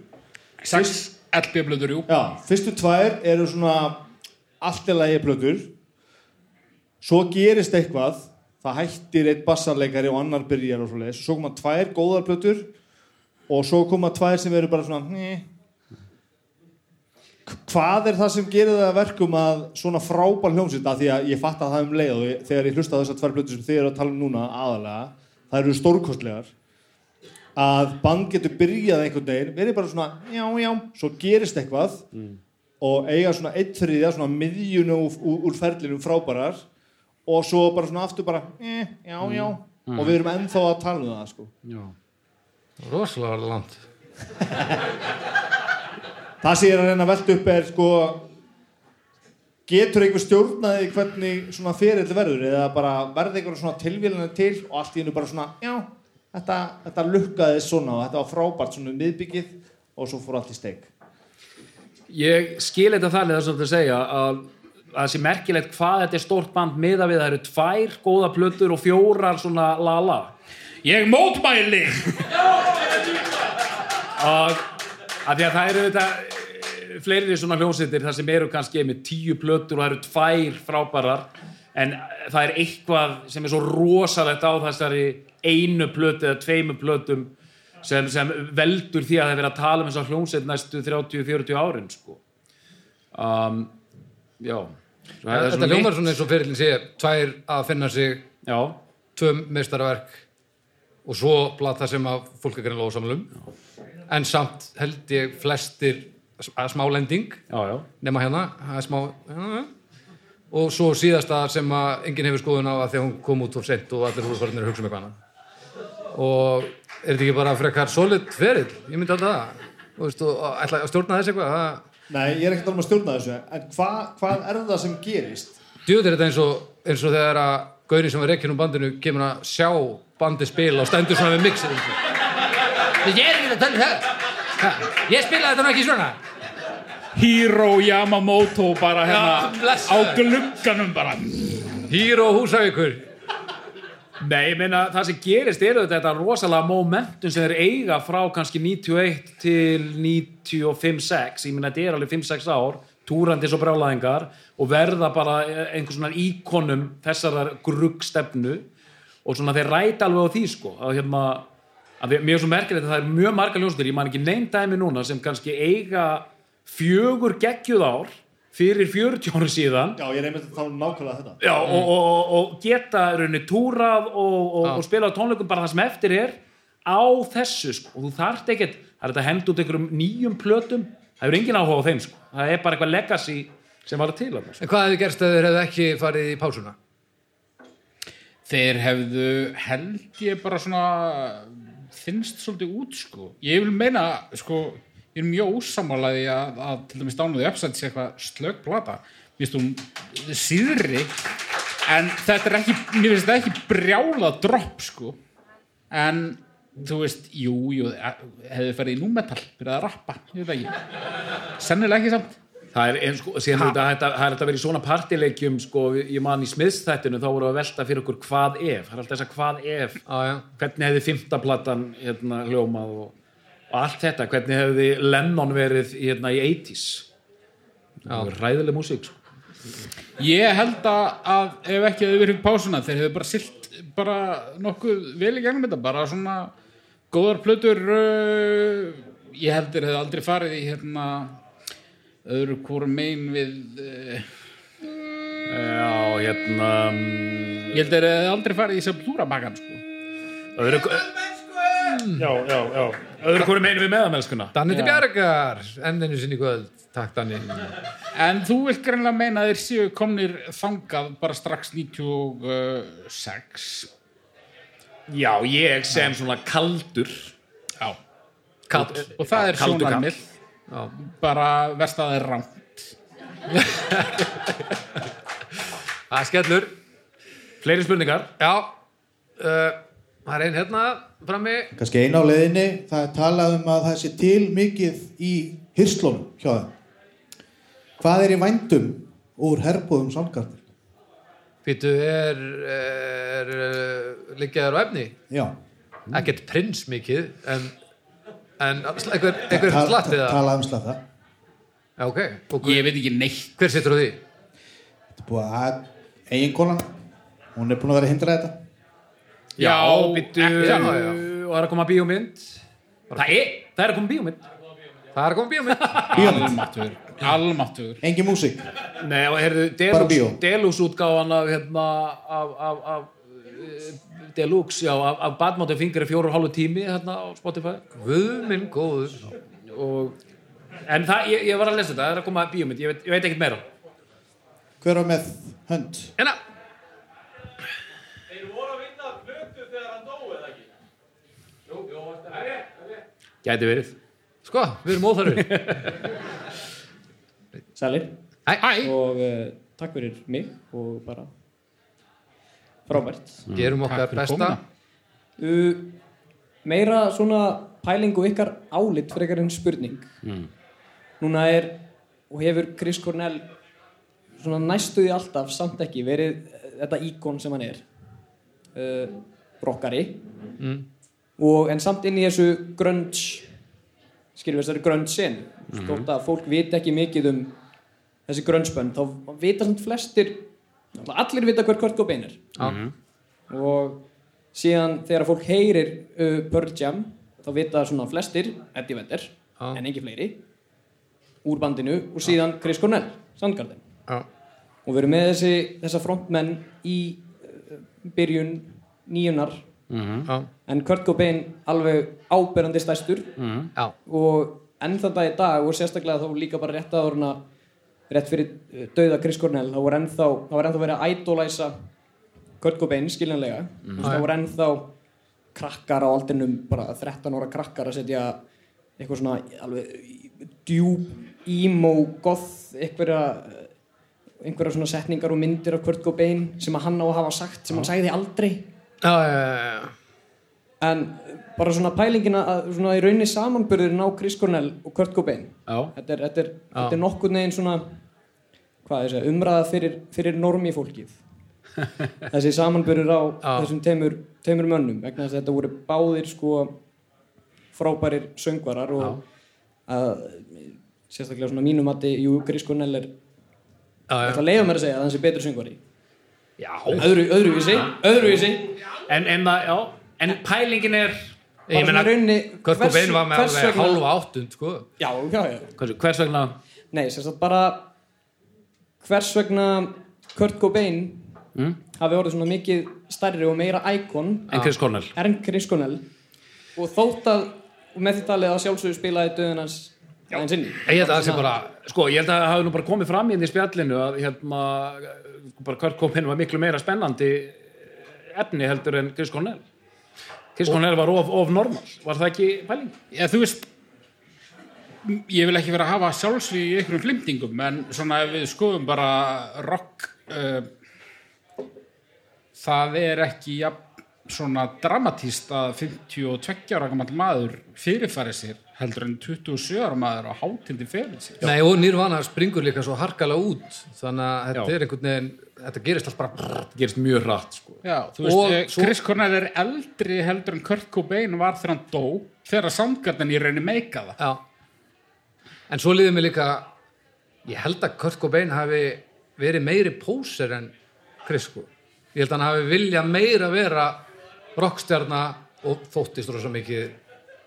C: 6 LB-blöður, jú
A: Já, fyrstu tvær eru svona allt í lagi plötur svo gerist eitthvað það hættir einn bassarleikari og annar byrjar og svoleiðis svo koma tvær góðar plötur og svo koma tvær sem eru bara svona "Hm, hneh. K- hvað er það sem gerir það að verkum að svona frábær hljómsveit af því að ég fatt að það um leið og ég, þegar ég hlusta á þessar tvær plötur sem þið eru að tala um núna aðalega, það eru stórkostlegar að band getur byrjað einhvern veginn, verið bara svona já, já, svo gerist eitthvað og eiga svona eitt þriðja, svona miðjunu úr, úr, úr ferlinum frábærar og svo bara svona aftur bara eh, já, já, og við erum ennþá að tala um það sko.
B: rosalega var það langt
A: það sem ég er að reyna að velta upp er sko getur einhver stjórnaði hvernig svona ferill verður eða bara verði einhver svona tilvílunni til og allt í hennu bara svona já, þetta, þetta lukkaði svona og þetta var frábært svona um miðbyggið og svo fór allt í steik
D: Ég skil þetta þannig það sem þú ert að segja að að það sé merkilegt hvað þetta er stórt band miða við, það eru tvær góða plötur og fjórar svona lala
C: Ég mótmæli
D: og að því að það eru þetta eh, fleiri svona hljómsveitir þar sem eru kannski með tíu plötur og það eru tvær frábærar en eh, það er eitthvað sem er svo rosalegt á þessari einu plötu eða tveimu plötum sem, sem veldur því að það er verið að tala um þessar hljómsveit næstu 30-40 árin sko um, já Svo það er
B: Þetta
D: svona
B: ljómar
D: mitt-
B: svona eins og fyrirlin sé tvær að finna sig
D: já
B: tvö meistarverk og svo plata sem að fólk er greinlega ósamlum en samt held ég flestir að smá lending
D: já, já,
B: nema hérna það er smá hérna, og svo síðasta sem að enginn hefur skoðun á að því að hún kom út of sent og allir húsvarnir hugsa um eitthvað annað og er þetta ekki bara frekar solid ferill, ég myndi alltaf það og, veist, og og ætla að stjórna þess eitthvað það,
A: Nei, ég er ekkert alveg að stjórna þessu en hva, hvað er það sem gerist?
B: djöður þetta eins og, eins og þegar að gaurinn sem var rekkinn um bandinu kemur að sjá bandi spila og stendur svona við mixið ég er ekki að tala um það Ha, ég spilaði þetta nú ekki svona
C: Hiro Yamamoto bara
B: Já,
C: hérna
B: blessaður.
C: á glugganum bara
B: Hýr og húsavíkur
D: Nei, ég meina það sem gerist er auðvitað þetta rosalega momentum sem þeir eiga frá kannski 91 til 95-6, ég meina þetta er alveg 5-6 ár, túrandi svo brjálæðingar og verða bara eh, einhvers svona íkonum þessarar gruggstefnu og svona þeir ræta alveg á því sko, að hérna að því, mér er svo merkilegt að það er mjög marga ljóstur ég man ekki neinn dæmi núna sem kannski eiga fjögur geggjuð ár fyrir 40 ári síðan
A: Já, ég er einmitt að tala um nákvæmlega þetta Mm.
D: Já, og, og, og- og geta í rauninni túrað og, og, og spila á tónleikum bara það sem eftir er á þessu sko. og þú þarft ekkert, það er þetta hend út einhverjum nýjum plötum, það hefur engin áhuga á þeim sko. það er bara eitthvað legacy sem var til að sko.
B: en hvað hefði gerst ef þeir hefði ekki farið í pásuna
C: Þeir hefðu held ég bara svona finnst svolítið út sko ég vil meina sko ég er mjög ósamálaði að, að til dæmis dánuði uppsætt sé eitthvað slögg plata mér finnst hún síðri en þetta er ekki mér finnst þetta ekki brjála dropp sko en þú veist jú, jú, hefðu farið í númetal byrjaði að rappa, ég veit ekki sennilega ekki samt
D: Það er, en, sko, síðan, þetta, þetta, það er þetta verið í svona partileikjum sko, ég man í smiðstættinu þá voru að velta fyrir okkur hvað ef það er alltaf þess að hvað ef
B: ah, já.
D: hvernig hefði fimmtaplattan hérna, hljómað og, og allt þetta, hvernig hefði Lennon verið hérna, í 80s Það var ræðileg músík sko.
C: Ég held að, að ef ekki hefur verið pásuna þeir hefur bara silt bara nokkuð vel í gegnum þetta bara svona góðar plötur uh, ég held þeir hefur aldrei farið í hérna öðru hvorum megin við uh,
D: Já, hérna mm,
C: ég held þeir hefur aldrei farið í Sepultura bakkan sko.
D: Öðru,
A: Já, já, já
D: öðru hverju meinum við meðamelskuna?
B: Mm. Danni til Bjargar, enninu sinni í kvöld takk Danni
C: en þú vilt greinlega meina að þeir séu komnir þangað bara strax 96
D: Já, ég sem svona kaldur
C: Já.
B: kall
C: og það er
D: Kaldur kall.
C: sjónarmil bara verstaðið er rám
B: Það skellur.
D: Fleiri spurningar
B: Já, uh, það er einn hérna frammi.
J: Kannski eina á leiðinni, það er talað um að það sé til mikið í hyrslunum hjá þeim. Hvað er í vændum úr herbúðum samkartir?
B: Pítu, er, er, er liggjaður á efni?
J: Já.
B: Hmm. Ekkert prins mikið, en, en sl- einhver, einhver
J: Ta-
B: slatt
J: ta-
B: eða?
J: Talað um slatta.
B: Já, ok. Og
C: ég
B: hver,
C: veit ekki neitt
B: hver sittur á því?
J: Þetta er búið að eiginkonan, hún er búin að vera að hindra þetta.
C: Já,
D: býttu
C: ekki.
D: Já, já. Og það er að koma bíómynd Það er, það er að koma bíómynd
B: Það er komið bíómið.
C: Almáttur Almáttur
J: Engin músík.
D: Nei, og heyrðu,
J: Bara bíó.
D: Deluxe, Deluxe útgáfan af, hérna, af, af, af eh, Deluxe, já, af, af Badmáttu fingri fjóru og hálfu tími hérna á Spotify
B: Guð minn góður.
D: og, En það, ég, ég var að lesa þetta, það er að koma bíómynd, ég veit, ég veit ekkert meira
J: Hver var með hönd?
B: Hérna,
D: Gæti verið
B: sko, við erum óþarfir.
K: Sælir
B: Æ, æ,
K: og uh, takk fyrir mig og bara frábært
B: Mm. gerum um okkar
C: Hmm. fyrir
B: besta.
C: komuna.
K: uh, meira svona pælingu ykkar álit frekar en spurning núna er og hefur Chris Cornell svona næstuði alltaf, samt ekki, verið eh, þetta íkon sem hann er uh, brokkari
B: Mm.
K: og en samt inn í þessu grönts skilur við þessari gröntsin
B: Mhm.
K: þótt að fólk vita ekki mikið um þessi gröntsbönd þá vita samt flestir allir vita hver Kurt Cobain er
B: Já. Mhm.
K: og síðan þegar fólk heyrir uh, Pearl Jam þá vita svona flestir Eddie Vedder en ekki fleiri úr bandinu og síðan Chris Cornell Sandgarden
B: Já.
K: og við erum með þessi, þessa frontmenn í uh, byrjun nýjunar
C: Hmm.
B: Mhm. Já.
K: en Kurt Cobain alveg áberandi stærstur
B: Mhm. Já.
K: og enn þann dag í dag og sérstaklega þá líka bara rétt að orna rétt fyrir uh, dauða Chris Cornell þá var ennþá, þá var ennþá verið að idolæsa Kurt Cobain skiljanlega mm.
B: Já, já.
K: þá var ennþá krakkar á aldrinum bara 13 ára krakkar að setja eitthvað svona alveg djúb emo goth einhverja uh, einhverja svona setningar og myndir af Kurt Cobain sem að hann á að hafa sagt sem hann sagði aldrei
B: já, já, já, já.
K: en bara svona pælingina að svona í rauninni samanbyrðurinn á Chris Cornell og Kurt Cobain
B: Já.
K: þetta er, þetta er, þetta er nokkurn veginn svona hvað þessi, umræða fyrir, fyrir normi fólkið þessi samanbyrður á þessum teimur, teimur mönnum vegna þess að þetta voru báðir sko frábærir söngvarar og að, sérstaklega svona mínum að jú, Chris Cornell er
B: já.
K: ætla að leiða mér að segja að hans er betur söngvari
D: Já.
K: öðru, öðruvísi, öðruvísi
D: en, en, það- já, en pælingin er
B: Ég meina, Kurt Cobain var með
K: hvers
B: alveg
K: vegna-
B: hálfa áttund, sko.
K: Já, já, já.
D: Hvers, hvers vegna?
K: Nei, sem sagt bara hvers vegna Kurt Cobain
D: Mm.
K: hafi orðið svona mikið stærri og meira íkon
D: En Chris Cornell.
K: En Chris Cornell og þótt að og með því talið að sjálfsögur spilaði döðin hans aðeins inn í.
D: Ég held að það sé bara, sko, ég held að það hafi nú bara komið fram hérna í spjallinu að hérna, bara Kurt Cobain var miklu meira spennandi eh, efni heldur en Chris Cornell. Chris Cornell var of, of normal, var það ekki pæling?
C: Já, þú veist m- ég vil ekki vera að hafa sjálfsvíð í einhverjum flimtingum en svona ef við skoðum bara rock uh, það er ekki ja, svona dramatíst að 52 ára gamall maður fyrirfæri sér heldur en 27 ára maður á hátindi fyrir sér
B: Nei, og Nirvana springur líka svo harkalega út, þannig að þetta
C: Já.
B: er einhvern veginn, þetta gerist allt bara...
D: gerist mjög hratt, sko.
C: Já, þú
B: Og svo-
C: veist, svo... Chris Cornell er eldri heldur en Kurt Cobain var þegar hann dó þegar samgarnin í rauninni meika það
B: Já. En svo liðið mér líka, ég held að Kurt Cobain hafi verið meiri póser en Chris, sko. Ég held að hann hafi vilja meira vera rockstjarna og þóttist rosa mikið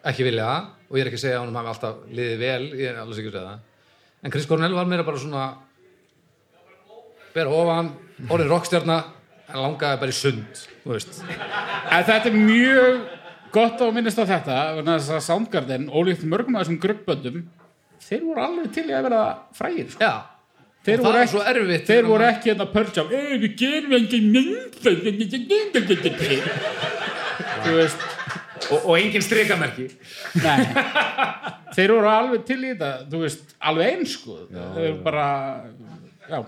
B: ekki vilja það og ég er ekki að segja að hann hafi alltaf liðið vel, ég er alveg sikur að segja það. En Chris Cornell var meira bara svona bera ofan, orðin rockstjarna en langaði bara í sund, þú veist.
C: En þetta er mjög gott að minnast á þetta vegna þess að Soundgarden, ólíkt mörgum af þessum gruppöndum þeir voru alveg til í að vera frægir sko. þeir
B: Og
C: voru
B: það er
C: ekki,
B: svo erfitt,
C: þeir
B: núna.
C: voru ekki hérna pörgjá við gerum engin mynd þú veist
D: og, og engin strikamerki
C: Nei. þeir voru alveg til í þetta þú veist, alveg eins sko þeir voru bara já,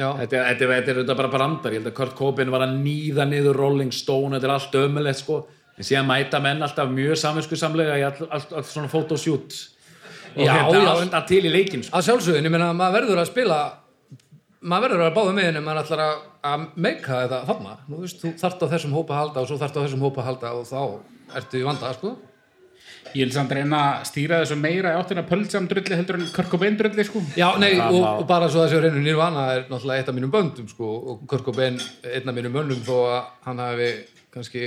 D: Þetta, er- þetta, er- þetta er auðvitað bara brandar, ég held að Kurt Cobain var að nýða niður Rolling Stone, þetta er allt ömulegt sko, en síðan mæta menn alltaf mjög samvinskusamlega í allt all, all, all svona photoshoot og
B: Já,
D: hérna
B: já.
D: alltaf til í leikin sko.
B: að sjálfsögðin, ég meina maður verður að spila maður verður að vera báða meðin ef maður ætlar að, að meika þetta þarna Nú, veist, þú þarft á þessum hópa að halda og svo þarft á þessum hópa að halda og þá ertu í vanda sko.
C: ég vil samt reyna að stýra þessu meira í áttina pöldsam drulli heldur en körkobein drulli sko
B: já, nei, og, og bara svo þessi reynu Nirvana er náttúrulega eitt af mínum böndum sko, og Kurt Cobain einn af mínum mönnum þó að hann hafi kannski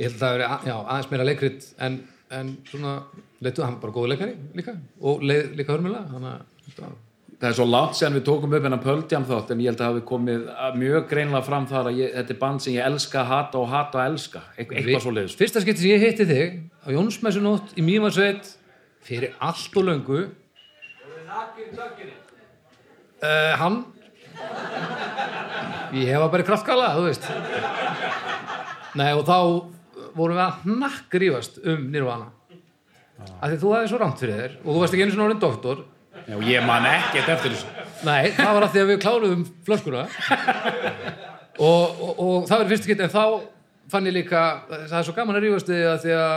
B: ég held að það hafi verið að- já, aðeins meira leikrit en, en svona, leitu, hann er bara góð leikari líka og leið, líka hörmulega hann að
D: það er svo langt sem við tókum upp hennar Pöldjam þátt en ég held að hafi komið að- mjög greinlega fram þar að ég, þetta er band sem ég elska, hata og hata og elska, Eit,
B: Vi-
D: eitthvað svo leiðis
B: Fyrsta skipti sem ég hitti þig á Jónsmessunótt í Mývarsveit fyrir allt og löngu uh, Hann Ég hefa bara í kraftgala, þú veist Nei, og þá eh, vorum við að hnakkrífast um Nirvana af því þú hafði svo rámt fyrir þér og þú varst ekki einu svona orðin doktor
D: Já, ég man ekkert eftir þessu
B: Nei, það var að því að við kláruðum flöskuna og, og, og það var fyrst ekki en þá fann ég líka það er svo gaman að rífast við þig að því að,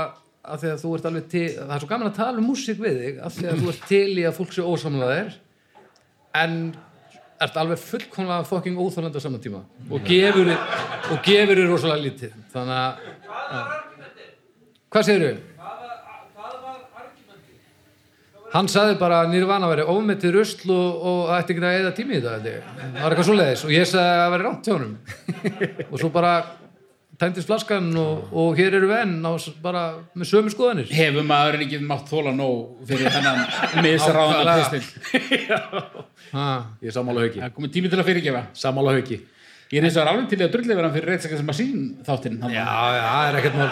B: að því að þú ert alveg til það er svo gaman að tala um músík við þig að því að þú ert til í að fólk sé ósamlega þér en ert alveg fullkomlega fucking óþálandi á saman tíma og gefur þér- og gefur þér rosalega lítið þannig að já. hvað segir þau? Hann sagði bara að Nirvana væri ofmetið rusl og, og ætti ekki að eða tími í þetta held ég. það var eitthvað svoleiðis og ég sagði að það væri rátt hjá honum og svo bara tæmtist flaskan og, og hér eru við enn á, s- bara með sömu skoðanir
C: Hefur maður ekki mátt þóla nóg fyrir þennan misráðan
B: Nákvæmlega.
C: pistil
D: Ég er sammála hauki
C: Það er komið tími til að fyrirgefa
D: Sammála hauki
C: Ég er eins og er alveg til í að drullið vera hann fyrir reyðsaka sem að sín þáttinn Já,
B: já, það er ekkert mál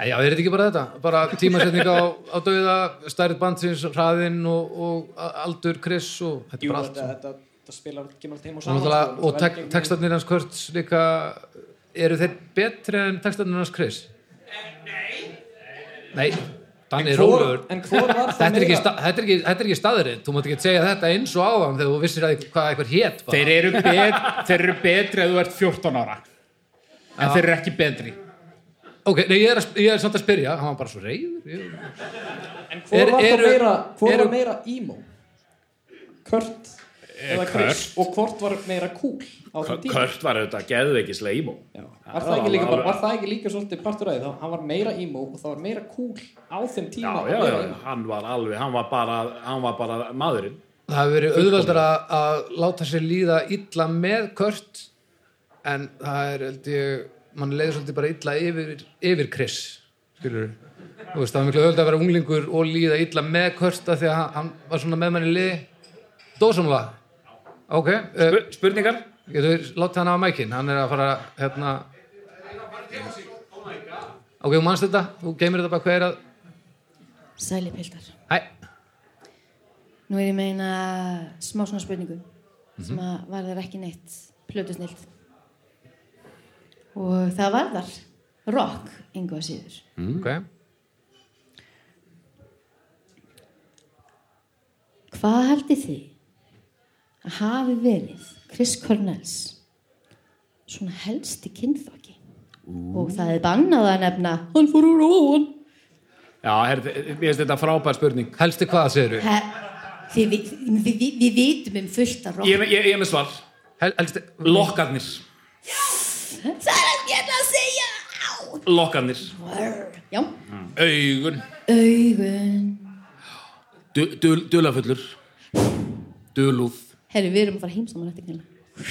B: Æ, Já, er þetta ekki bara þetta? Bara tímasetning á, á dauða, stærð bandsins, hraðinn og, og a- aldur Chris og þetta er bara allt.
K: þetta, þetta, þetta spilar kemur allt heim og
B: Og,
K: saman
B: náttúrulega-
K: sko,
B: og
K: þetta
B: tek,
K: verður ekki-
B: textarnir hans Kurtz líka, eru þeir betri en textarnir hans Chris? Nei. Nei,
K: En
B: þannig er
K: hvor-
B: ólegur.
K: en hvor var það
B: Þetta er ekki
K: meira?
B: sta- þetta er ekki- þetta er ekki staðurinn, þú mátt ekki segja þetta eins og áðan þegar þú vissir að hvað eitthvað hét bara.
C: Þeir eru, bet, þeir eru betri ef þú ert 14 ára En
B: Já.
C: þeir eru ekki betri
B: Ok, nei, ég er, að, ég er samt að spyrja, hann var bara svo reyður. Ég...
K: En hvor
B: Er-
K: var það
B: eru-
K: meira, hvor
B: eru-
K: var meira emo? Kurt eða Chris og hvort var meira cool á þeim tíma?
D: Eh, Kurt var auðvitað geðveiki sleimo
K: Var það, ekki líka, bara, var það ekki líka svolítið partur að því? þá- Hann var meira emo og það var meira cool á þeim tíma
D: Já,
K: og
D: já,
K: meira
D: já,
K: emo.
D: hann var alveg, hann var bara, hann var bara maðurinn
B: Það hefur verið auðveldar að, að láta sér líða illa með Kurt en það er, held ég, mann leiður svolítið bara illa yfir, yfir Chris, skilur Þú veist, það var miklu auðveldar að vera unglingur og líða illa með Kurt af því að hann, hann var svona með manni liði. Dósamlega. Ok. Uh,
D: spurningar?
B: Getur við látið hann af mækinn, hann er að fara, hérna... Ok, þú manst þetta, þú geymir þetta bara hver að...
L: Sæli pildar.
B: Hæ.
L: Nú er ég meina smá svona spurningu sem að varðar ekki neitt plötusnilt. Og það varðar rock, engu að síður.
B: Ok.
L: Hvað heldur þið að hafi verið Chris Cornells svona helsti kynþokki? Og það er bannað að nefna hann fór úr óan.
D: Já, her, ég veist þetta frábær spurning
B: Helsti hvað segir við?
L: Við vi, vi, vi vitum um fullt að rock.
D: Ég, er með- ég, ég er með svar
B: Hel, helsti...
D: Lokkarnir,
L: Það er ekki hægt að segja! Á!
D: lokkarnir
L: Já.
D: Augun
L: Augun.
D: du, dul, Dulafullur Dulúð
L: Herri, við erum að fara heim saman eftir kynna.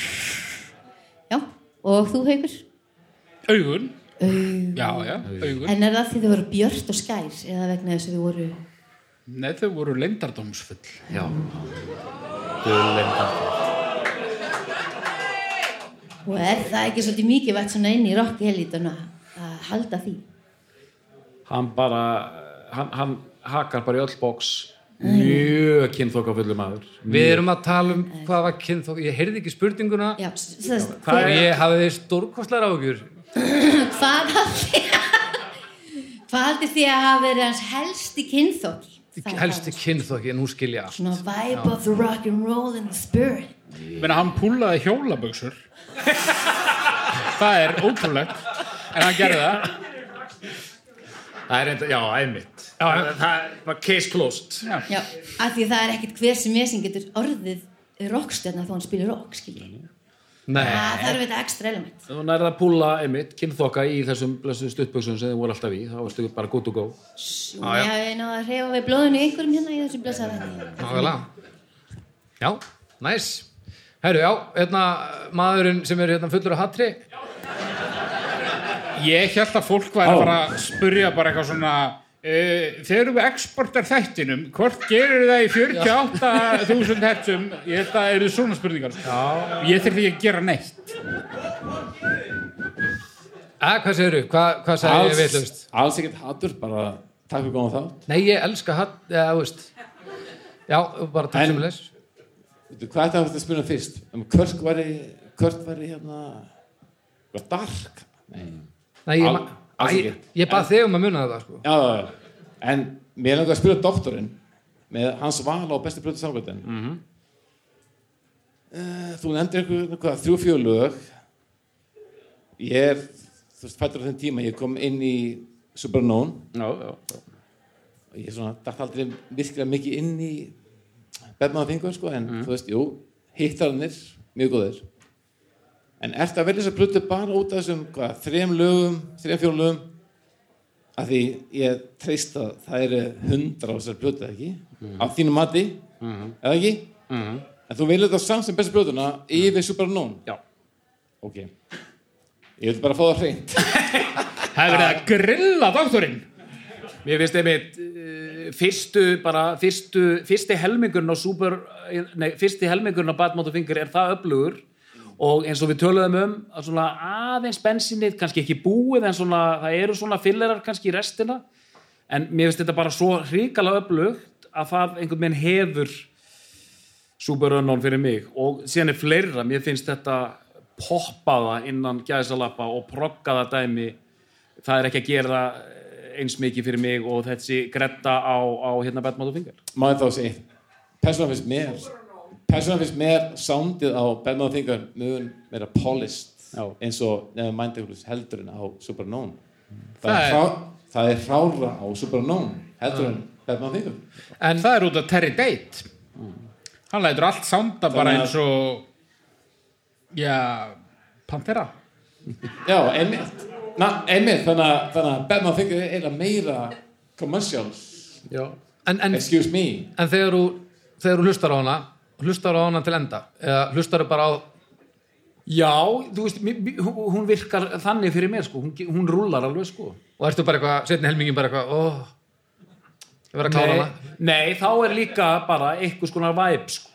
L: Já, og þú haugur?
C: Augun
L: Augun.
C: Já, já, augun
L: En er það því þau voru björt og skær eða vegna þess að þau voru...
C: Nei, þau voru leyndardómsfull
D: Já Dullenda
L: Og er það ekki svolítið mikið vett svona inn í rockelítuna að halda því?
D: Hann bara, hann, hann hakar bara í öll bóks Mjög kynþokkafullur maður
B: Við erum að tala um hvað var kynþók ég heyrði ekki spurninguna
L: Já, það,
B: hvað er ég hafði stórkostlar áhugjur
L: hvað haldi... hvað haldi því að hafa verið hans helsti kynþóki?
B: helsti kynþóki, nú skil ég allt
L: Svona vibe
B: Já.
L: of the rock and roll and the spirit.
C: Menna, hann púlaði hjólaböksur Það er ótrúlegt En hann gerði það
D: Það er enda, já, einmitt Það það er bara case closed
C: Já,
L: Já, af því það er ekkert hver sem ég sem getur orðið rockstjörna þó hann spilir rock, skiljið. Það
D: Nei
L: þarf þetta ekstra element.
D: Þú nærið að púla einmitt kynþokka í þessum blessu stuttböksum sem þið voru alltaf í, þá varstu bara good to go. Ah,
L: Já, Ah, já. Ég náði að hreyfa við blóðinu í einhverjum hérna í þessu blessaða þetta.
B: Nákvæmlega Já, næs Herru, já, hérna maðurinn sem er hérna fullur af hatri
C: Ég held að fólk væri að fara að spurja bara eitthvað svona uh, Þegar við exportar þættinum, hvort gerir það í 48.000 hertsum? Ég held að það eru svona spurningar Já. Ég þurfti ekki að gera neitt
B: Æ, hvað segirðu? Hva, hvað sagði ég vitlaust?
M: alls ekkert hattur, bara takk fyrir góðan þátt
B: Nei, ég elska hatt, eða, þú veist Já, bara takk
M: En-
B: sem leys
M: Veitu, hvað þetta átti að spyrja fyrst? Um Kurt væri, Kurt væri hérna var dark Nei,
B: Nei, ég,
M: Al-
B: ma-
M: alls
B: Æ,
M: ekki.
B: ég, ég bað þig um að muna þetta sko.
M: Já, já, já. en mér langar að spyrja doktorinn með hans val á bestu blötu samvætin mm -hmm. Eh, Þú nefndir einhver hvað, þrjú fjögur lög Ég er þú veist, fættur á þeim tíma, ég kom inn í Supernón
D: Já, já, já.
M: og ég svona dætt aldrei virkilega mikið inn í befna á fingum sko, en
D: Mhm.
M: þú veist, jú, hittarannir mjög góðir en ertu að velja þess að plötu bara út af þessum hvað, þrem lögum, þrem fjórum lögum af því ég treysta að það eru hundra á þessar plötu eða ekki,
G: Mhm.
M: á þínu mati
D: Mhm.
M: eða ekki en þú velur þetta samt sem bestu plötuna yfir Supernón já, ok ég vil bara fá það hreint
C: Það er verið að grilla doktorinn
D: Mér finnst einmitt eh, fyrstu, bara, fyrstu, fyrsti helmingurinn á super, eh, nei, fyrsti helmingurinn á Batmótt og Fingur er það öflugur og eins og við töluðum um að svona aðeins bensinnið, kannski ekki búið en svona, það eru svona fillerar kannski í restina en mér finnst þetta bara svo hrikalega öflugt að það einhvern veginn hefur Super Unknown fyrir mig og síðan er fleira, mér finnst þetta poppaða innan gæðisalappa og proggaða dæmi það er ekki að gera eins mikið fyrir mig og þessi gretta á, á hérna Batman og Fingar
M: má ég þá segja eitt? persónan finnst mér persónan finnst mér soundið á Batman Thinker mun meira polished eins og nefnum Mindfulness heldur en á Supernón það,
C: Það
M: er
C: er-
M: hrá, það er hrára á Supernón heldur en Batman Thinker
C: En það er út af Terry Date Hann lætur allt sanda bara
M: Þannig að-
C: eins og Já Pantera
M: já, einmitt Na, einmitt, þannig að, þannig að Batman Thinker er eiginlega meira commercial
B: en, en,
M: excuse me
B: en þegar þú þegar þú hlustar á hana hlustar á hana til enda eða hlustar þú bara á
D: Já, þú veist, mér- mér- hún hún virkar þannig fyrir mér sko, hún, ge- hún rúlar alveg sko
B: og ertu bara eitthvað, setni helmingin bara eitthvað óh, ég verð að klára
D: nei,
B: hana
D: nei, þá er líka bara einhvers konar væp sko.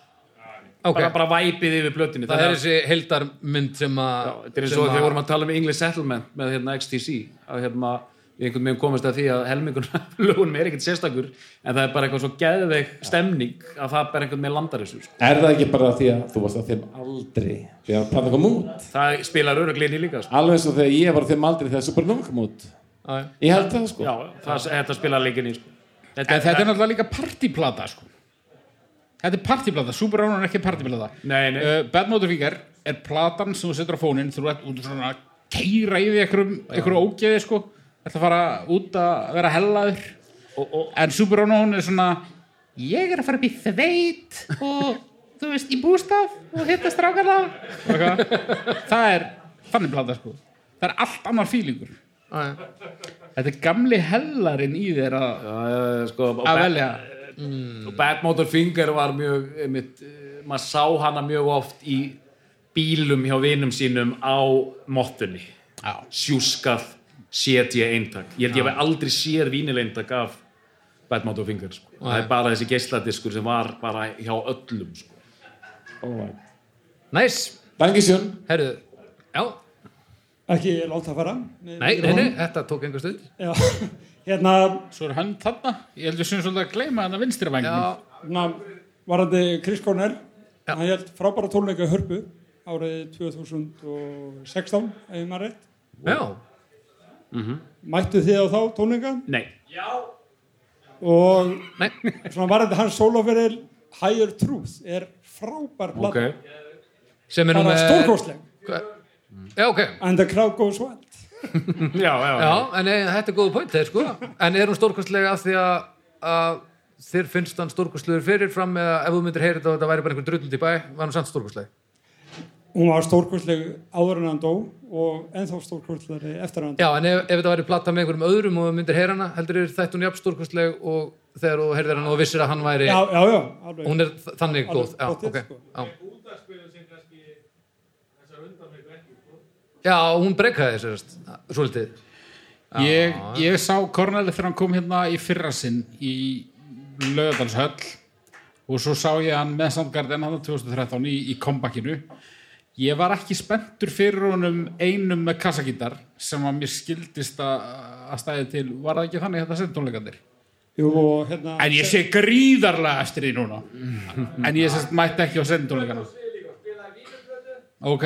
B: Ok.
D: bara, bara væpið yfir blötinu
B: það er þessi heildarmynd sem að
D: þetta er eins og þegar vorum að tala um English Settlement með hérna XTC að hérna við einhvern veginn komast að því að helmingun lögunum er ekkert sérstakur en það er bara eitthvað svo geðveik stemning að það bara einhvern veginn landar þessu sko.
M: er það ekki bara því að þú varst á þeim aldri því að planta kom út
D: það spilar öruglinni líka sko.
M: alveg eins og þegar ég var á þeim aldri þegar Supernón kom út ég held það sko
D: já, það, þetta spilar leikinni sko.
C: En þetta er náttúrulega líka partyplata sko. Þetta er partyplata, Super Ánun er ekki partyplata
D: Nei, nei.
C: Uh, Bad Motorfinger er platan sem þú setur á fóninn þú ert út svona að keira yfir einhverjum, einhverju ógeði sko ætla að fara út að vera hellaður en Super Ánun er svona ég er að fara upp í þveit og þú veist, í bústaf og hitta strákarna Og eitthvað. það er þannig plata sko það er allt annar fílingur þetta er gamli hellarinn í þér að,
D: Ah, já, já, sko, Mm. og
C: að
D: Bad-
C: velja
D: og Bad Motor Finger var mjög einmitt, eh, maður sá hana mjög oft í bílum hjá vinum sínum á mottunni sjúskað setja eintak ég held ég
C: Já.
D: hef aldrei séð vínilegeintak af Bad Motor Finger sko.
C: Nei.
D: það er bara þessi geisladiskur sem var bara hjá öllum sko.
M: oh
B: næs
M: Dangisjón
B: herru, já,
N: Ekki láta það fara
B: nei, nei, nei, þetta tók einhver stund
N: Já, hérna
C: Svo er hann þarna Ég held við sem svolítið að gleyma hann að vinstri
N: Já,
C: vangin
N: hérna, varandi Chris Cornell hann held frábæra tónleika í hörpu árið 2016 ef ég maður rétt
B: Já
N: Mættu þið á þá tónleika?
D: Nei
N: og svona varandi hans sóloferil Higher Truth er frábær
B: Ok.
N: plata
B: sem er nú
N: bara
B: með
N: stórkostleg
B: já, ok
N: and the crowd goes wild
D: já, já,
B: en eh, þetta er góð point þeir sko en er hún stórkostlega af því að, að þér finnst hann stórkostlegur fyrirfram eða ef þú myndir heyra þetta og þetta væri bara einhver drullund í bæ var hann samt stórkostleg
N: hún var stórkostleg áður en hann dó og ennþá stórkostlegri eftir að hann dó
B: já, en ef, ef þetta væri platta með einhverjum öðrum og þú myndir heyra hana heldur þér þetta hún jafn stórkostleg og þegar þú heyrðir hana og vissir að hann væri
N: já, já, já, alveg.
B: hún er þ- þannig
N: Alveg
B: góð já,
N: pottþétt,
B: ok,
N: sko.
B: já
E: Útarspilur sem kannski þessar undanleik ekki
B: Já, hún breykaði sérst, Ah, svolítið. Ah.
C: ég, ég sá Korneli þegar hann kom hérna í fyrra sinn í Löðalshöll og svo sá ég hann með Sandgarden hann 2013 í, í kompakinu ég var ekki spenntur fyrir honum einum með kassagítar sem að mér skildist að, að stæði til var það ekki þannig þetta sendtónleikandir
N: Jú, og hérna
C: en ég sé gríðarlega eftir því núna en ég sérst mætti ekki á sendtónleikana ok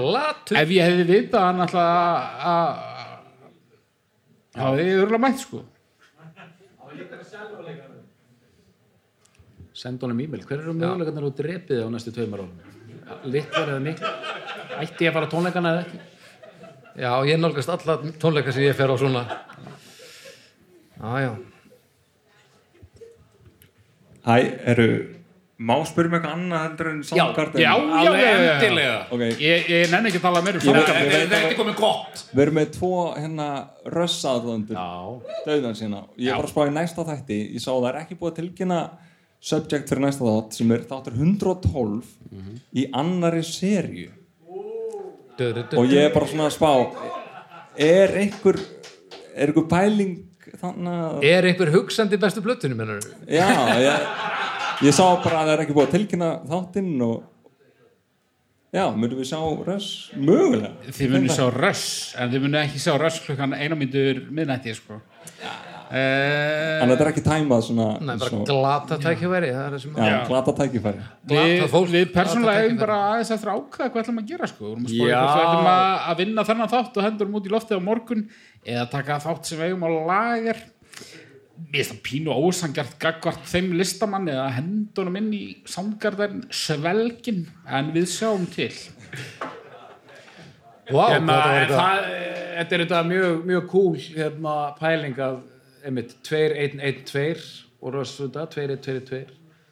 B: Latur.
C: Ef ég hefði vitað hann alltaf að- að þá hefði ég örgulega mætt sko
D: send honum e-mail, hver eru mögulegarnar og drepið á næstu tveimur árum litlar eða mikil ætti ég að fara á tónleikana eða ekki
B: Já, ég nálgast alla tónleika sem ég fer á svona. Já, já.
O: Hæ, eru Má spyrja mig eitthvað annað heldur en samkartin?
C: já, já, já, já, já.
O: Ok.
C: Ég, ég nenni ekki að tala meira um samkartin.
O: Þetta
C: er ekki komið gott.
O: Við erum með tvo hérna rössaðlandur döðan sína. Ég var að spá í næsta þætti ég sá það er ekki búið að tilkynna subject fyrir næsta þátt sem er þáttur 112 í annari serju og ég er bara svona að spá er einhver er einhver pæling þannig
B: Er einhver hugsandi bestu blötunum hennar?
O: Já, ég, ég sá bara að það er ekki búið að tilkynna þáttinn og já, myndum við sjá röss mögulega
C: Þið munum sjá röss, en þið munum ekki sjá röss klukkan eina myndur miðnætti, sko. Eh,
O: En
C: Þannig
O: þetta er ekki tæmað svona
B: Nei, bara
O: svona-
B: glata tækifæri það er það sem-
O: Já, glata tækifæri
B: Glatað
C: Við,
B: fólk,
C: við persónulega
B: glatað
C: hefum bara aðeins eftir að ákveða hvað ætlum að gera sko. Við vorum að spá í
D: Já.
C: hvort við ætlum að, að vinna þennan þátt og hendur út í loftið á morgun eða taka þátt sem við eigum á lager Mér finnst það pínu ósangjart gagvart þeim listamann eða hendunum inn í samgarðarinn svelgin en við sjáum til
B: Vá,
D: Hérna,
B: hvað þetta var
D: en
B: þetta?
D: það- Eh, þetta er þetta mjög, mjög cool hérna, pæling af einmitt 2-1-1-2 og rössfunda 2-1-2-2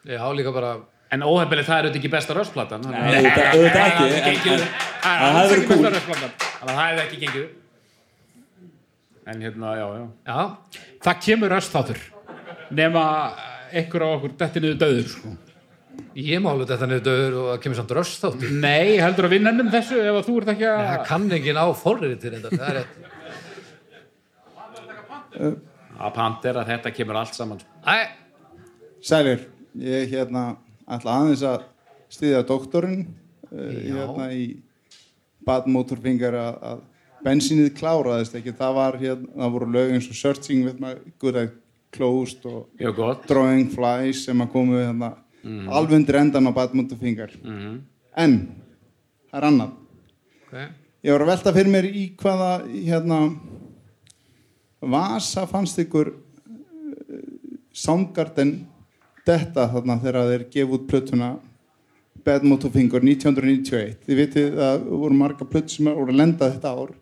B: Já, líka bara
D: En óhefnileg það er auðvitað ekki besta rössplatan
O: Nei, auðvitað- auðvitað ekki, en- en- en það hefði verið cool.
D: Þannig að það hefði ekki gengið En hérna, já, já
B: Já,
C: það kemur röstþáttur nema einhver á okkur detti niður döður sko.
B: Ég má alveg þetta niður döður og það kemur samt röst þáttur
C: Nei, heldur að við nennum þessu ef að þú ert ekki að
B: Það kann enginn á forriðið til þetta Það er rétt
P: Eh,
D: Að pantera, þetta kemur allt saman
B: Æ,
P: Sælir, ég hérna ætla aðeins að styðja doktorinn uh, hérna í badmótorpingar að, að bensínið kláraðist ekki, það var hérna, það voru lög eins og Searching with my good eye closed og
D: Já, gott.
P: Drawing Flies sem að komu hérna
B: Mm.
D: Mhm.
P: alveg undir endan á badmótorpingar
D: Mhm.
P: en það er annað
B: okay.
P: ég var að velta fyrir mér í hvaða hérna vasa fannst ykkur eh, Soundgarden detta þarna þegar þeir gefa út plötuna Bad Motofinger 1991 þið vitið að voru marga plötur sem voru að lenda þetta ár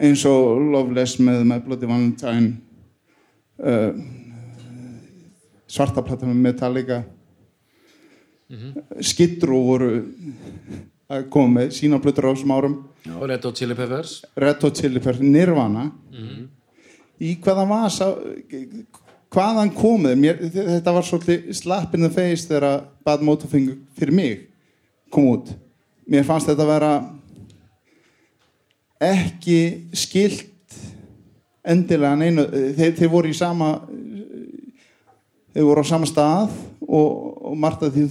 P: eins og Loveless með My Bloody Valentine uh, svarta plata með Metallica
B: Mhm.
P: Skidrú voru að koma með sína plötur á þessum árum
D: Og Red Hot Chili Peppers
P: Red Hot Chili Peppers, Nirvana
D: Mhm.
P: í hvaða vasa hvaðan komið mér, þetta var svolítið slap in the face þegar Bad Motorfinger fyrir mig kom út mér fannst þetta vera ekki skilt endilega neinu þeir, þeir voru í sama þeir voru á sama stað og, og margt af því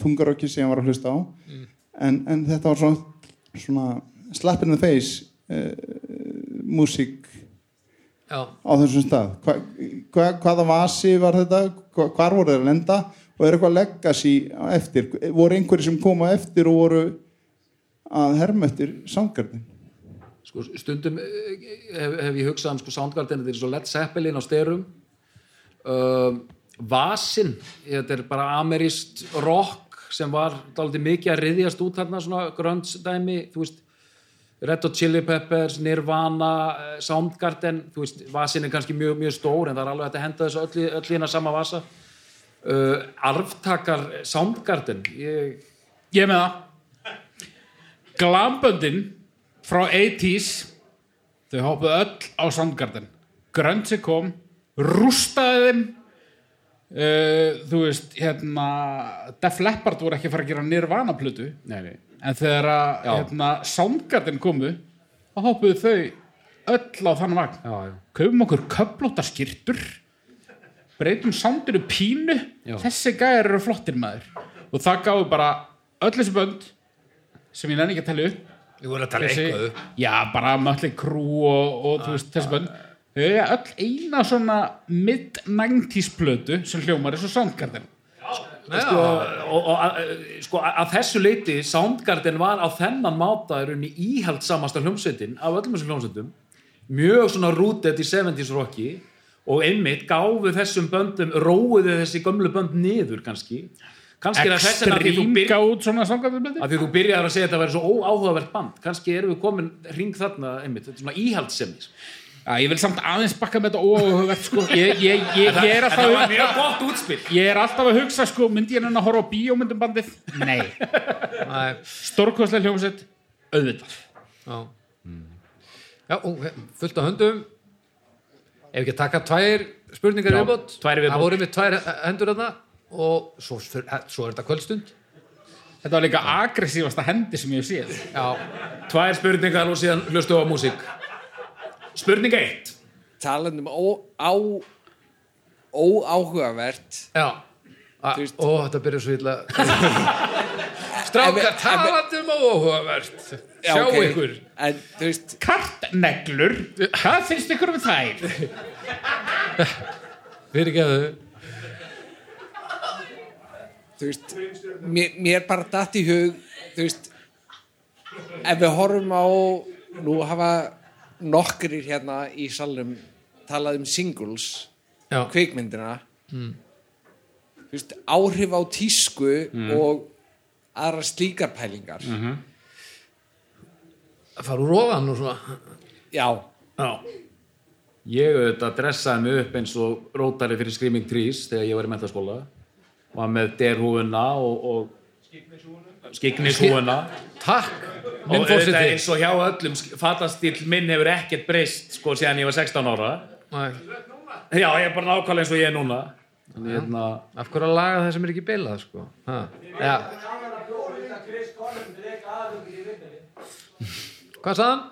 P: þungarokki sem ég var að hlusta á
B: Mm.
P: en, en þetta var svona, svona slap in the face uh, músík
B: Já.
P: á þessum stað hva, hva, hvaða vasi var þetta hva, hvar voru þeir að lenda og er eitthvað legacy á eftir voru einhverjir sem koma eftir og voru að herma eftir samgarðin
D: sko, stundum eh, hef, hef ég hugsað um sko, Soundgarden þetta er svo Led Zeppelin á styrum um, Vasin þetta er bara amerist rock sem var dálítið mikið að riðjast út þarna svona grönnsdæmi þú veist Red Hot Chili Peppers, Nirvana, eh, Soundgarden, þú veist, vasin er kannski mjög, mjög stór en það er alveg hægt að henda þessu öll, í- öll í hérna sama vasa. Uh, arftakar Soundgarden, ég...
C: Ég með það. Glamböndin frá 80s þau hoppuð öll á Soundgarden Grönsi kom rústaði þeim uh, þú veist hérna Def Leppard voru ekki að fara að gera Nirvana plötu
D: Nei, nei.
C: en þegar að
D: Já.
C: hérna, Soundgarden komu þá hoppuðu þau öll á þann vagn
D: já, já.
C: kaupum okkur köflóta skýrtur breytum soundinu pínu
D: Já.
C: þessi gæjar eru flottir maður og það gáðu bara öll þessi bönd sem ég nenni ekki að tala upp
B: Ég voru að tala
C: Þessi-
B: eitthvað upp.
C: já, bara mölli krú og, og þú veist, þessi bönd þau eiga öll eina svona mid-90s plötu sem hljómar eins og Soundgarden
D: sko, og, og að, sko, að að þessu leiti Soundgarden var á þennan máta í rauninni íhaldsamasta hljómsveitin af öllum þessum hljómsveitum mjög svona rooted í 70s rocki og einmitt gáfu þessum böndum róuðu þessi gömlu bönd niður kannski kannski er það þess vegna að því þú
C: Extreme
D: byr-
C: gáðu svona Soundgarden plötu
D: að því þú byrjar að segja að þetta væri svo óáhugavert band kannski erum við komin ring þarna einmitt, þetta er svona íhaldsemi sko.
C: Já, ég vil samt aðeins bakka með þetta óhugavert sko. ég, ég, ég, ég er alltaf
D: Þetta var mjög gott útspil
C: Ég er alltaf að hugsa sko, myndi ég hann að horfa á bíómyndum bandið? Nei. Nei. Stórkostlega hljómsett, auðvitað.
B: Já. Já, ó, fullt af höndum. Ef ekki að taka tvær spurningar
C: Já,
B: viðbót.
C: tvær viðbót.
B: Það voru með tvær eh, hendur þarna og svo, svo er þetta kvöldstund.
C: Þetta var líka aggressívasta hendi sem ég hef séð.
B: Já.
D: Tvær spurningar og síðan hlustu á músík Spurning 1
Q: Talandum ó, á óáhugavert
B: Já Ó, þetta byrjar svo illa Strákar, talandi um óhugavert Sjá ykkur
Q: en, þú veist,
C: Kartneglur, hvað finnst ykkur um þær?
B: Fyrir ekki að þau
Q: þú veist mér, mér bara datt í hug þú veist ef við horfum á nú hafa nokkrir hérna í salnum talað um singles
B: Já.
Q: kvikmyndina
B: mm.
Q: þú veist, áhrif á tísku
B: Mm.
Q: og aðra slíkar pælingar
D: Mhm.
B: Að fara úr ofan og svona
Q: já,
B: já.
D: Ég auðvitað dressaði mig upp eins og rótari fyrir Screaming Trees þegar ég var í mentaskóla var með derhúuna og, og skiknishúuna
B: Takk
D: og
B: Minn
D: auðvitað
B: fórseti.
D: eins og hjá öllum fatastýl minn hefur ekkert breyst sko síðan ég var 16 ára
B: Nei.
D: Já, ég er bara nákvæmlega eins og ég er núna
B: Já. Af hverju að laga það sem er ekki bilað sko? Ha. Já. Hvað sagði hann?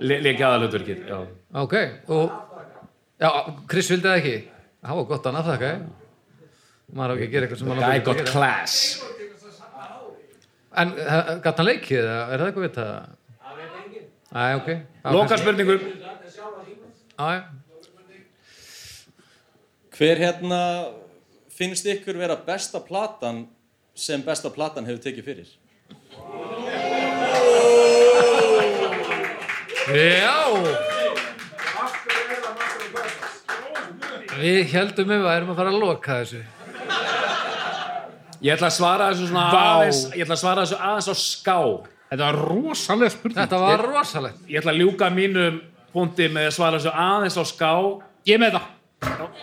D: Le leikja aðalöðverkið Já
B: Ok, og já, Chris vildi það ekki Það var gott að nafnþakka eh? Maður á ekki að gera eitthvað sem
D: The
B: maður á
D: guy
B: ekki að
D: got
B: gera.
D: class
B: En gæt hann leikið, eða er það eitthvað við það? Það veit enginn. Æ, ok.
D: Loka spurningu
B: Æ,
R: Hver hérna finnst ykkur vera besta platan sem besta platan hefur tekið fyrir?
B: Já Við heldum við værum að fara að loka þessu
D: Ég ætla að svara þessu svona
B: Vá.
D: aðeins Ég ætla að svara þessu aðeins á ská Þetta var rosalega spurning
B: Þetta var rosalegt
D: Ég ætla að ljúka mínum punkti með að svara þessu aðeins á ská Ég með það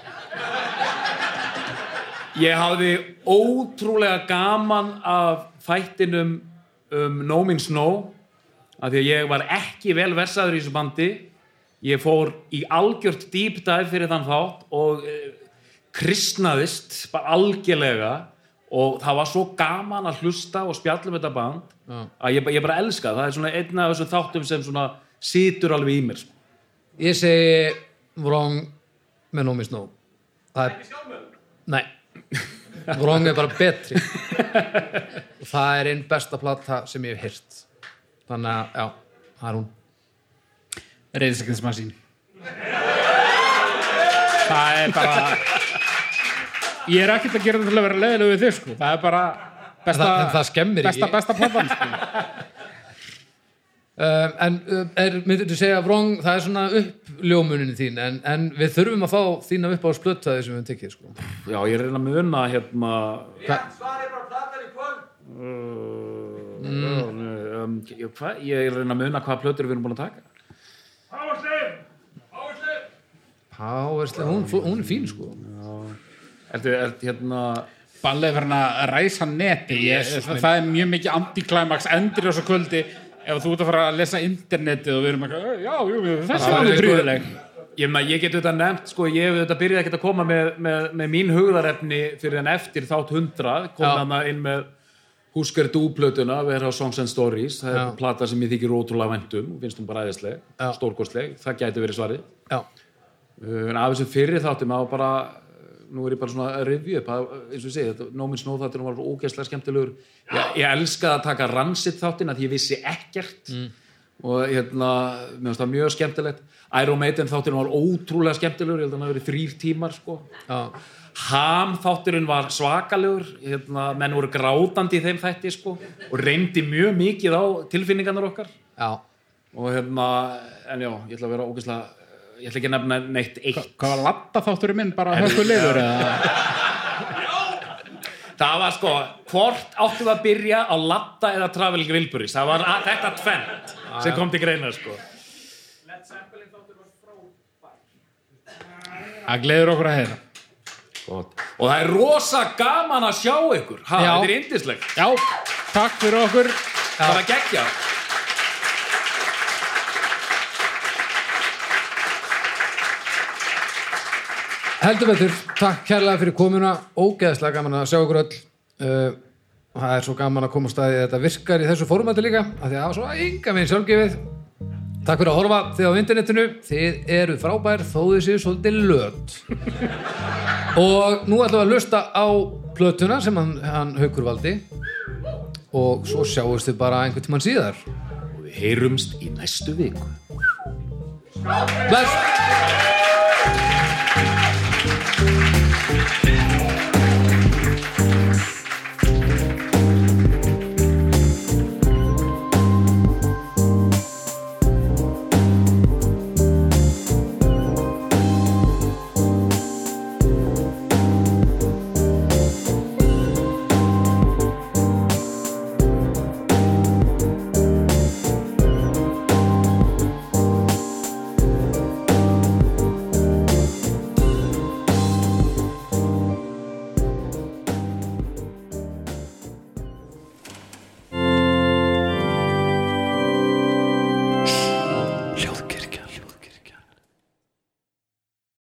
D: Ég hafði ótrúlega gaman af fættinum um No Means No af því að ég var ekki vel versaður í þessu bandi ég fór í algjört deep dive fyrir þann þátt og eh, kristnaðist bara algjörlega og það var svo gaman að hlusta og spjallum þetta band að ég, ba- ég bara elska það. það er svona einn af þessum þáttum sem svona situr alveg í mér sko.
B: Ég segi wrong með nómis nóg Það er Nei Wrong er bara betri og það er einn besta plata sem ég hef heyrt Þannig að, já, það er hún
C: Reyðsakins Það er bara... Ég er ekkert að gera þetta til að vera leiðilegu við þig sko. Það er bara besta...
B: En það- en það skemmir
C: besta,
B: ekki.
C: Besta, besta platan sko.
B: Um, en um, er, myndir þú segja wrong, það er svona uppljómunin þín en, en við þurfum að fá þína upp á splöttaði sem við höfum tekið sko.
D: Já, ég er að reyna að muna hérna
B: Mm.
D: Uh, um, ég, hva, ég er að reyna að muna hvaða plötur við erum búin að taka
B: Páverslega, hún, hún er fín sko
D: Ertu, ertu hérna
C: Ballið verðin að ræsa neti ég,
B: Jesus
C: það,
B: minn.
C: það er mjög mikið antiklæmaks endur þessu kvöldi ef þú ert að fara að lesa internetið og við erum eitthvað, já, jú, þessi
D: Það
C: var
D: var
C: alveg
D: sko-
C: prýðileg
D: Ég, meina, ég get auðvitað nefnt, sko, ég hef auðvitað byrjað ekkert að koma með, með, með mín hugðarefni fyrir en eftir þátt 100 kom
B: Já.
D: hann inn með Husker Du-plötuna, við erum á Songs and Stories það er
B: Já.
D: plata sem ég þykir ótrúlega væntum og finnst hún bara æðisleg, stórkostleg það gæti verið svarið
B: Já.
D: Uh, en af þessum fyrir þáttum þá bara, eh, nú er ég bara svona að revju upp, að- eins og ég segi, þetta Nómin Snóð þáttunum var ógeðslega skemmtilegur ég, ég elskaði að taka rannsitt þáttin að því ég vissi ekkert og hérna, mér finnst það mjög skemmtilegt Iron Maiden þátturinn var ótrúlega skemmtilegur ég held að hann hafi verið þrýr tímar sko. Ham þátturinn var svakalegur hérna, menn voru grátandi í þeim þætti sko, og reyndi mjög mikið á tilfinningarnar okkar
B: já.
D: og hérna, en já, ég ætla að vera ógeðslega ég ætla ekki að nefna neitt eitt
C: Hvað var latta þátturinn minn bara
D: Herri,
C: höfðu liður
D: já.
C: eða?
D: það var sko, hvort áttum við að byrja á latta eða travel grillburis, það var að, þetta tvent sem kom til greina sko.
B: Það gleður okkur að heyra
D: Gott. og það er rosa gaman að sjá ykkur ha,
B: Já.
D: þetta er indislegt
C: já, takk fyrir okkur
D: það var geggja
B: Heldur betur, takk kærlega fyrir komuna ógeðslega gaman að sjá okkur öll uh, og það er svo gaman að koma á staði að þetta virkar í þessu formati líka af því að það var svo ynga minn sjálfgefið Takk fyrir að horfa þið á internetinu þið eru frábær þó þið séu svolítið löt og nú ætlum við að lusta á plötuna sem hann, hann haukur valdi og svo sjáumst þið bara einhvern tímann síðar og við heyrumst í næstu viku Bless